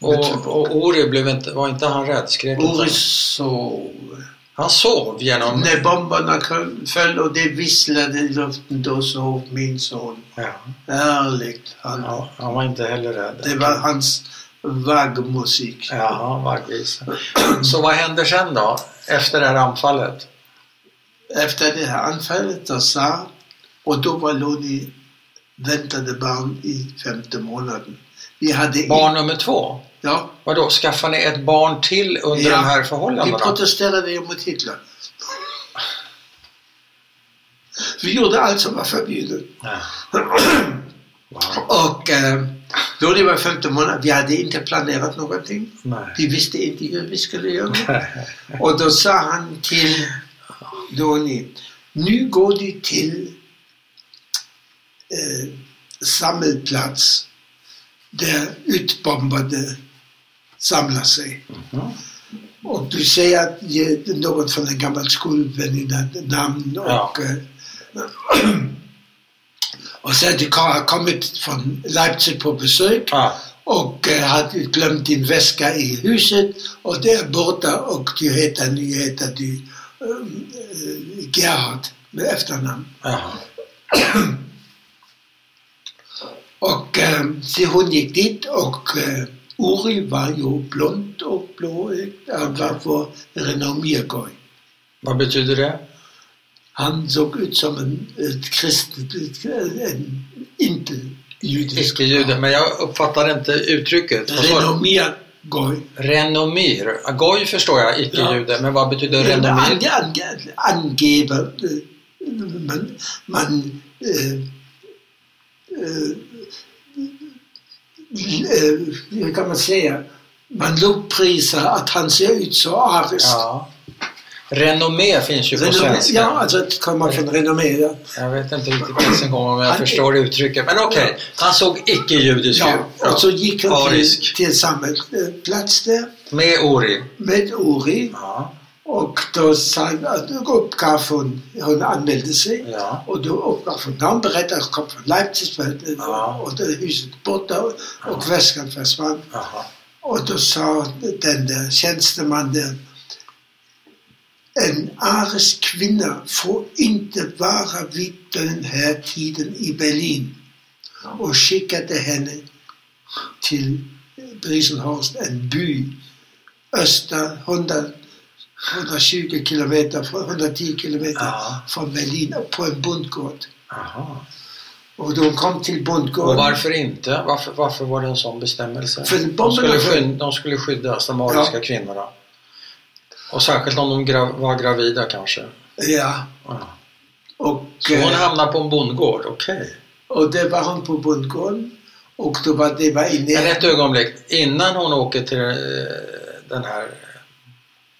S1: Och, och Ori blev inte, var inte han rädd? Skrek inte han?
S2: Uri sov.
S1: Han sov genom...
S2: När bomberna kom- föll och det visslade i luften, då sov min son.
S1: Ja,
S2: Ärligt. Han,
S1: ja, han var inte heller rädd.
S2: Det var hans vaggmusik.
S1: Ja, vaggvis. Så vad händer sen då? Efter det här anfallet?
S2: Efter det här anfallet då sa, och då var Loni väntade barn i femte månaden. Vi hade
S1: Barn nummer två?
S2: ja,
S1: Vadå, skaffar ni ett barn till under
S2: Ja,
S1: de här
S2: vi
S1: förhållandena?
S2: protesterade ju mot Hitler. Vi gjorde allt som var förbjudet.
S1: Ja. Wow.
S2: Och eh, då det var femte månaden, vi hade inte planerat någonting.
S1: Nej.
S2: Vi visste inte hur vi skulle göra. Och då sa han till Doni, nu går du till eh, sammelplats där utbombade samlar sig.
S1: Mhm.
S2: Och du säger att ge något från en gammal skolväninna namn och,
S1: Ja.
S2: eh, *clears throat* och säger att du har kommit från Leipzig på besök
S1: Ja.
S2: och eh, hade glömt din väska i huset och det är borta och du heter, nu heter du um, Gerhard med efternamn.
S1: Ja.
S2: Och eh, så hon gick dit och eh, Uri var ju blond och blåögd. Han var för renommérgoj.
S1: Vad betyder det?
S2: Han såg ut som en, ett kristet, ett, en inte judisk.
S1: Icke-jude, men jag uppfattar inte uttrycket. Vad sa du?
S2: Renommérgoj.
S1: Renomir. Goj förstår jag, icke-jude, men vad betyder
S2: Ange,
S1: renomir?
S2: ange, angeben. äh, Man, man äh, äh, äh, hur kan man säga? Man lovprisar att han ser ut så ariskt.
S1: Ja. Renommé finns ju på
S2: Renommé,
S1: svenska.
S2: ja, also alltså det kommer från renommé. Ja.
S1: Jag vet inte
S2: *clears throat*
S1: riktigt ens en gång om jag
S2: Han-
S1: förstår uttrycket, men okej. Han såg icke-judisk ut.
S2: Ja, also och så gick han till,
S1: Arisk.
S2: till samma eh, plats där
S1: Med Ori.
S2: med Uri
S1: Ja.
S2: och då sa, uppgav hon, hon anmälde sig.
S1: Ja.
S2: Och då uppgav hon namn, berättade att hon kom från Leipzig men-
S1: Ja.
S2: och då är huset borta och väskan försvann.
S1: Jaha.
S2: Och då sa den där tjänstemannen, en arisk kvinna får inte vara vid den här tiden i Berlin. Och skickade henne till Briesenhorst, en by öster 100, 120 kilometer, från- 110 kilometer
S1: Ja.
S2: från Berlin på en bondgård.
S1: Jaha.
S2: Och då kom till
S1: Och
S2: bondgården.
S1: varför inte? Varför, varför var det en sån bestämmelse?
S2: För
S1: de, skulle
S2: bomberna-
S1: skyd- de skulle skyddas, de ariska
S2: Ja.
S1: kvinnorna. Och särskilt om de gra- var gravida kanske.
S2: Ja.
S1: Ja.
S2: Och,
S1: Så hon
S2: eh,
S1: hamnade på en bondgård, okej.
S2: Och det var hon på bondgården. Och då var det var
S1: Men
S2: inne.
S1: ett ögonblick, innan hon åker till eh, den här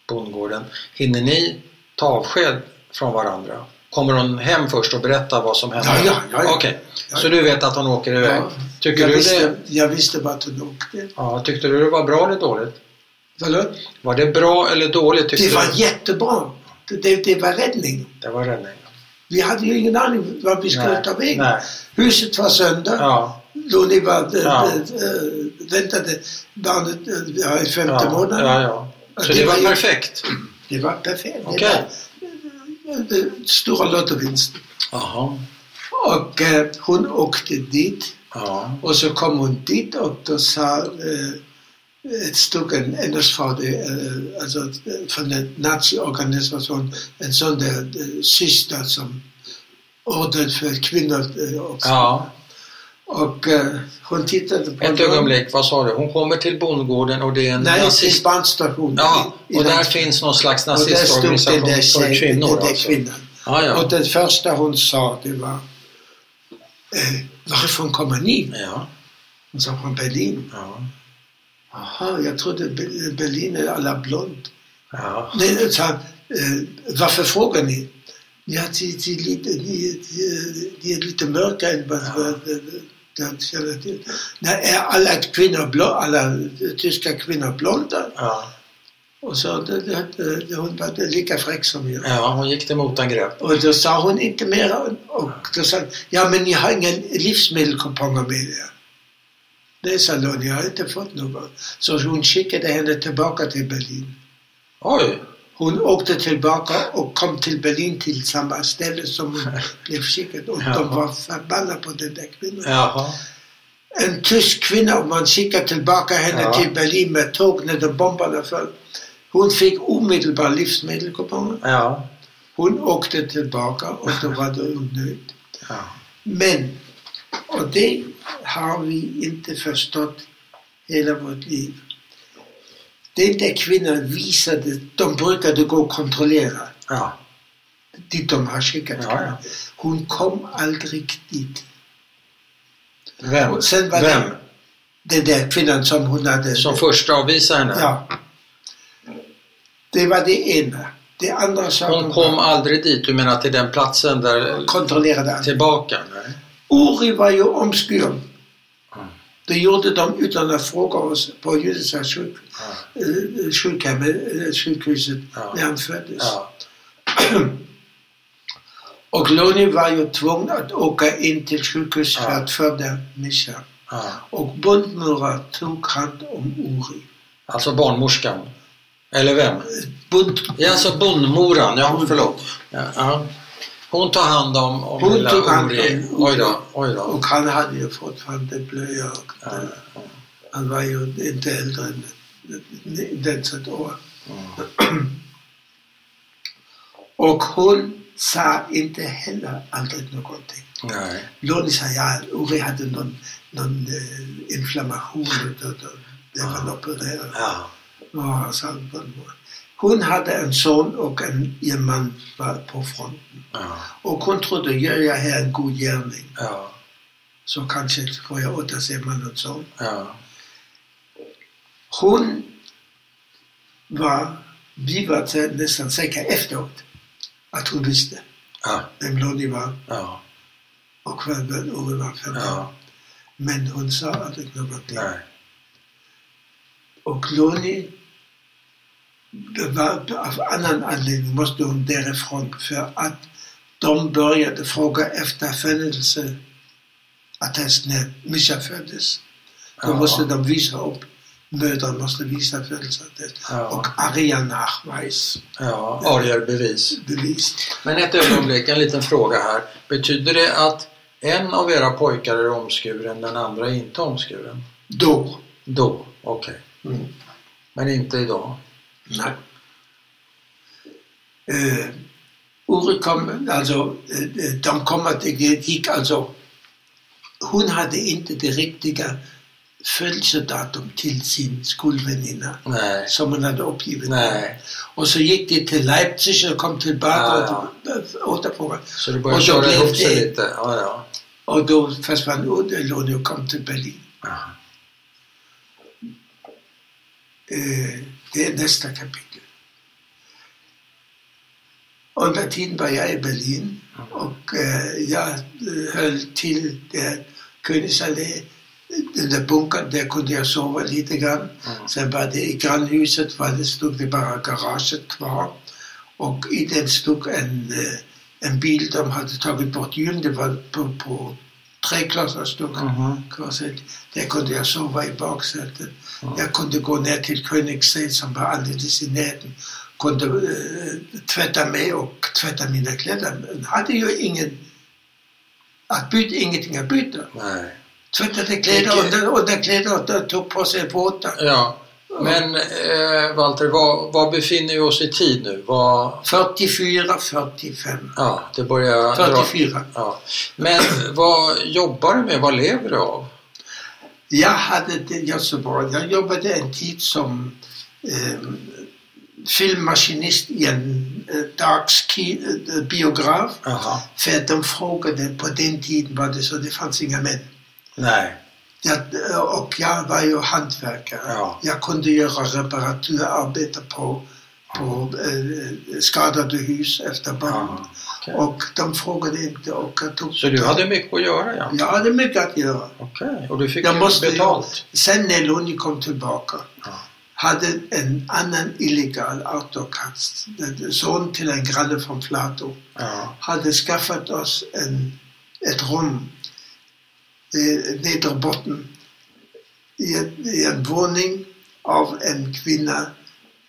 S1: bondgården, hinner ni ta avsked från varandra? Kommer hon hem först och berättar vad som hände?
S2: Ja, ja, ja, ja.
S1: Okej,
S2: Ja.
S1: så du vet att hon åker iväg?
S2: Ja.
S1: Tycker
S2: Jag
S1: du
S2: visste,
S1: det?
S2: jag visste vart hon åkte.
S1: Ja, tyckte du det var bra eller dåligt?
S2: Förlåt?
S1: Var det bra eller dåligt tyckte
S2: Det var
S1: du?
S2: jättebra. Det, det, det var räddning.
S1: Det var räddning.
S2: Vi hade ju ingen aning vad vi skulle
S1: Nej,
S2: ta vägen.
S1: nej.
S2: Huset var sönder.
S1: Ja,
S2: Loni var,
S1: Ja.
S2: ja. väntade barnet eh, ja, i femte
S1: ja,
S2: månaden.
S1: ja, ja. Så
S2: Det
S1: det var
S2: var ju-
S1: perfekt?
S2: Det var perfekt.
S1: Okej.
S2: Det var, eh, eh, stora lottovinsten.
S1: Jaha.
S2: Och eh, hon åkte dit.
S1: Ja.
S2: Och så kom hon Also dit och då sa eh, ett stycke en NSVD, eh, alltså eh, från en naziorganisation, en sån där eh, syster som orden för kvinnor eh, också.
S1: ja.
S2: Och eh, hon tittade på
S1: Ett ögonblick, vad sa du? Hon kommer till bondgården och det är en
S2: Nej, till
S1: nazist
S2: bandstationen.
S1: Ja, och där finns någon slags nazistorganisation för kvinnor
S2: den där
S1: alltså.
S2: kvinnan.
S1: Ja, ja.
S2: Och den första hon sa det var eh, Varifrån kommer ni?
S1: Ja,
S2: Hon sa från also Berlin.
S1: ja,
S2: Aha, jag trodde Be- Berlin är alla blond.
S1: ja.
S2: Nej, så, eh, varför frågar ni? Ja, de, de, är lite- de, de, de är lite mörka än vad vad- vad- vad jag känner till. Nej, är alla kvinnor blå, alla tyska kvinnor blonda?
S1: ja.
S2: Och så det, det, det, hon var lika fräck som jag.
S1: ja hon gick till motangrepp.
S2: Och då sa hon inte mer. Och då sa hon, ja men ni har inga livsmedelskuponger med er. Nej, sa Lonnie, jag har inte fått något. Så hon skickade henne tillbaka till Berlin.
S1: Oj!
S2: Hon åkte tillbaka och kom till Berlin till samma ställe som hon blev skickad och de var förbannade på den där kvinnan.
S1: Jaha.
S2: En tysk kvinna och man skickade tillbaka henne
S1: Ja.
S2: till Berlin med tåg när de bombarna föll. Hon fick omedelbar livsmedelskuponger.
S1: Ja.
S2: Hon åkte tillbaka och då var det onödigt.
S1: Ja.
S2: Men, och det har vi inte förstått hela vårt liv. Den där kvinnan visade, de brukade gå och kontrollera
S1: Ja.
S2: dit de har skickat
S1: Ja, ja.
S2: Hon kom aldrig dit.
S1: Vem?
S2: Och sen var
S1: Vem?
S2: det den där kvinnan som hon hade.
S1: Som första avvisade henne?
S2: ja. Det var det ena. Det andra sa
S1: Hon kom aldrig dit, du menar till den platsen där...
S2: kontrollerade allt.
S1: Tillbaka? Nej.
S2: Uri var ju omskuren. Det gjorde de utan att fråga oss på judiska sjuk, eh, sjukhemmet, eh, sjukhuset
S1: Ja.
S2: när han föddes.
S1: Ja.
S2: Och Loni var ju tvungen att åka in till sjukhuset för
S1: Ja.
S2: att föda Mischa.
S1: ja.
S2: Och Bundmura tog hand om Uri.
S1: Alltså barnmorskan? Eller vem?
S2: Bund,
S1: Ja, alltså bondmoran, ja
S2: Mm.
S1: förlåt. Ja, ja. Hon tar hand om, om
S2: Hon
S1: lilla
S2: tog hand
S1: Ori.
S2: om-
S1: Oj då, oj då.
S2: och han hade ju fortfarande blöja. Och,
S1: Ja,
S2: Han var ju inte äldre än den ett år. Och hon sa inte heller aldrig någonting.
S1: Nej.
S2: Loni sa ja, Uri hade någon, någon eh, inflammation och, och, och det var opererad.
S1: Ja.
S2: Ja, sa Bonmor. Hon hade en son och en, en man var på fronten.
S1: Ja.
S2: Och hon trodde, gör jag här en god gärning
S1: Ja.
S2: så kanske får jag återse man och son.
S1: Ja.
S2: Hon var, vi var nästan säkra efteråt att hon visste
S1: Ja.
S2: vem Loni var
S1: Ja.
S2: och vem vem Ove var för
S1: Ja.
S2: Men hon sa aldrig någonting.
S1: Nej.
S2: Och Loni det var av annan anledning måste hon därifrån för att de började fråga efter födelseattest när Mischa föddes. Då
S1: Ja.
S2: måste de visa upp, mödrar måste visa födelseattest.
S1: Ja.
S2: Och Arian-Nachweis.
S1: Ja. Arierbevis.
S2: bevis.
S1: Men ett ögonblick, en liten fråga här. Betyder det att en av era pojkar är omskuren, den andra är inte omskuren?
S2: Då.
S1: Då, okej. Men inte idag?
S2: Nej. Eh, Uri kom, alltså, eh, de kom att det gick alltså, hon hade inte det riktiga födelsedatum till sin skolväninna
S1: Nej.
S2: som hon hade uppgivit.
S1: Nej.
S2: Och så gick de till Leipzig och kom tillbaka
S1: Ja,
S2: och återfrågade.
S1: Så det
S2: Och
S1: börjar
S2: då
S1: köra
S2: blev
S1: ihop sig
S2: det-
S1: lite? Ja, ja.
S2: Och då försvann Loni och kom till Berlin.
S1: Aha.
S2: Eh, det är nästa kapitel. Under tiden var jag i Berlin och eh, jag eh, höll till där Königsallee, den där bunkern, där kunde jag sova lite grann.
S1: Mm.
S2: Sen var det i grannhuset, var det stod det bara garaget kvar och i den stod en, eh, en bil, de hade tagit bort hjulen, det var på, på träklossar stod
S1: Mhm.
S2: korset. Där kunde jag sova i baksätet. Jag kunde gå ner till Königssee som var alldeles i närheten. Kunde eh, tvätta mig och tvätta mina kläder. Men hade ju ingen att byta, ingenting att byta.
S1: Nej.
S2: Tvättade kläder
S1: Vilket-
S2: under, under kläder och då tog på sig båtar.
S1: Ja. Men eh, Walter, var, var befinner vi oss i tid nu? Var,
S2: 44, 45.
S1: ja, det börjar... dra-
S2: 44.
S1: Ja. Men vad jobbar du med? Vad lever du av?
S2: Jag hade det i Göteborg. Jag jobbade en tid som eh, filmmaskinist i en eh, dagski- eh, biograf.
S1: Aha.
S2: För att de frågade, på den tiden var det så, det fanns inga män.
S1: Nej.
S2: Jag, eh, och jag var ju hantverkare.
S1: Ja.
S2: Jag kunde göra reparaturarbete på, på eh, skadade hus efter barn.
S1: Ja. okej.
S2: Och de frågade inte och jag tog
S1: Så du hade mycket att göra, ja?
S2: Jag hade mycket att göra.
S1: Okej, och du fick
S2: Jag måste-
S1: betalt?
S2: Sen när Loni kom tillbaka
S1: Ja.
S2: hade en annan illegal outdoorkast, son till en granne från Flato,
S1: Ja.
S2: hade skaffat oss en, ett rum eh, nedre botten i, en- i en våning av en kvinna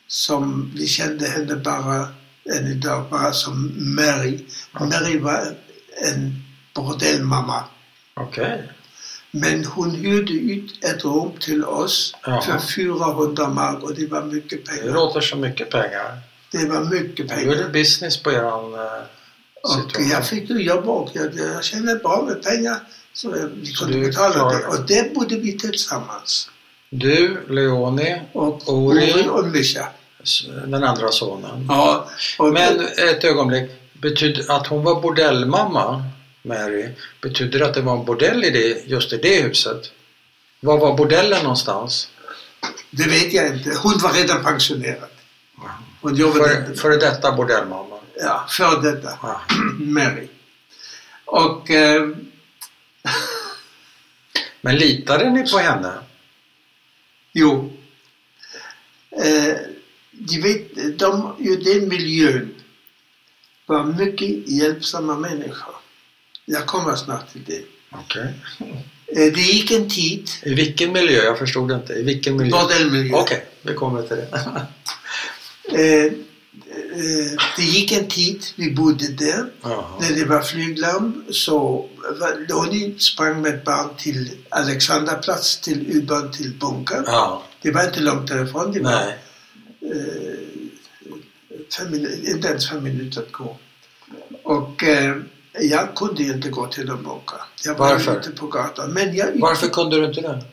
S2: som vi kände henne bara, än idag, bara som Mary. Mary var en bordellmamma.
S1: Okej.
S2: Men hon hyrde ut ett rum till oss
S1: Jaha.
S2: för 400 mark och det var mycket
S1: Det
S2: pengar.
S1: låter som mycket pengar.
S2: Det var mycket
S1: Nu är det
S2: pengar.
S1: business på eran eh,
S2: Och
S1: situation.
S2: jag fick ju jobba och jag, jag kände bra med pengar så jag- vi
S1: Så
S2: kunde
S1: du
S2: betala
S1: klarade
S2: det.
S1: det.
S2: Och det bodde vi tillsammans.
S1: Du, Leoni,
S2: Och
S1: Ori.
S2: Ori och Mischa.
S1: s- den andra sonen.
S2: Ja, och
S1: Men ett ögonblick, betyder att hon var bordellmamma, Mary, betyder det att det var en bordell i det, just i det huset? Var var bordellen någonstans?
S2: det vet jag inte. Hon var redan pensionerad. Hon jobbade
S1: För,
S2: inte.
S1: för detta bordellmamma.
S2: Ja, för detta.
S1: Ah.
S2: Mary. Och eh,
S1: Men litade ni på henne?
S2: jo, eh, de vet, de i den miljön var mycket hjälpsamma människor. Jag kommer snart till det.
S1: Okej.
S2: Eh, det gick en tid,
S1: I vilken miljö? Jag förstod inte. I vilken miljö?
S2: bordellmiljö.
S1: Okej, vi kommer till det.
S2: Eh, eh, det gick en tid, vi bodde där.
S1: Jaha.
S2: När det var flyglarm så var- Loni sprang med barn till Alexanderplatz, till U-barn, till bunkern.
S1: Ja,
S2: Det var inte långt därifrån, det var
S1: nej.
S2: eh, fem, minu- inte ens fem minuter att gå. Och eh, jag kunde ju inte gå till de bunkrarna. Jag var
S1: Varför?
S2: ute på gatan. Men jag,
S1: Varför kunde du inte det?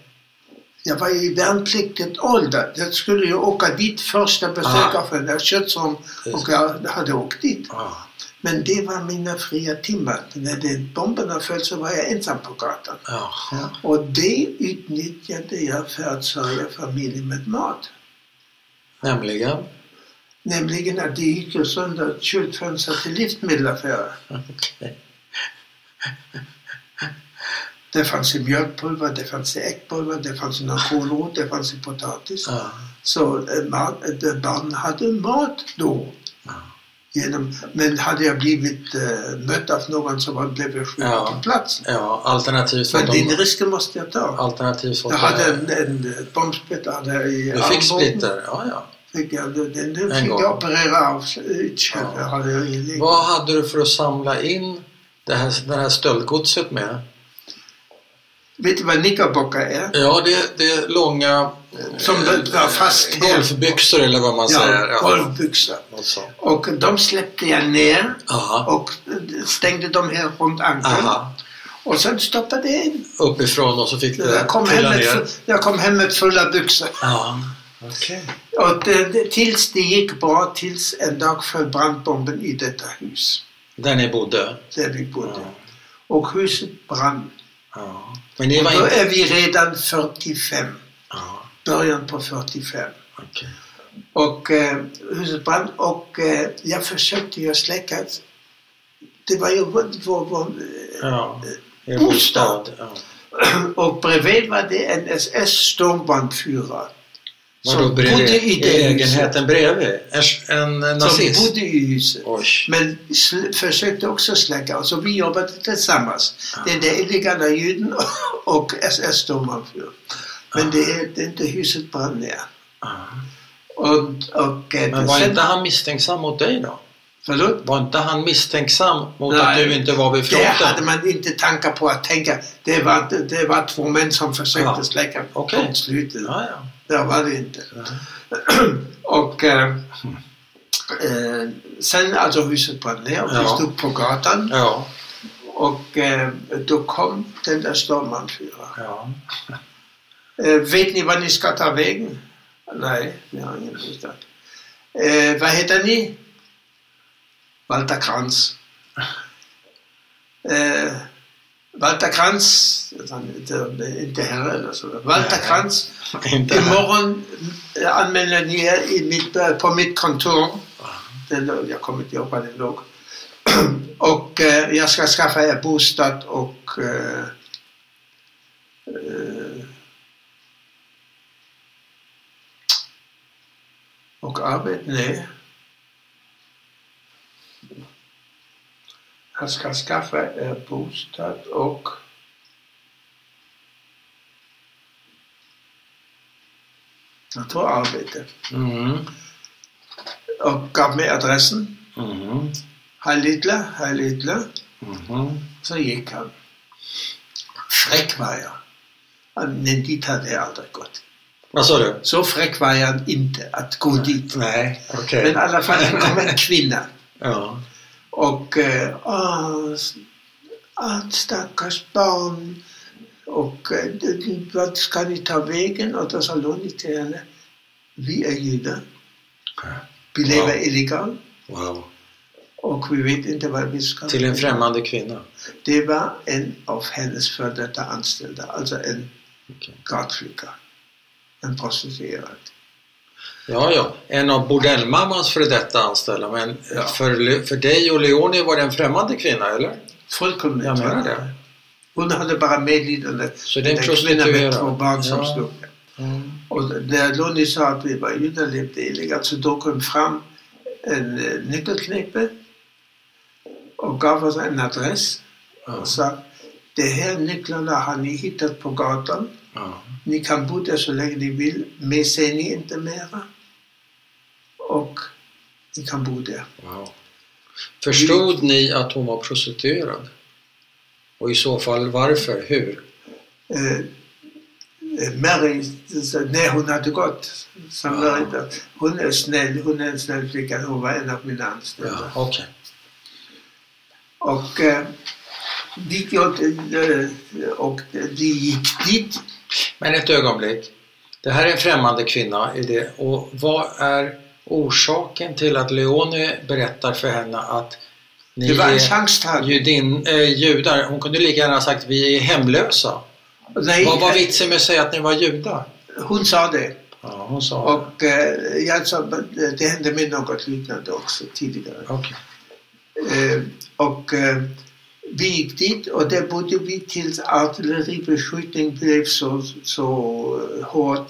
S2: jag var i värnpliktigt ålder. Jag skulle ju åka dit första besöket
S1: Ah.
S2: för det kött som och jag hade åkt dit.
S1: Ah.
S2: Men det var mina fria timmar. När det, bomberna föll så var jag ensam på gatan.
S1: Jaha.
S2: Och det utnyttjade jag för att sörja familjen med mat.
S1: Nämligen?
S2: Nämligen att det gick ju sönder ett kylfönster till livsmedelaffärer.
S1: Okej.
S2: Det fanns ju mjölkpulver, det fanns ju äggpulver, det fanns ju någon kålrot, det fanns ju potatis.
S1: Ja.
S2: Så eh, mat, eh, barnen hade mat då.
S1: Ja.
S2: Genom, men hade jag blivit eh, mött av någon som blev jag skjuten
S1: Ja.
S2: på platsen.
S1: ja, alternativt så
S2: Men
S1: att
S2: den
S1: de...
S2: risken måste jag ta.
S1: Alternativt så
S2: Jag
S1: att
S2: hade
S1: de...
S2: en, en eh, bombsplitter i
S1: Du fick splitter? Ja, ja.
S2: Fick jag, den den fick
S1: gång.
S2: jag operera av utkört.
S1: Ja.
S2: Jag hade ju ingen egen-
S1: Vad hade du för att samla in det här, det här stöldgodset med?
S2: Vet du vad nickabocka är?
S1: Ja, det, det är långa eh,
S2: Som var fast här.
S1: golfbyxor eller vad man säger.
S2: Ja, golvbyxor.
S1: Något sånt.
S2: Och de släppte jag ner
S1: Aha.
S2: och stängde dem här runt ankeln.
S1: Aha.
S2: Och sen stoppade jag in.
S1: Uppifrån och så fick det
S2: Jag kom, hem
S1: trilla
S2: med,
S1: ner.
S2: fu- jag kom hem med fulla byxor.
S1: Ja, okej.
S2: Och det, det, tills det gick bra, tills en dag föll brandbomben i detta hus.
S1: Där ni bodde?
S2: Där vi bodde.
S1: Ja.
S2: Och huset brann.
S1: ja. Men ni
S2: Och
S1: var
S2: då
S1: inte...
S2: är vi redan 45.
S1: Ja,
S2: Början på 45.
S1: okej.
S2: Och eh, huset brann och eh, jag försökte ju släcka. Det var ju vår, vår, vår eh,
S1: Ja. Er
S2: Bostad.
S1: bostad. Ja.
S2: eh, Och bredvid var det en SS-stormbandfyrare.
S1: Vadå bredvid? I lägenheten bredvid? En, en
S2: Som
S1: nazist?
S2: bodde i huset.
S1: Oj.
S2: Men sl- försökte också släcka och så vi jobbade tillsammans.
S1: Ah.
S2: Det är den illegala juden *laughs* och SS-stormbandfyraren.
S1: Ah.
S2: Men det är det är inte huset brann ner.
S1: Ja.
S2: Och, och, eh,
S1: Men var
S2: sen-
S1: inte han misstänksam mot dig då?
S2: Förlåt?
S1: Var inte han misstänksam mot
S2: Nej.
S1: att du inte var vid
S2: Det hade
S1: fronten?
S2: man inte tankar på att tänka. Det var, det var två män som försökte
S1: Ja.
S2: släcka.
S1: Okej.
S2: Punkt slut.
S1: Ja, ja.
S2: Det var det inte. *clears throat* och eh, eh, sen alltså huset brann ner och vi
S1: Ja.
S2: stod på gatan
S1: Ja,
S2: och eh, då kom den där stormmanfyraren.
S1: ja.
S2: Eh, vet ni vad ni ska ta vägen? Nej, vi har ingen bostad. Eh, vad heter ni? Walter Kranz. Eh, Walter Kranz, inte, inte herre eller så. Walter
S1: Nej.
S2: Kranz
S1: Inte han.
S2: Imorgon eh, anmäler ni er i mitt, eh, på mitt kontor. Det, lå- jag kommer inte ihåg vad det låg. *clears throat* Och eh, jag ska skaffa er bostad och eh, eh, och arbete. Nej. Jag ska skaffa er bostad och jag tror arbete.
S1: Mm.
S2: och gav mig adressen.
S1: Mhm.
S2: Herr Littler, herr Littler.
S1: Mhm.
S2: Så gick han. Fräck var jag. Men dit hade jag aldrig gått.
S1: Vad sa du?
S2: Så fräck var jag inte att gå dit.
S1: Nej, okej.
S2: Men i alla fall, det kom en kvinna.
S1: Ja.
S2: Och, eh, åh, s- åh, stackars barn. Och eh, d- d- vart ska ni ta vägen? Och då sa Lonnie till henne, vi är judar. Vi lever
S1: Wow.
S2: illegalt
S1: Wow.
S2: och vi vet inte vad vi ska
S1: Till en främmande kvinna.
S2: Det var en av hennes före detta anställda, alltså en
S1: Okej.
S2: gatflicka. En prostituerad.
S1: Ja, ja. En av bordellmammans före detta anställda. Men
S2: Ja.
S1: för, för dig och Leonie var det en främmande kvinna, eller?
S2: Fullkomligt.
S1: Jag menar det.
S2: Hon hade bara medlidande
S1: Så det är
S2: med
S1: en
S2: den kvinnan med två
S1: prostituerad.
S2: barn som
S1: Ja.
S2: stod där.
S1: Mm.
S2: Och när Lonnie sa att vi var judar levde illegalt så då kom fram en eh, nyckelknäppe och gav oss en adress
S1: Ja.
S2: och sa de här nycklarna har ni hittat på gatan.
S1: Ja.
S2: Ni kan bo där så länge ni vill, mer ser ni inte mera. Och ni kan bo där.
S1: Wow. Förstod ni att hon var prostituerad? Och i så fall varför? Hur?
S2: Eh, eh, Mary, så- när hon hade gått, sa
S1: Ja.
S2: Mary då, hon är snäll, hon är en snäll flicka, hon var en av mina anställda.
S1: Ja, okej.
S2: Och eh, dit jag, eh, och de gick dit.
S1: Men ett ögonblick. Det här är en främmande kvinna. I det. Och vad är orsaken till att Leonie berättar för henne att ni eh,
S2: Det var en
S1: är
S2: chanstagning.
S1: judin, eh, judar? Hon kunde lika gärna ha sagt vi är hemlösa.
S2: Nej, eh,
S1: Vad var vitsen med att säga att ni var judar?
S2: hon sa det.
S1: Ja, hon sa
S2: Och eh, jag sa, det hände mig något liknande också tidigare.
S1: Okej.
S2: Eh, och eh, vi gick dit och där bodde vi tills artilleribeskjutning blev så, så eh, hård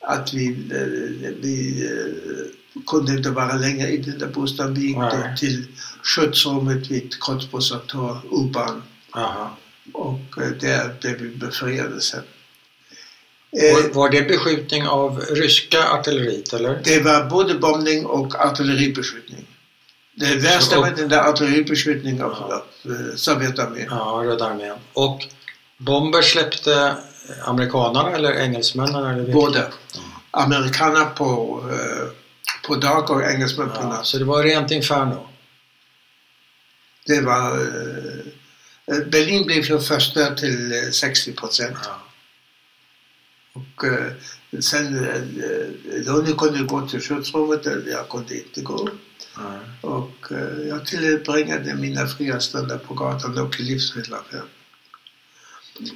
S2: att vi, eh, vi eh, kunde inte vara längre i den där bostaden. Vi gick då
S1: Nej.
S2: till skyddsrummet vid Kotsbosa torg, U-bahn
S1: Aha.
S2: och eh, där blev vi befriade sen.
S1: Var,
S2: Eh,
S1: var det beskjutning av ryska artilleriet eller?
S2: det var både bombning och artilleribeskjutning. Det värsta
S1: Så-
S2: var den där artilleribeskjutningen av,
S1: Ja.
S2: av eh, Sovjetarmén.
S1: Ja, Röda armén. Och bomber släppte amerikanarna eller engelsmännen? Eller vilka?
S2: Både amerikaner på, eh, på dag och engelsmän på
S1: Ja,
S2: natt.
S1: så det var rent inferno.
S2: Det var, eh, Berlin blev ju förstört till eh, 60 procent.
S1: Ja.
S2: Och eh, sen eh, Lonnie kunde gå till skyddsrummet, eh, jag kunde inte gå.
S1: Ja.
S2: Och eh, jag tillbringade mina fria stunder på gatan och i livsmedelsaffären.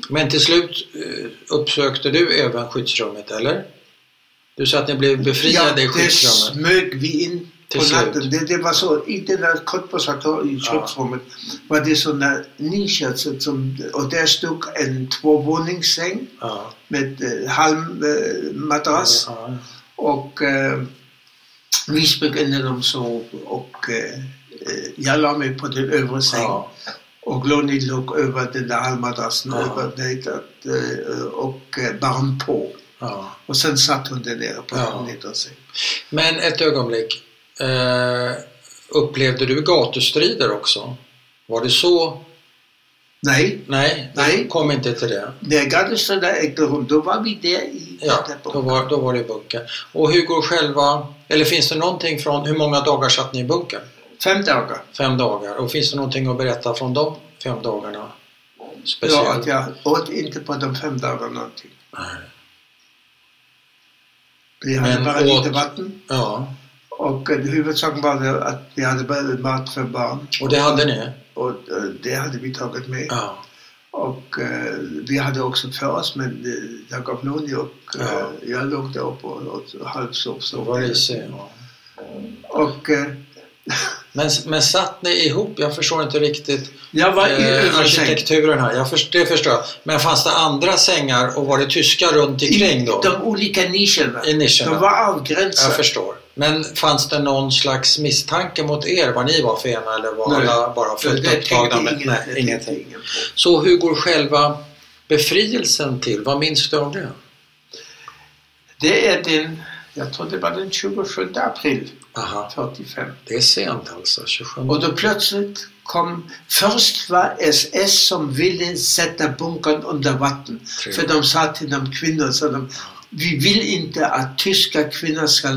S1: Men till slut eh, uppsökte du även skyddsrummet, eller? Du sa att ni blev befriade i
S2: det
S1: skyddsrummet.
S2: smög vi in
S1: Till
S2: på
S1: slut.
S2: natten. Det, det var så, i den där kortposatör i köksrummet var det sådana nischer så- som, och där stod en tvåvåningssäng
S1: Ja.
S2: med eh, halmmadrass eh, madrass.
S1: Ja.
S2: och eh, vi spökade dem så och eh, eh, jag la mig på den övre sängen.
S1: Ja.
S2: Och Lonnie låg över den där halmmadrassen
S1: Ja.
S2: över mig att, eh, och eh, barn på.
S1: Ja.
S2: Och sen satt hon där nere på
S1: Ja.
S2: den nedre sängen.
S1: Men ett ögonblick. Eh, upplevde du gatustrider också? Var det så?
S2: Nej,
S1: Nej, det
S2: Nej.
S1: kom inte till det.
S2: när Gardestad ägde rum, då var vi där i
S1: Ja, då var, då var det i bunkern. Och hur går själva, eller finns det någonting från, hur många dagar satt ni i bunkern?
S2: Fem dagar.
S1: Fem dagar. Och finns det någonting att berätta från de fem dagarna?
S2: Ja, att
S1: Speciellt?
S2: jag åt inte på de fem dagarna någonting.
S1: Nej.
S2: Vi hade
S1: Men
S2: bara
S1: åt-
S2: lite vatten
S1: ja.
S2: och eh, huvudsaken var det att vi hade bara mat för barn.
S1: Och det hade ni?
S2: Och eh, det hade vi tagit med.
S1: Ja.
S2: Och eh, vi hade också för oss, men eh, jag gav Lonnie upp. Eh,
S1: Ja.
S2: Jag låg där uppe och, och halvsov.
S1: Då var det sig. Ja.
S2: Och eh,
S1: Men, men satt ni ihop? Jag förstår inte riktigt
S2: jag var i
S1: eh,
S2: översäng.
S1: arkitekturen här. Jag först, det förstår jag. Men fanns det andra sängar och var det tyskar runt omkring då?
S2: De olika nischerna.
S1: I nischerna?
S2: De var
S1: Jag
S2: avgränsade.
S1: förstår. Men fanns det någon slags misstanke mot er vad ni var för ena eller var
S2: Nej.
S1: alla bara fullt
S2: Det tänkte
S1: upptagna med
S2: ingen- det
S1: nej,
S2: tänkte
S1: ingenting?
S2: ingen på.
S1: Så hur går själva befrielsen till? Vad minns du av det?
S2: Det är den, jag tror det var den 27 april.
S1: Aha.
S2: 45.
S1: Det är sent alltså, 27.
S2: Och då plötsligt kom, först var SS som ville sätta bunkern under vatten. För de sa till de kvinnor, så de, vi vill inte att tyska kvinnor ska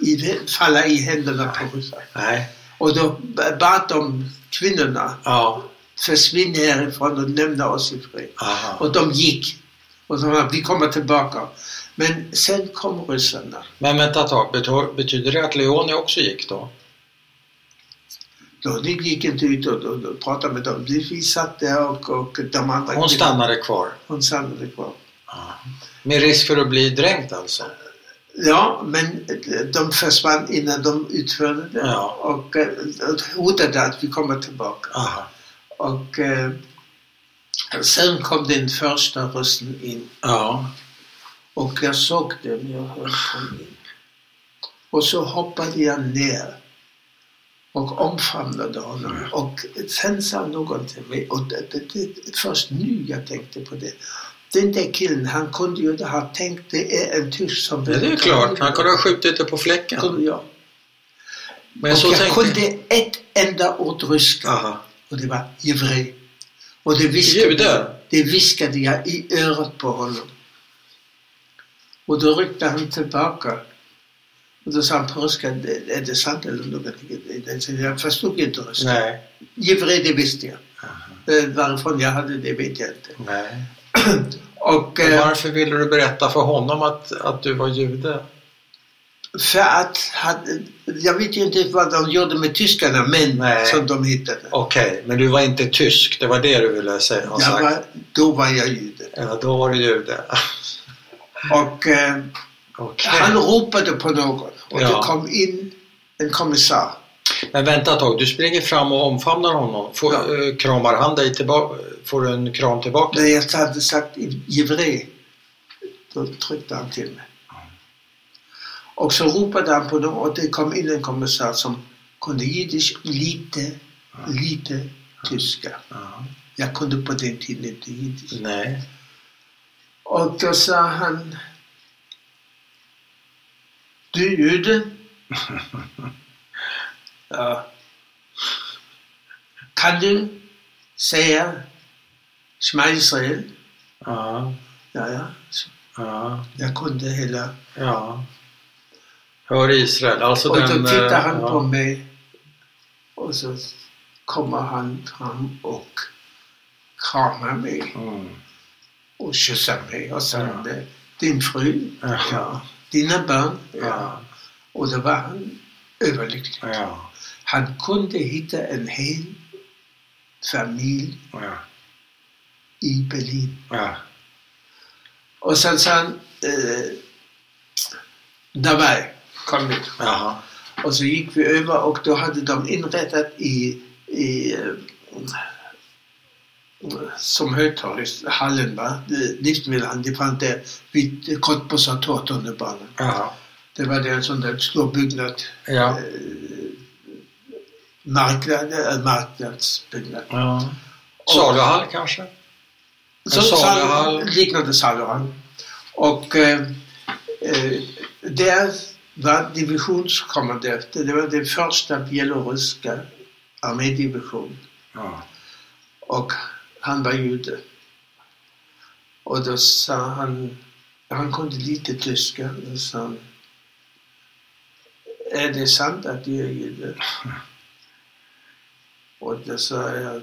S2: i- falla i händerna på ryssar.
S1: Nej.
S2: Och då bad de kvinnorna,
S1: Ja.
S2: försvinn härifrån och lämna oss i fred.
S1: Aha.
S2: Och de gick. Och de sa, vi kommer tillbaka. Men sen kom ryssarna.
S1: Men vänta ett tag, betor- betyder det att Leone också gick då?
S2: Då, de gick inte ut och, och, och pratade med dem. Vi satt där och, och de andra
S1: Hon stannade kvar.
S2: Hon stannade kvar.
S1: Med risk för att bli dränkt alltså?
S2: Ja, men de försvann innan de utförde det
S1: Ja.
S2: och, eh, hotade att vi kommer tillbaka.
S1: Aha.
S2: Och eh, sen kom den första ryssen in
S1: Ja.
S2: och jag såg den. Jag hörde kom in. Och så hoppade jag ner och omfamnade honom.
S1: Mm.
S2: Och sen sa någon till mig, och det, det, det, först nu jag tänkte på det. Den där killen, han kunde ju ha tänkt det är en tysk som
S1: Men det är klart, han kunde ha skjutit det på
S2: kunde
S1: fläcken.
S2: jag.
S1: Men
S2: och
S1: så
S2: jag
S1: tänkte
S2: kunde ett enda ord ryska
S1: Aha.
S2: och det var jevrej. Och det viskade,
S1: Jude.
S2: det viskade jag i örat på honom. Och då ryckte han tillbaka. Och då sa han på ryska, "Det- är det sant eller någonting? Jag sa, Jag förstod inte ryska.
S1: Nej.
S2: Jevrej, det visste jag. Eh, Varifrån jag hade det vet jag inte.
S1: Nej.
S2: Och,
S1: Men
S2: eh,
S1: Varför ville du berätta för honom att, att du var jude?
S2: eh, för att, hade, jag vet ju inte vad de gjorde med tyskarna, men
S1: Nej.
S2: som de hittade.
S1: Okej, men du var inte tysk, det var det du ville säga, ha
S2: Jag
S1: sagt?
S2: var, då var jag jude.
S1: Ja, då var du jude. *laughs*
S2: Och eh,
S1: Okej.
S2: han ropade på någon och
S1: Ja.
S2: det kom in en kommissar.
S1: Men vänta ett tag, du springer fram och omfamnar honom. Får,
S2: Ja.
S1: eh, kramar han dig tillbaka? Får du en kram tillbaka?
S2: När jag hade sagt jevre, då tryckte han till mig. Och så ropade han på någon och det kom in en kommissar som kunde jiddisch lite, lite tyska.
S1: Ja.
S2: Jag kunde på den tiden inte jiddisch.
S1: Nej.
S2: Och då sa han Du är jude?
S1: *laughs*
S2: ja. Kan du säga Shema Israel?
S1: Ja,
S2: Ja, ja.
S1: ja,
S2: Jag kunde hela.
S1: ja. Hör Israel, alltså
S2: Och
S1: den...
S2: då tittade
S1: eh,
S2: han
S1: ja.
S2: på mig och så kommer han fram och kramar mig
S1: Mm.
S2: och kysser mig och sa
S1: Ja.
S2: Din fru?
S1: Ja.
S2: Dina barn?
S1: Ja.
S2: Och då var han överlycklig.
S1: Ja.
S2: Han kunde hitta en hel familj
S1: Ja.
S2: i Berlin.
S1: Ja.
S2: Och sen sa han, eh, Davai, kom med.
S1: Jaha.
S2: Och så gick vi över och då hade de inrättat i, i eh, som högtorgshallen, va? Det- livsmedelshallen, det fanns där vid Kottbussar tunnelbanan.
S1: Jaha.
S2: Det var där en sån där stor byggnad, øh,
S1: Ja.
S2: marknad, eh, marknadsbyggnad.
S1: ja. Saluhall kanske?
S2: Så
S1: saluhall.
S2: sal- liknande saluhall. Och eh, eh, där var divisionskommendöret, det var den första bieloryska armédivisionen
S1: Ja.
S2: och han var jude. Och då sa han, han kunde lite tyska, då sa han, är det sant att du är jude? Och då sa jag,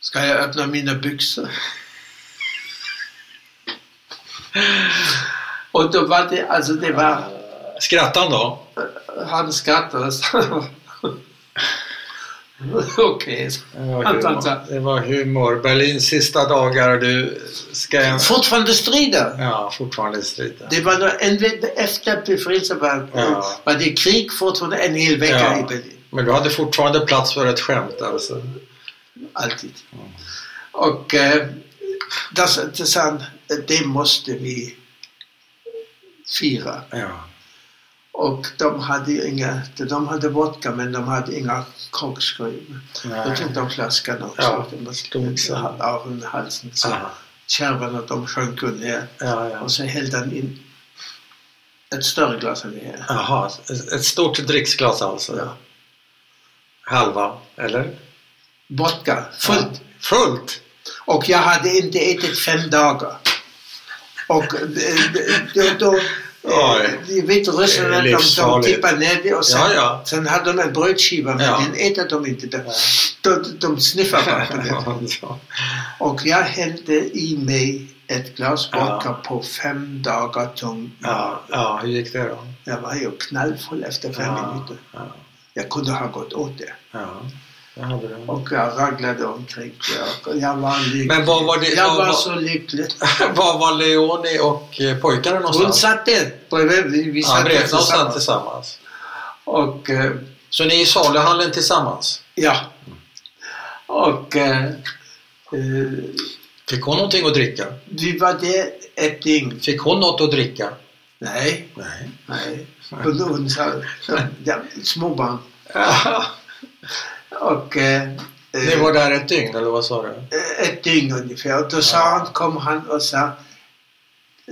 S2: ska jag öppna mina *laughs* byxor? Och då var det, alltså det var
S1: Skrattade han då?
S2: han skrattade. så- *laughs* Okej.
S1: Det var humor.
S2: Alltså.
S1: Det var humor. Berlins sista dagar och du ska...
S2: Fortfarande strider.
S1: Ja, fortfarande i striden.
S2: Det var då en vecka efter befrielsen var,
S1: Ja.
S2: var det krig fortfarande en hel vecka
S1: Ja.
S2: i Berlin.
S1: Men du hade fortfarande plats för ett skämt alltså?
S2: Alltid. Och eh, det det sa han, det måste vi fira.
S1: Ja.
S2: Och de hade ju inga, de hade vodka men de hade inga korkskruvar. Då tog de flaskan också.
S1: Ja,
S2: de måste,
S1: stod så.
S2: av runt halsen. Så
S1: Aha.
S2: kärvarna de sjönk ju ner.
S1: Ja, ja.
S2: Och så hällde han in Ett större glas än det här.
S1: Jaha, ett stort dricksglas alltså?
S2: Ja.
S1: Halva, eller?
S2: Vodka, fullt.
S1: Fullt?
S2: Och jag hade inte ätit fem dagar. Och eh, då, då eh,
S1: Oj.
S2: de vitryssarna de, de
S1: Livsfarligt.
S2: tippade ner det och sen,
S1: Ja, ja. *laughs*
S2: sen hade de en brödskiva men
S1: Ja.
S2: den äter de inte. De, de, de sniffar bara på det.
S1: *laughs* Ja.
S2: Och jag hällde i mig ett glas
S1: Ja.
S2: vodka på fem dagar tung.
S1: Ja, ja, hur gick det då?
S2: Jag var ju knallfull efter fem
S1: Ja.
S2: minuter.
S1: Ja,
S2: Jag kunde ha gått åt det.
S1: ja. Jag hade det. *laughs*
S2: Och jag raglade omkring. Jag, jag var lycklig.
S1: Men vad var det-
S2: jag
S1: vad
S2: var
S1: var-
S2: så lycklig.
S1: Var var Leoni och eh, pojkarna
S2: Hon
S1: någonstans?
S2: satt där bredvid. Vi, vi
S1: ja,
S2: satt där
S1: bredvid oss satt
S2: tillsammans.
S1: tillsammans.
S2: Och eh,
S1: Så ni är i saluhallen tillsammans?
S2: ja. Och eh, eh,
S1: Fick hon någonting att dricka?
S2: vi var där ett dygn.
S1: Fick hon något att dricka?
S2: Nej,
S1: Nej.
S2: nej. Hon, hon sa, ja, småbarn. Och eh,
S1: Ni
S2: eh,
S1: var där ett dygn, eller vad sa du?
S2: ett dygn ungefär. Och då sa
S1: Ja.
S2: han, kom han och sa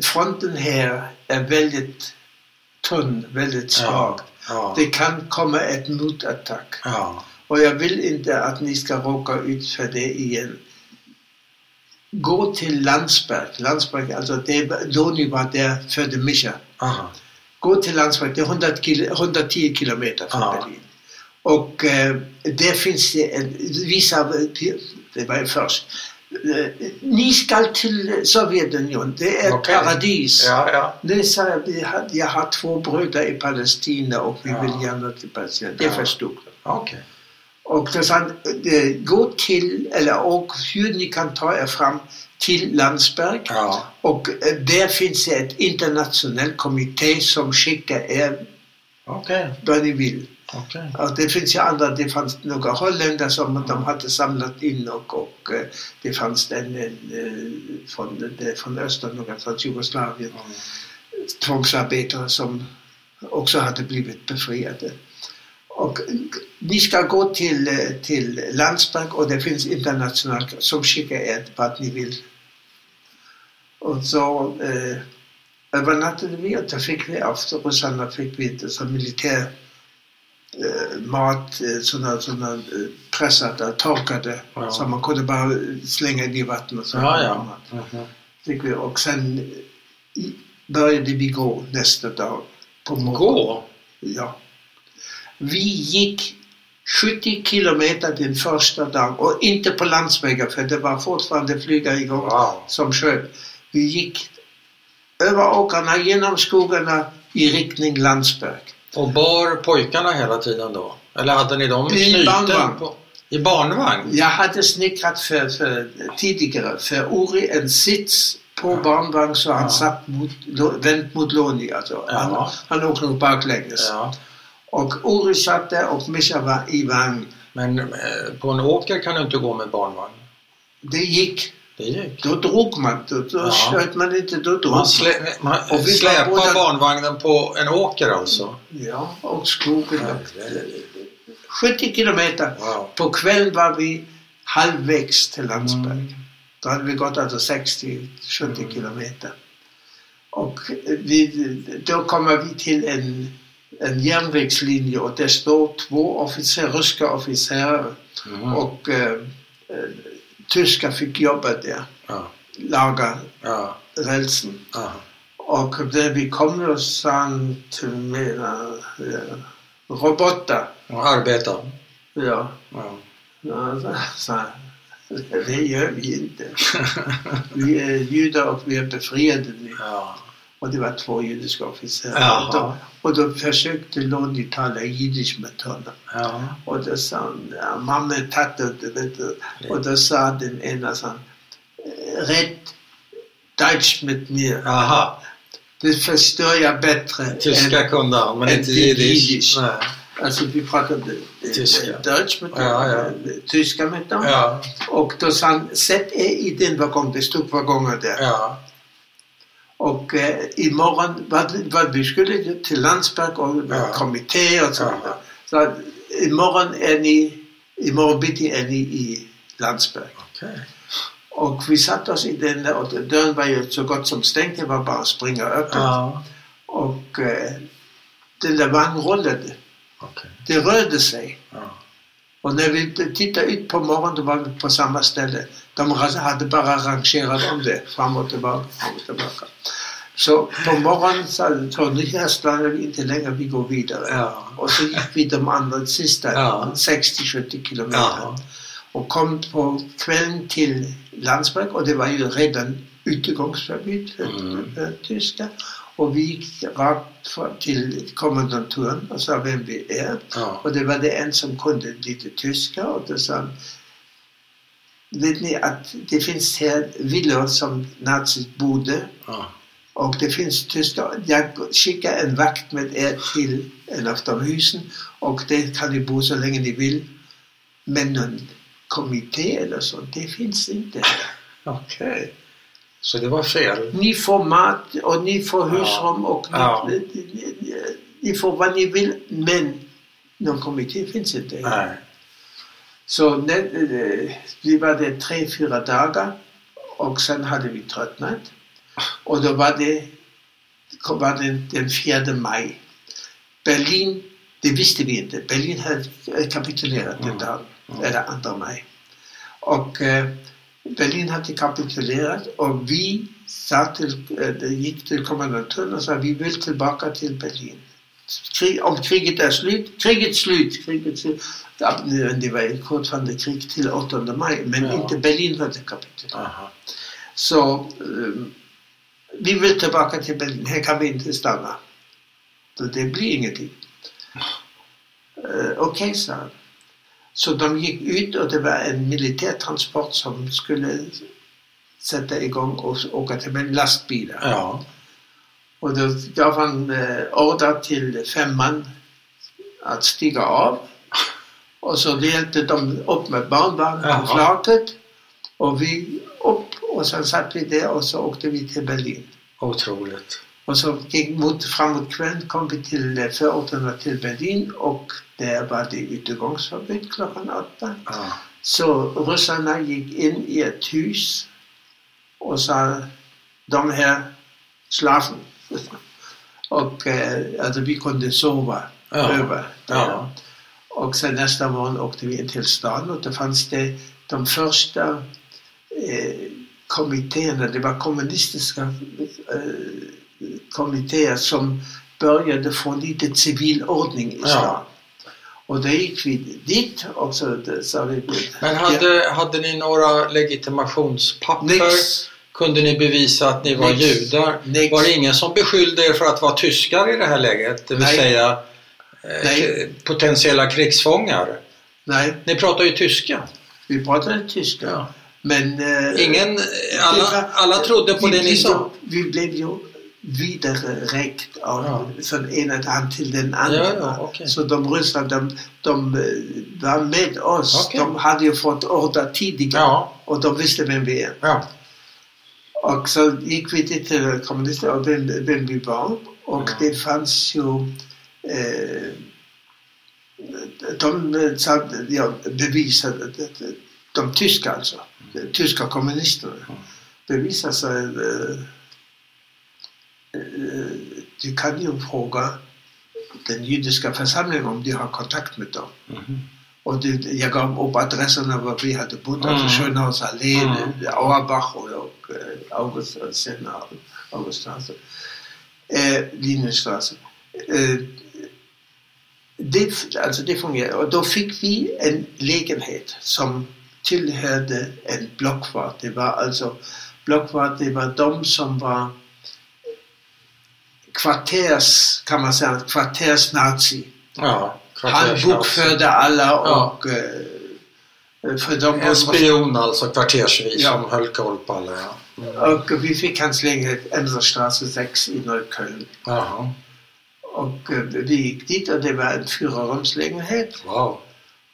S2: fronten här är väldigt tunn, väldigt svag.
S1: Ja.
S2: Det kan komma ett motattack.
S1: Ja.
S2: Och jag vill inte att ni ska råka ut för det igen. Gå till Landsberg. Landsberg, alltså det Loni var där födde Mischa.
S1: Aha.
S2: Gå till Landsberg, det är 100 kil 110 kilometer från
S1: Ja.
S2: Berlin. Och eh, där finns det en, vissa, det var ju först. Eh, ni ska till Sovjetunionen, det är ett
S1: Okej.
S2: paradis.
S1: Ja, ja.
S2: Nej, sa jag, vi har, jag har två bröder i Palestina och vi
S1: Ja.
S2: vill gärna till Palestina. Det
S1: Ja.
S2: förstod de.
S1: Okej.
S2: Och det sa eh, gå till, eller och hur ni kan ta er fram till Landsberg.
S1: Ja.
S2: Och eh, där finns det ett internationellt kommitté som skickar er
S1: Okej.
S2: vad ni vill.
S1: Okej.
S2: Och det finns ju andra, det fanns några holländare som de hade samlat in och, och eh, det fanns en, en eh, från, det- från östern, någonstans Jugoslavien, tvångsarbetare som också hade blivit befriade. Och ni ska gå till, eh, till Landsberg och det finns internationellt som skickar er vart ni vill. Och så eh, övernattade vi och då fick vi efter ryssarna fick vi inte så militär eh, mat, eh, sådana, sådana eh, pressade, torkade
S1: Ja.
S2: som man kunde bara slänga in i vattnet. så
S1: Ja,
S2: kom
S1: ja.
S2: man. Fick vi. Och sen eh, i- började vi gå nästa dag på morgonen.
S1: Gå?
S2: Ja. Vi gick 70 kilometer den första dagen och inte på landsvägar för det var fortfarande flygare igång
S1: Wow.
S2: som sköt. Vi gick över åkrarna, genom skogarna i riktning Landsberg.
S1: Och bar pojkarna hela tiden då? Eller hade ni dem
S2: I barnvagn.
S1: på? I barnvagn?
S2: Jag hade snickrat för, för tidigare för Uri en sits på barnvagn så han
S1: Ja.
S2: satt mot, lo- vänt mot Loni. Alltså. Han,
S1: Ja.
S2: han åkte nog baklänges.
S1: Ja.
S2: Och Uri satt där och Mischa var i vagn.
S1: Men eh, på en åker kan du inte gå med barnvagn.
S2: Det gick.
S1: Det gick.
S2: Då drog man, då, då
S1: Ja.
S2: sköt man inte, då drog
S1: Man,
S2: man.
S1: slä, man
S2: Och vi var
S1: släpar
S2: båda-
S1: barnvagnen på en åker alltså?
S2: Ja, och skogen.
S1: Ja.
S2: 70 kilometer.
S1: Wow.
S2: På kvällen var vi halvvägs till Landsberg.
S1: Mm.
S2: Då hade vi gått alltså 60-70 kilometer. Och vi, då kommer vi till en, en järnvägslinje och där står två officer, ryska officerer
S1: Mm.
S2: och eh, eh, tyskar fick jobba där,
S1: Ja.
S2: laga
S1: Ja.
S2: rälsen.
S1: Ja.
S2: Och när vi kom och sa han till mina eh, robotar.
S1: Och arbeta.
S2: Ja,
S1: Ja.
S2: ja, sa- sa han. Det gör vi inte. Vi är judar och vi är befriade nu.
S1: Ja.
S2: Och det var två judiska officerer.
S1: Jaha.
S2: Och då, och då försökte Lonnie tala jiddisch med honom.
S1: Ja.
S2: Och då sa han, ja, mamma, tatte, du vet du. Och då sa den ena, sa han, red Deutsch mit mir.
S1: Aha.
S2: Det förstår jag bättre. än-
S1: Tyska kunde han, men
S2: en
S1: inte jiddisch.
S2: jiddisch.
S1: Nej.
S2: Alltså vi pratade eh,
S1: Tyska.
S2: Deutsch med dem,
S1: Ja, ja.
S2: eh, tyska med dem.
S1: Ja.
S2: Och då sa han, sätt er i den vagong, det stod vagonger där.
S1: Ja.
S2: Och eh, imorgon, vad, vad vi skulle till Landsberg och
S1: Ja.
S2: kommitté och så
S1: Ja.
S2: vidare. Så att, imorgon är ni, imorgon bitti är ni i Landsberg.
S1: Okej.
S2: Och vi satt oss i den där och dörren var ju så gott som stängd, det var bara att springa öppet.
S1: Ja.
S2: Och eh, den där vagnen rullade.
S1: Okej.
S2: Det rörde sig.
S1: Ja.
S2: Och när vi tittade ut på morgonen då var vi på samma ställe. De hade bara rangerat om det, fram och tillbaka, fram och tillbaka. Så på morgonen sa de, nu här stannar vi inte längre, vi går vidare.
S1: Ja.
S2: Och så gick vi de andra sista
S1: Ja.
S2: 60-70 kilometer.
S1: Ja.
S2: Och kom på kvällen till Landsberg och det var ju redan utegångsförbud för
S1: Mm.
S2: för tyskar. Och vi gick rakt för- till kommandanturen och sa vem vi är.
S1: Ja.
S2: Och det var det en som kunde lite tyska och då sa han, Vet ni att det finns här villor som nazis bodde
S1: Ja.
S2: och det finns tyskar. Jag skickar en vakt med er till en av de husen och det kan ni bo så länge ni vill. Men någon kommitté eller så, det finns inte.
S1: Okej. Så det var fel?
S2: Ni får mat och ni får
S1: Ja.
S2: husrum och ni,
S1: Ja.
S2: ni, ni, ni får vad ni vill men någon kommitté finns inte.
S1: Nej.
S2: Så ne, eh, vi var där tre, fyra dagar och sen hade vi tröttnat. Och då var det, kom- var det den 4 maj. Berlin, det visste vi inte, Berlin hade eh, kapitulerat den dagen, eller 2 maj. Och eh, Berlin hade kapitulerat och vi sa till, eh, det gick till kommandantören och sa vi vill tillbaka till Berlin. Krig, om kriget är slut, kriget slut, kriget slut. Ja, Det var fortfarande krig till 8 maj, men
S1: Ja.
S2: inte Berlin hade kapitulerat.
S1: Aha.
S2: Så eh, vi vill tillbaka till Berlin, här kan vi inte stanna. Så det blir ingenting. Eh, Okej, sa han. Så de gick ut och det var en militärtransport som skulle sätta igång och åka till med lastbilar.
S1: Ja.
S2: Och då gav han eh, order till fem man att stiga av. Och så hjälpte de upp med barnvagn
S1: Jaha.
S2: på flaket. Och vi upp och sen satt vi där och så åkte vi till Berlin.
S1: Otroligt.
S2: Och så gick mot, framåt kvällen kom vi till eh, förorterna till Berlin och där var det utegångsförbud klockan åtta.
S1: Ja.
S2: Så ryssarna gick in i ett hus och sa de här schlafen. *laughs* Och eh, alltså vi kunde sova
S1: Ja.
S2: över. där.
S1: Ja.
S2: Och sen nästa morgon åkte vi in till stan och då fanns det de första eh, kommittéerna, det var kommunistiska eh, kommittéer som började få lite civil ordning i
S1: Ja.
S2: stan. Och då gick vi dit och så sa vi...
S1: Men hade, hade ni några legitimationspapper?
S2: Nix.
S1: Kunde ni bevisa att ni var
S2: Nix.
S1: judar?
S2: Nix.
S1: Var det ingen som beskyllde er för att vara tyskar i det här läget? Det vill
S2: Nej.
S1: säga eh,
S2: Nej.
S1: potentiella krigsfångar?
S2: Nej,
S1: Ni pratar ju tyska.
S2: vi pratade tyska.
S1: Ja.
S2: Men... eh,
S1: Ingen,
S2: det
S1: alla,
S2: var-
S1: alla trodde på
S2: vi
S1: det ni
S2: blev
S1: sa.
S2: ju- Vi blev ju vidareräckt av,
S1: Ja.
S2: från ena hand till den andra.
S1: Ja, ja, okej.
S2: Så de ryssarna, de, de eh, var med oss.
S1: Okej.
S2: De hade ju fått order tidigare
S1: Ja.
S2: och de visste vem vi är.
S1: Ja.
S2: Och så gick vi dit till kommunister och vem, vem vi var. Och
S1: Ja.
S2: det fanns ju... Eh, de eh, sa, ja, bevisade, eh, de tyska alltså, de tyska kommunisterna, bevisade sig... Eh, eh, du kan ju fråga den judiska församlingen om de har kontakt med dem.
S1: Mhm.
S2: Och det, jag gav upp adresserna var vi hade bott,
S1: Mm.
S2: alltså Schönhaus allé,
S1: Mm.
S2: Auerbach och, och eh, August, sen Auguststraße, eh, Linjenstraße. Eh, det, alltså det fungerade. Och då fick vi en lägenhet som tillhörde en blockvart. Det var alltså blockvart, det var de som var kvarters, kan man säga, kvartersnazi.
S1: ja.
S2: Han
S1: Kvartersnazi.
S2: bokförde alla
S1: Ja.
S2: och eh, för dem
S1: En spion alltså, kvartersvis,
S2: Ja.
S1: som höll koll på alla. Ja. Mm.
S2: och vi fick hans lägenhet Emserstraße 6 i Neukölln.
S1: Jaha.
S2: Och eh, vi gick dit och det var en fyrarumslägenhet
S1: Wow.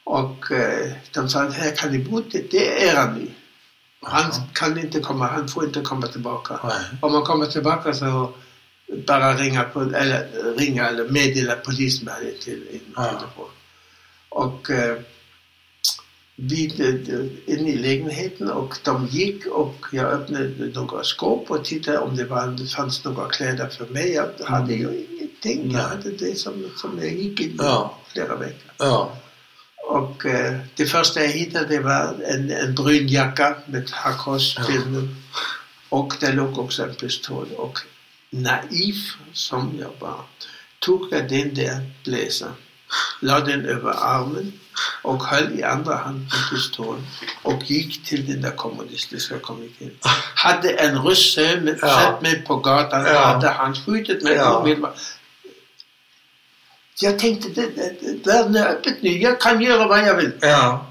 S2: och eh, de sa här kan ni bo, det, det är han nu. Han
S1: Jaha.
S2: kan inte komma, han får inte komma tillbaka.
S1: Nej.
S2: Om man kommer tillbaka så bara ringa, på, eller, ringa eller meddela polisen vad det är till. till-
S1: Ja.
S2: Och eh, vid, eh, in i lägenheten och de gick och jag öppnade några skåp och tittade om det, var, det fanns några kläder för mig. Jag hade ju ingenting.
S1: Mm. Nej.
S2: Jag hade det som, som jag gick in i
S1: Ja.
S2: flera veckor.
S1: Ja.
S2: Och eh, det första jag hittade det var en, en brun jacka med hakkors-filmen. Och där låg också en pistol. Och naiv som jag var tog jag den där blåsan, la den över armen och höll i andra handen pistolen och gick till den där
S1: *laughs*
S2: kommunistiska kommittén. Hade en rysse med,
S1: Ja.
S2: satt mig på gatan,
S1: Ja.
S2: hade han skjutit mig
S1: Ja.
S2: omedelbart. Jag tänkte, det, det, det, världen är öppet nu, jag kan göra vad jag vill.
S1: Ja.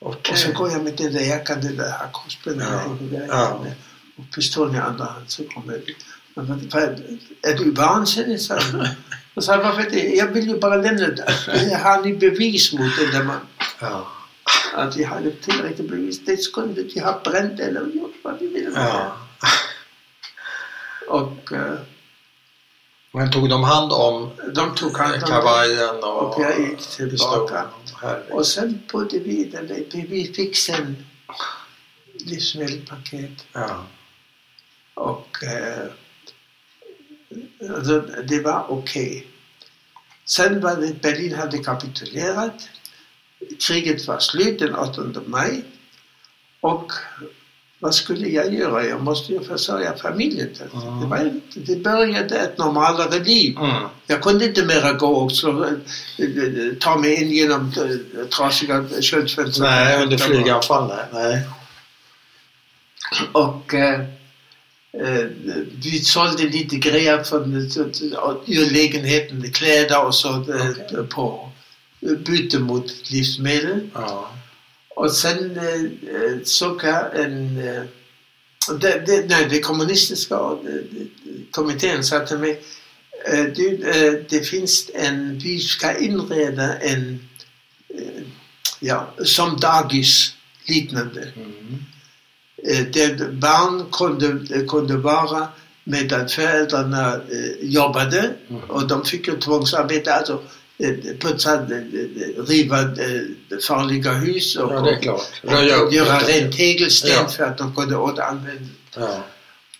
S1: Okej.
S2: Och så går jag med den där jackan, den där hackkorsbenen
S1: Mm. Ja.
S2: och,
S1: Ja.
S2: och pistolen i andra hand så kommer jag ut. Men vad- vad- Är du vansinnig? sa
S1: *laughs*
S2: han. Jag sa, varför det? Jag vill ju bara lämna det. Det Har ni bevis mot den där mannen?
S1: Ja.
S2: Att de hade tillräckligt bevis. Det kunde de ha bränt eller gjort vad de ville.
S1: ja.
S2: Och eh,
S1: Men tog de hand om
S2: de tog hand om det.
S1: kavajen och,
S2: Och jag gick tillbaka.
S1: pistolen? Herregud.
S2: Och sen bodde vi där. Vi- Vi fick sen livsmedelspaket.
S1: Ja.
S2: Och eh, alltså, det var okej. Sen var det, Berlin hade kapitulerat. Kriget var slut den 8 maj. Och vad skulle jag göra? Jag måste ju försörja familjen.
S1: Mm.
S2: Det, var, inte- det började ett normalare liv.
S1: Mm.
S2: Jag kunde inte mera gå och slå, eh, eh, ta mig in genom eh, trasiga köldfönster.
S1: Nej, under flyganfall. Nej. nej.
S2: Och eh, eh, vi sålde lite grejer från eh, ur lägenheten, kläder och sånt eh,
S1: Okej.
S2: på eh, byte mot livsmedel.
S1: Ja.
S2: Och sen eh, eh, såg jag en... Eh, det, det, nej, det kommunistiska eh, det- kommittén sa till mig eh, du, eh, det finns en... Vi ska inreda en... Eh, ja, som dagis liknande
S1: Mm.
S2: eh, där barn kunde, eh, kunde vara med att föräldrarna eh, jobbade
S1: Mm.
S2: och de fick ju tvångsarbete, alltså eh, putsa, eh, eh, riva eh, farliga hus och,
S1: ja, det är klart.
S2: och,
S1: Röja upp.
S2: göra rent tegelsten
S1: Ja.
S2: för att de kunde återanvända.
S1: Ja.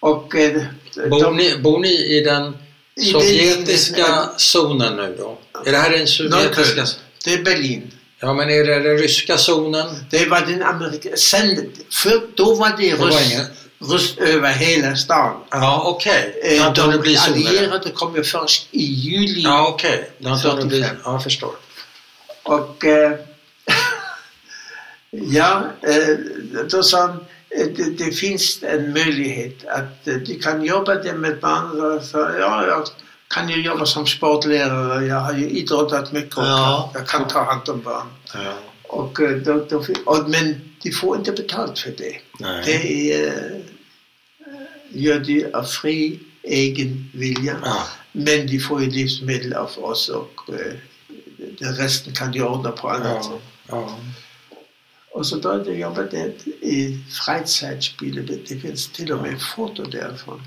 S2: Och eh,
S1: Bor, ni, bor ni i den
S2: i det-
S1: sovjetiska zonen nu då? Är det här den sovjetiska?
S2: Nordkorea. Det är Berlin.
S1: Ja, men är det den ryska zonen?
S2: Det var den amerikanska... Sen, för, då var det
S1: var
S2: ryss,
S1: inget.
S2: ryss över hela stan.
S1: Ja, okej.
S2: Eh,
S1: Det har inte hunnit
S2: de
S1: bli zoner.
S2: allierade kom ju först i juli
S1: Ja, okej. Det har inte hunnit bli...
S2: 45.
S1: Ja, jag förstår.
S2: Och eh, *laughs* ja, eh, då sa han, eh, det, det finns en möjlighet att eh, du kan jobba det med barn. Och jag sa, ja, jag kan ju jobba som sportlärare, jag har ju idrottat mycket och
S1: Ja.
S2: jag kan ta hand om barn.
S1: Ja.
S2: Och, eh, då, då, fick- och, men de får inte betalt för det.
S1: Nej.
S2: Det är, eh, gör de av fri egen vilja.
S1: Ja.
S2: Men de får ju livsmedel av oss och eh, den resten kan de ordna på annat
S1: Ja.
S2: sätt.
S1: Ja.
S2: Och så började jag jobba där i eh Freizeitspiele. Det- Det finns till och med foto därifrån.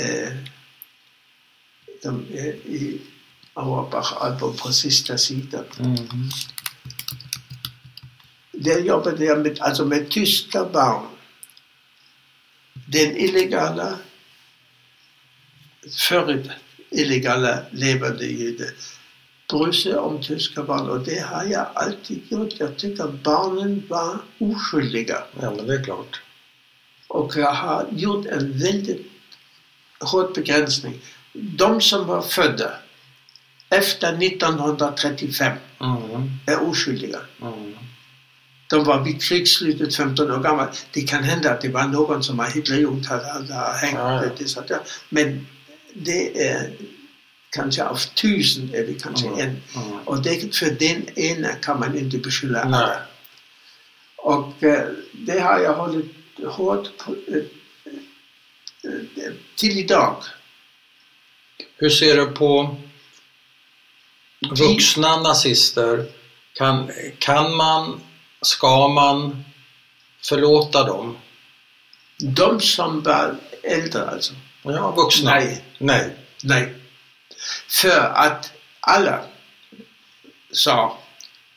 S2: Eh, de är i Auerbach-album på sista sidan.
S1: Mm.
S2: Där jobbade jag med, alltså med tyska barn. Den illegala, förut illegala levande jude brydde sig om tyska barn och det har jag alltid gjort. Jag tycker barnen var oskyldiga
S1: ja, men det är klart.
S2: och jag har gjort en väldigt hård begränsning. De som var födda efter 1935
S1: Mm.
S2: är oskyldiga.
S1: Mm.
S2: De var vid krigsslutet 15 år gamla. Det kan hända att det var någon som har Hitlerjugend hade, hade hängt.
S1: Ja, ja.
S2: Det, så att, ja. Men det är kanske av tusen eller kanske
S1: Mm.
S2: en.
S1: Mm.
S2: Och det, för den ena kan man inte beskylla
S1: Nej.
S2: alla. Och eh, det har jag hållit hårt på, eh, eh, till idag.
S1: Hur ser du på vuxna nazister? Kan, kan man, ska man förlåta dem?
S2: De som var äldre alltså.
S1: Ja, vuxna.
S2: Nej.
S1: Nej.
S2: Nej. För att alla sa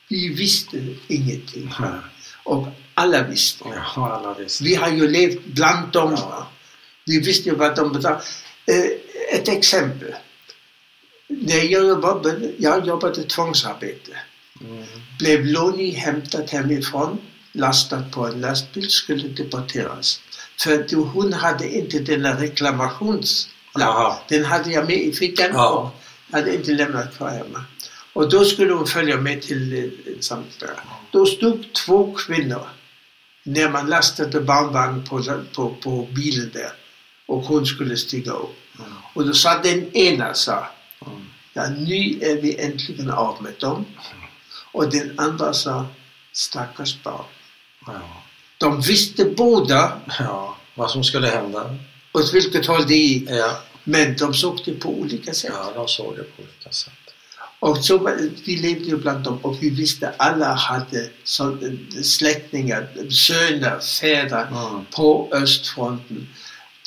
S2: Vi visste ingenting.
S1: Ja.
S2: Och alla visste.
S1: Jaha, alla visste.
S2: Vi har ju levt bland dem.
S1: Ja.
S2: va. Vi visste ju vad de betalade. Eh, Ett exempel. När jag jobbade, jag jobbade tvångsarbete.
S1: Mm.
S2: Blev Loni hämtad hemifrån, lastad på en lastbil, skulle deporteras. För att hon hade inte den där reklamationslappen.
S1: Aha.
S2: Den hade jag med i fickan
S1: Ja.
S2: och hade inte lämnat kvar hemma. Och då skulle hon följa med till eh, ett samtal. Då stod två kvinnor när man lastade barnvagn på, på, på bilen där och hon skulle stiga upp.
S1: Mm.
S2: Och då sa den ena sa,
S1: Mm.
S2: ja, nu är vi äntligen av med dem. Och den andra sa, stackars barn.
S1: Ja.
S2: De visste båda
S1: ja, vad som skulle hända.
S2: åt vilket håll det gick,
S1: Ja,
S2: men de såg det på olika sätt.
S1: ja de såg det på olika sätt.
S2: Och så, var- vi levde ju bland dem och vi visste alla hade så, släktingar, söner, fäder
S1: Mm.
S2: på östfronten.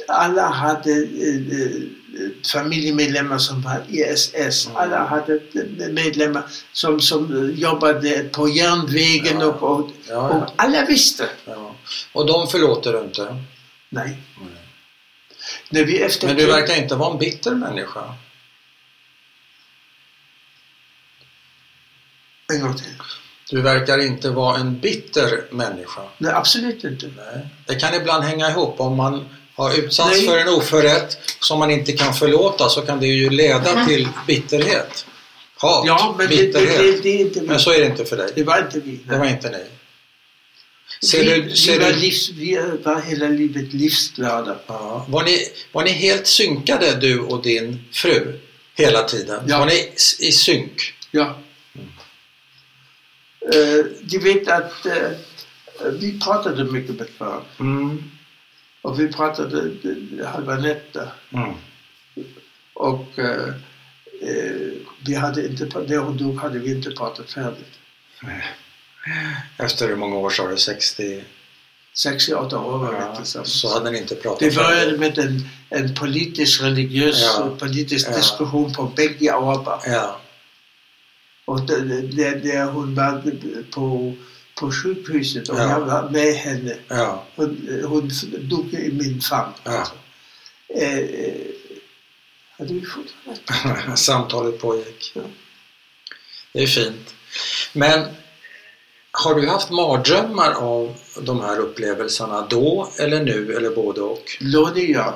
S2: Alla hade eh, eh, familjemedlemmar som var i SS.
S1: Mm.
S2: Alla hade eh, medlemmar som, som eh, jobbade på järnvägen
S1: Ja.
S2: och, och,
S1: Ja,
S2: och
S1: ja,
S2: alla visste.
S1: ja. Och de förlåter du inte.
S2: Nej.
S1: Mm.
S2: När vi efter
S1: Men du verkar inte vara en bitter människa.
S2: En gång till.
S1: Du verkar inte vara en bitter människa.
S2: Nej, absolut inte.
S1: Nej. Det kan ibland hänga ihop. Om man har utsatts
S2: Nej.
S1: för en oförrätt som man inte kan förlåta så kan det ju leda till bitterhet. Hat,
S2: Mm. Ja, men det, det,
S1: bitterhet.
S2: det, det är inte vi.
S1: Men så är det inte för dig.
S2: Det var inte vi.
S1: Det
S2: Nej.
S1: var inte ni. Ser
S2: vi,
S1: du,
S2: vi,
S1: ser
S2: var
S1: du,
S2: livs, vi var hela livet livsglada.
S1: ja, var, ni, var ni helt synkade du och din fru hela tiden?
S2: Ja.
S1: Var ni s- i synk?
S2: Ja. Eh, de vet att eh, vi pratade mycket med varandra.
S1: Mm.
S2: Och vi pratade eh, halva nätter.
S1: Mm.
S2: Och eh, eh, vi hade inte, pra- när hon dog hade vi inte pratat färdigt.
S1: Efter hur många år sa du? 60?
S2: 68 år var vi tillsammans.
S1: så hade ni inte pratat
S2: Det började
S1: färdigt.
S2: med en, en politisk, religiös,
S1: Ja.
S2: politisk
S1: Ja.
S2: diskussion på bägge Auerbach.
S1: Ja.
S2: Och det- det- det hon var på, på sjukhuset och
S1: Ja.
S2: jag var med henne.
S1: Ja.
S2: Hon, eh, hon dog i min famn.
S1: Ja.
S2: Eh, eh, hade vi fått
S1: *laughs*
S2: rätt?
S1: Samtalet pågick.
S2: Ja.
S1: Det är fint. Men har du haft mardrömmar av de här upplevelserna då eller nu eller både och?
S2: Lånade jag.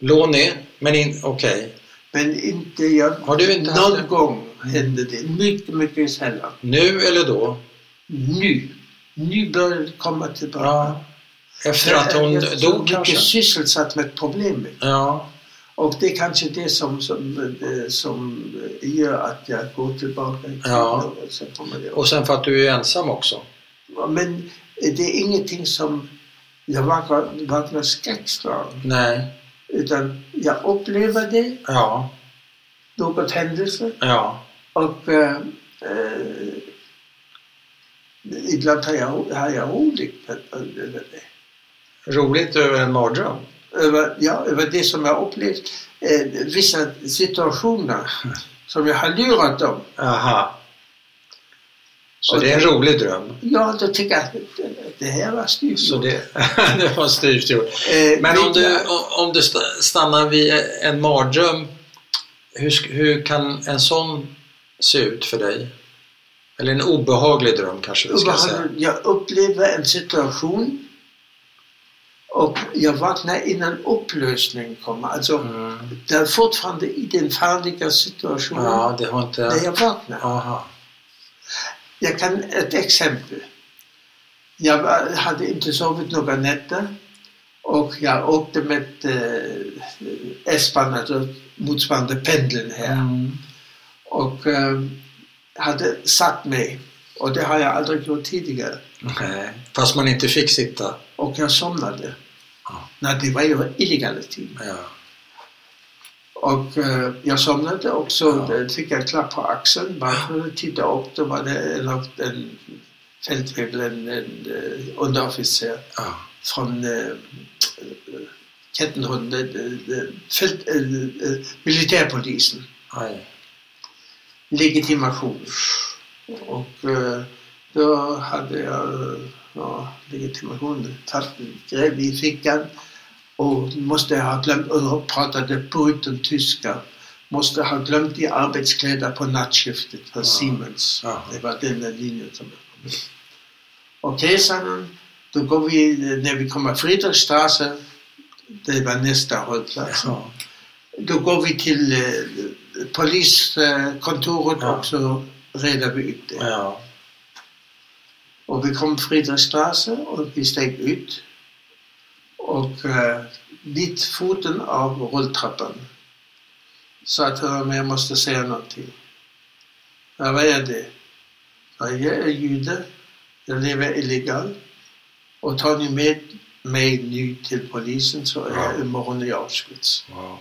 S1: Lån är, men in- okej.
S2: Men inte jag.
S1: Har du inte haft
S2: Någon
S1: det?
S2: gång hände det. Mycket, mycket sällan.
S1: Nu eller då?
S2: Nu. Nu börjar det komma tillbaka.
S1: Ja. Efter att hon
S2: Jag är så
S1: dog
S2: mycket
S1: kanske?
S2: sysselsatt med problemet.
S1: Ja.
S2: Och det är kanske det som, som, eh, som gör att jag går tillbaka. i
S1: Ja.
S2: tiden och så kommer det.
S1: Och sen för att du är ensam också?
S2: Men det är ingenting som jag vaknar, vaknar skräckslagen.
S1: Nej.
S2: Utan jag upplever det,
S1: Ja.
S2: något händelse
S1: Ja.
S2: och eh, eh, ibland har jag, har jag roligt ö- ö- över det.
S1: Roligt över en mardröm?
S2: Över, ja, över det som jag upplevt. Eh, vissa situationer som jag har lurat dem.
S1: Aha. Så
S2: Och
S1: det är en rolig dröm?
S2: Ja, då tycker jag att det här var styvt.
S1: Så det, *laughs* det var styvt gjort.
S2: Eh,
S1: Men om du,
S2: vilka-
S1: om du sta- stannar vid en mardröm, hur, sk- hur kan en sån se ut för dig? Eller en obehaglig dröm kanske vi ska säga.
S2: Obehagligt. Jag upplever en situation och jag vaknar innan upplösningen kommer. Alltså,
S1: Mm.
S2: det är fortfarande i den farliga situationen
S1: Ja, det har
S2: när
S1: inte...
S2: jag vaknar.
S1: Aha.
S2: Jag kan ett exempel. Jag var, hade inte sovit några nätter och jag åkte med eh, S-banan, alltså motsvarande pendeln här.
S1: Mm.
S2: Och eh, hade satt mig. Och det har jag aldrig gjort tidigare.
S1: Nej. Fast man inte fick sitta.
S2: Och jag somnade.
S1: Ja.
S2: Nej, det var ju illegala timmar.
S1: Ja.
S2: Och eh, jag somnade och så
S1: Ja.
S2: eh, fick jag en klapp på axeln. Bara tittade upp, då var det en, en fältvägel, en, en eh, underofficer
S1: Ja.
S2: från eh, eh, Kettenhund, eh, eh, fält, eh, eh, militärpolisen.
S1: Aj.
S2: Legitimation. Och Och eh, då hade jag ja, legitimationen satt grev i fickan och måste ha glömt, och jag pratade bruten tyska. Måste ha glömt i arbetskläder på nattskiftet för
S1: Ja.
S2: Siemens.
S1: Ja.
S2: Det var den där linjen som jag kom med. Okej, sa han. Då går vi, när vi kommer Friedrichstraße, det var nästa hållplats.
S1: Ja.
S2: Då går vi till eh, poliskontoret
S1: Ja.
S2: och så reder vi ut det.
S1: Ja.
S2: Och vi kom Friedrichstraße och vi steg ut. Och eh, vid foten av rulltrappan sa jag till honom, jag måste säga någonting. Ja, vad är det? Ja, jag är jude, jag lever illegalt. Och tar ni med mig nu till polisen så är jag imorgon i Auschwitz.
S1: Wow.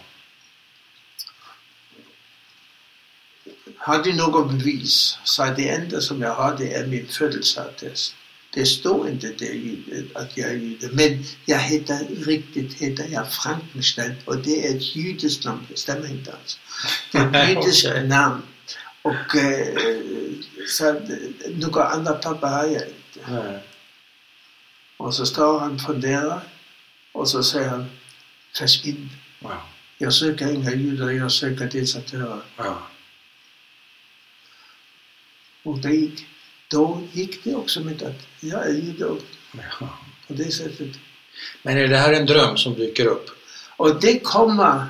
S2: Har du något bevis? Så det enda som jag har det är min födelseattest. Det står inte det jude- att jag är jude, men jag heter, riktigt heter jag Frankenstein och det är ett judiskt namn, det stämmer inte alls. Det är ett judiskt
S1: Okej.
S2: namn. Och eh, så att, eh, några andra papper har jag inte.
S1: Nej.
S2: Och så står han och funderar och så säger han Försvinn!
S1: Wow.
S2: Jag söker inga judar, jag söker desertörer.
S1: Ja.
S2: Och det gick, då gick det också med att jag är jude och
S1: Ja.
S2: på det sättet.
S1: Men är det här en dröm som dyker upp?
S2: Och det kommer,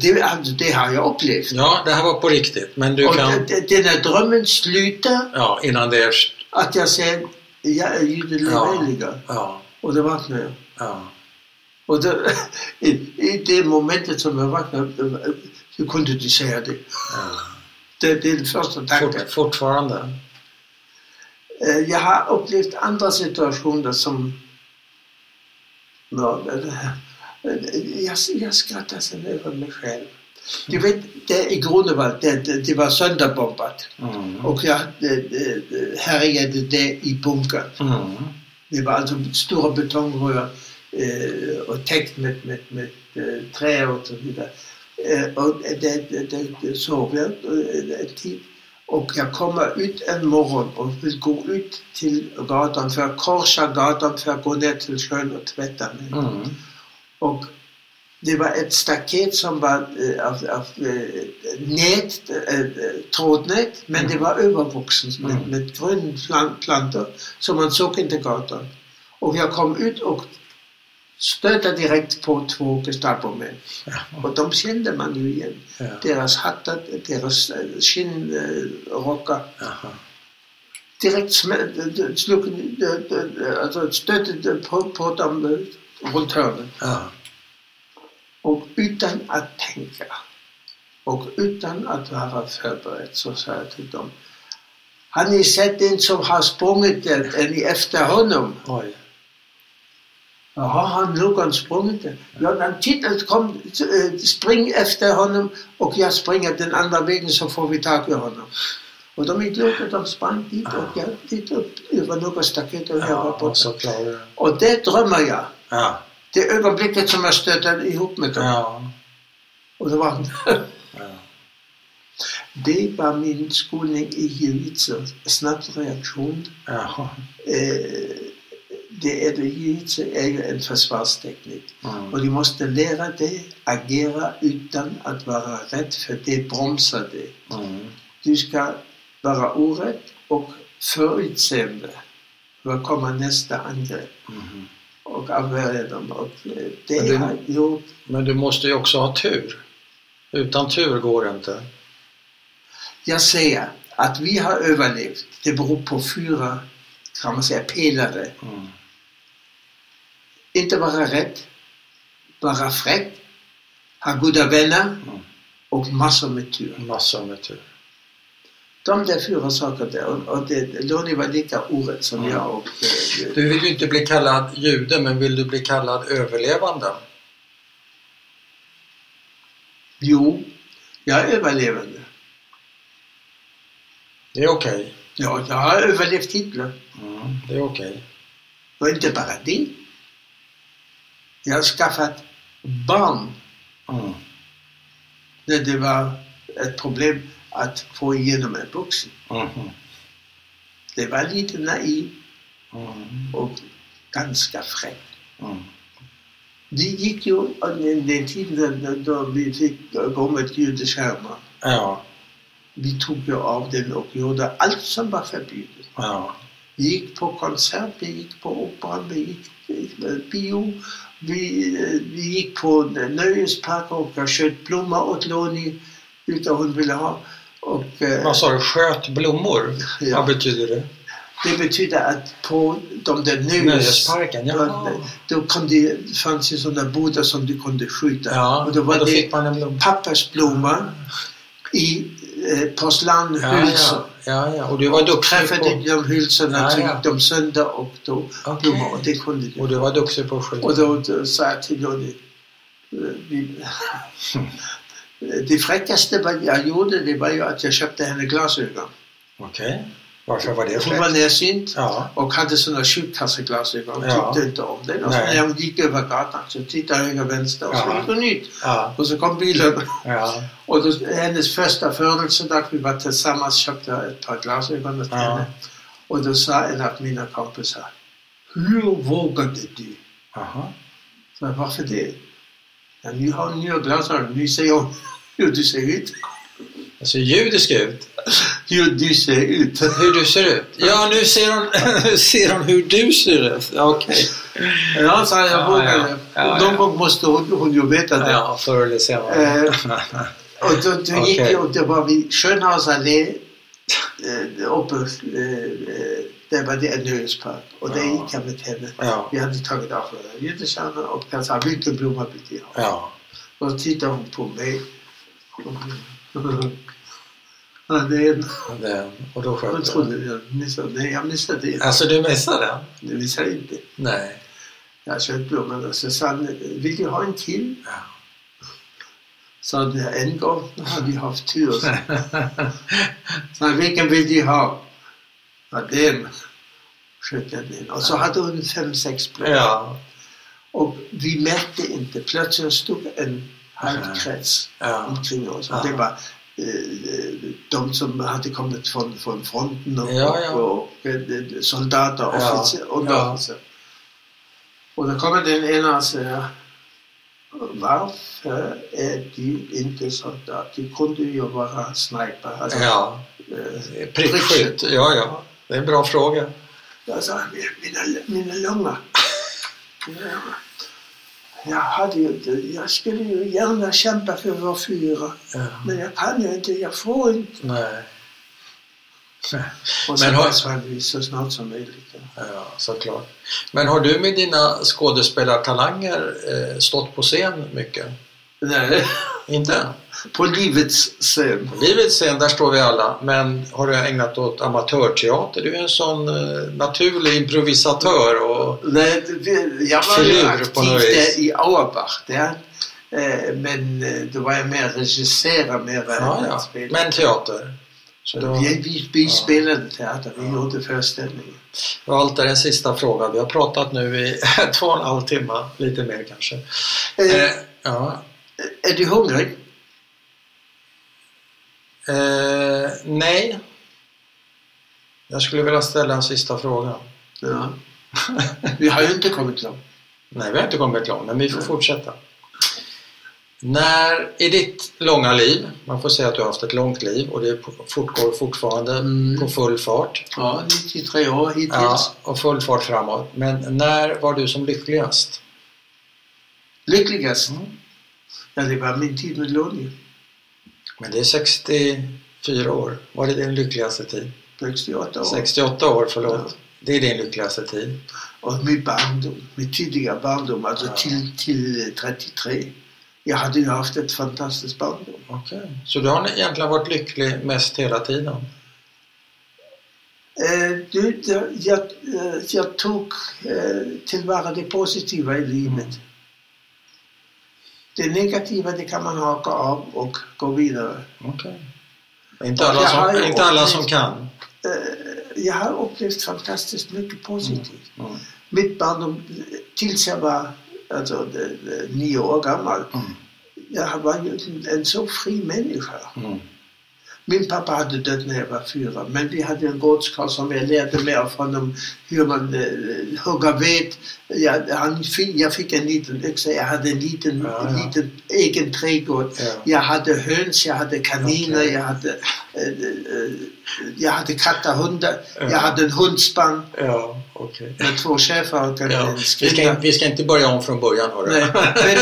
S2: det, alltså, det har jag upplevt.
S1: Ja, det här var på riktigt. Men du
S2: och
S1: kan...
S2: det, det, den här drömmen slutar
S1: Ja, innan det är...
S2: att jag säger jag är jude
S1: Ja.
S2: liveliga.
S1: Ja.
S2: Och det vaknar jag.
S1: Ja.
S2: Och då, *laughs* i, i det momentet som jag vaknade, då- då kunde du säga det.
S1: ja.
S2: Det, det är den första tanken.
S1: Fort, fortfarande.
S2: Eh, Jag har upplevt andra situationer som... Ja, det- det- Eh, jag, jag skrattar sen över mig själv. Du vet, det i Grunewald, det, det, det var sönderbombat.
S1: Mm.
S2: Och jag det, det, det härjade det i bunkern.
S1: Mm.
S2: Det var alltså stora betongrör eh, och täckt med, med, med eh, trä och så vidare. Eh, och det, det, det, det sov jag eh, en tid. Och jag kommer ut en morgon och vill gå ut till gatan för att korsa gatan för att gå ner till sjön och tvätta mig.
S1: Mm.
S2: Och det var ett staket som var eh, av, av eh, nät, eh, eh, trådnät, men det var övervuxet med,
S1: Mm.
S2: med gröna plan- plantor som man såg inte gatan. Och jag kom ut och stötte direkt på två Gestapomän.
S1: Ja.
S2: Och de kände man ju igen.
S1: Ja.
S2: Deras hattar, deras eh, skinnrockar.
S1: Jaha.
S2: Direkt smä- slog, eh, eh, alltså stötte på, på dem eh, runt hörnet.
S1: Ja.
S2: Och utan att tänka och utan att vara förberedd så sa jag till dem. Har ni sett den som har sprungit där? Är ni efter honom?
S1: Oj.
S2: Jaha, har någon sprungit där? Ja, den titeln kom, eh, spring efter honom och jag springer den andra vägen så får vi tag i honom. Och de gick upp och de sprang dit och jag tittade upp över några staket och jag var
S1: Ah. Ja, alltså. och
S2: borta.
S1: så klarar du
S2: Och det drömmer jag.
S1: Ja.
S2: Det ögonblicket som jag stötte ihop med dem.
S1: Ja.
S2: Och det var
S1: Ja.
S2: *laughs* Det var min skolning i jiu-jitsu. Snabbreaktion.
S1: Jaha.
S2: Eh, det är det, jiu-jitsu är ju en försvarsteknik.
S1: Mm.
S2: Och du måste lära dig agera utan att vara rädd för det bromsar dig.
S1: Mm.
S2: Du ska vara orädd och förutseende. Vad kommer nästa angrepp?
S1: Mhm.
S2: Och avvärja dem. Och eh, det
S1: Men det-
S2: har gjort
S1: Men du måste ju också ha tur. Utan tur går det inte.
S2: Jag säger att vi har överlevt. Det beror på fyra, kan man säga, pelare.
S1: Mm.
S2: Inte vara rädd, vara fräck, ha goda vänner
S1: Mm.
S2: och massor med tur.
S1: Massor med tur.
S2: De där fyra sakerna, där, och, och det, Lonnie var lika orätt som jag. Och, eh,
S1: Du vill ju inte bli kallad jude, men vill du bli kallad överlevande?
S2: jo, jag är överlevande.
S1: Det är okej.
S2: Ja, jag har överlevt Hitler.
S1: Mm. Det är okej.
S2: Och inte bara det. Jag har skaffat barn
S1: Mm.
S2: när
S1: Mm.
S2: det var ett problem att få igenom en vuxen.
S1: Mhm.
S2: Det var lite naiv
S1: Mm.
S2: och ganska fräck.
S1: Mm.
S2: Det gick ju under den tiden då- då vi fick gå med judeskärmar.
S1: Ja,
S2: Vi tog ju av den och gjorde allt som var förbjudet.
S1: ja.
S2: Vi gick på konsert, vi gick på operan, vi gick eh, bio, vi, eh, vi gick på nöjesparker och jag sköt blommor åt Loni utan hon ville ha. Och, eh,
S1: Vad sa du? Sköt blommor? Vad
S2: ja,
S1: betyder det?
S2: det betyder att på de där nöjes...
S1: Nöjesparken?
S2: Ja,
S1: Ja.
S2: Då kom det, fanns det sådana bodar som du kunde skjuta.
S1: ja.
S2: och då var
S1: och då
S2: det
S1: fick man en blomma.
S2: pappersblomma i eh,
S1: Ja,
S2: porslanhylsor.
S1: ja. ja, ja. Och du var duktig
S2: Träffade
S1: på,
S2: de hylsorna
S1: Ja,
S2: så
S1: ja.
S2: gick de sönder och då blommor och
S1: Okej.
S2: det kunde du.
S1: och du var duktig på att skjuta.
S2: Och då, då sa jag till Johnny, eh, vi, *laughs* det fräckaste vad jag gjorde det var ju att jag köpte henne glasögon.
S1: Okej. Varför var det
S2: Hon
S1: fräckt?
S2: var närsynt
S1: Ja.
S2: och hade sådana sjukkasteglasögon. Hon
S1: Ja.
S2: tyckte inte om den. Och så
S1: Nej.
S2: när hon gick över gatan så tittade jag höger och vänster och så
S1: Ja.
S2: gick hon ut.
S1: Ja.
S2: Och så kom bilen.
S1: Ja.
S2: Och då, hennes första födelsedag, vi var tillsammans, köpte jag ett par glasögon åt
S1: Ja.
S2: henne. Och då sa en av mina kompisar, hur vågade du?
S1: Jaha.
S2: Så jag, varför det? Ja, nu har hon nya glasögon, nu ser *laughs* jag hur du ser ut.
S1: Det Alltså, ser judisk ut.
S2: Hur du ser ut.
S1: Hur du ser ut. Ja, nu ser hon, *laughs* nu ser hon hur du ser ut. Ja, Okej.
S2: Ja, sa jag, jag
S1: Ja,
S2: vågade.
S1: ja. Ja,
S2: Någon
S1: ja.
S2: gång måste hon, hon ju veta det.
S1: Ja, förr eller
S2: *laughs*
S1: senare.
S2: Eh, och då, då gick
S1: Okej.
S2: jag, och det var vid Schönhaus allé, eh, uppe, eh, eh, där var det en nöjespark. Och där
S1: Ja.
S2: gick jag med henne.
S1: Ja.
S2: Vi hade tagit av våra judestjärnor och jag sa vilken blomma vill du ha?
S1: Ja.
S2: Och då tittade hon på mig. *laughs* Ja, det är en-
S1: Det, och då
S2: Hon
S1: sköt du.
S2: trodde jag missade. Nej, jag missade det.
S1: Alltså, du missade den?
S2: Det missade jag inte.
S1: Nej.
S2: Jag köpte blomman och så sa han, vill du ha en till?
S1: Ja.
S2: Sa han, en gång *laughs* då har vi haft tur. Sa han, vilken vill du ha? Ja, den. Sköt jag den. Och så hade hon fem, sex
S1: *laughs*
S2: blommor.
S1: Ja.
S2: Och vi märkte inte. Plötsligt stod en halvkrets
S1: Ja. Ah.
S2: omkring oss.
S1: Ja.
S2: Och det var eh, de som hade kommit från, från fronten och,
S1: Ja, ja.
S2: och, och eh, soldater,
S1: Ja.
S2: officer, underofficer. Och då kommer den ena och säger varför är du inte soldat? Du kunde ju vara sniper. Also, Alltså,
S1: Ja.
S2: eh,
S1: Prickskytt. Ja, ja. Det är en bra fråga.
S2: jag sa, mina, mina *laughs* lungor. Mina lungor. Jag, hade ju, inte- jag skulle ju gärna kämpa för vår fyra,
S1: Ja.
S2: men jag kan ju inte, jag får inte.
S1: Nej.
S2: Och sen
S1: Men har-
S2: försvann vi så snart som möjligt.
S1: Ja, såklart. Men har du med dina skådespelartalanger eh, stått på scen mycket?
S2: Nej, *laughs*
S1: Inte?
S2: på livets scen.
S1: Livets scen, där står vi alla. Men har du ägnat åt amatörteater? Du är en sån eh, naturlig improvisatör. Och,
S2: Nej, det- det- jag var ju
S1: Filur på
S2: aktiv
S1: något vis.
S2: där i Auerbach. Där. Eh, Men eh, då var jag med och regisserade mer än
S1: ja,
S2: att
S1: ja.
S2: spela.
S1: Men teater? Så då,
S2: Vi, vi, vi
S1: Ja.
S2: spelade teater, vi
S1: Ja.
S2: gjorde föreställningar.
S1: och allt är en sista fråga. Vi har pratat nu i *laughs* två och en halv timme, lite mer kanske.
S2: Eh,
S1: Eh, ja.
S2: Är du hungrig?
S1: eh, nej. Jag skulle vilja ställa en sista fråga.
S2: Ja. *laughs* Vi har ju inte kommit långt.
S1: Nej, vi har inte kommit långt, men vi får fortsätta. När, i ditt långa liv, man får säga att du har haft ett långt liv och det fortgår fortfarande
S2: Mm.
S1: på full fart.
S2: Ja, 93 år hittills.
S1: Ja, och full fart framåt. Men när var du som lyckligast?
S2: Lyckligast?
S1: Mm.
S2: Ja, det var min tid med Lonnie.
S1: Men det är 64 år. Var det din lyckligaste tid?
S2: 68 år.
S1: 68 år, förlåt. Det är din lyckligaste tid.
S2: Och min barndom, min tidiga barndom, alltså
S1: Ja.
S2: till, till eh, 33. Jag hade ju haft ett fantastiskt barndom.
S1: Okej. Så du har egentligen varit lycklig mest hela tiden?
S2: Eh, du, jag, jag, eh, jag tog eh, tillvara det positiva i livet.
S1: Mm.
S2: Det negativa det kan man haka av och gå vidare.
S1: Okej. Inte,
S2: Ja,
S1: alla
S2: jag har
S1: som,
S2: ju
S1: inte alla
S2: upplevt-
S1: som kan.
S2: Eh, jag har upplevt fantastiskt mycket positivt.
S1: Mm.
S2: Mitt barndom, tills jag var alltså, eh, eh, nio år gammal,
S1: Mm.
S2: jag var ju en, en så fri människa.
S1: Mm.
S2: Min pappa hade dött när jag var fyra, men vi hade en gårdskarl som jag lärde mig av honom hur man eh, hugger ved. Jag, han, fi- jag fick en liten yxa, jag hade en liten,
S1: Ja, ja.
S2: liten egen trädgård.
S1: Ja.
S2: Jag hade höns, jag hade kaniner,
S1: Okej.
S2: jag, hade, eh, eh, jag hade katter, hundar.
S1: Ja.
S2: Jag hade en hundspann
S1: Ja, okej.
S2: med två schäfrar och en
S1: Ja,
S2: en
S1: vi,
S2: skinka.
S1: ska, vi ska inte börja om från början. Hörru.
S2: Nej, men,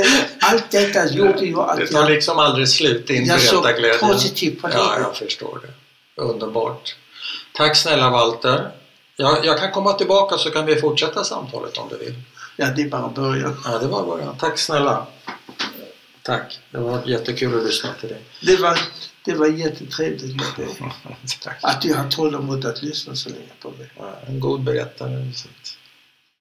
S2: eh, allt detta gjorde ju
S1: Det
S2: att
S1: tar
S2: jag,
S1: liksom aldrig slut, din
S2: jag såg
S1: berättarglädje.
S2: positivt på
S1: Ja,
S2: livet.
S1: jag förstår det. Underbart. Tack snälla Walter. Jag, jag kan komma tillbaka så kan vi fortsätta samtalet om du vill.
S2: Ja, det är bara början.
S1: Ja, det var början. Tack snälla. Tack. Det var jättekul att lyssna till dig.
S2: Det var, det var jättetrevligt med dig.
S1: *laughs* Tack.
S2: Att du har tålamod att lyssna så länge på mig.
S1: Ja, En god berättare. så att-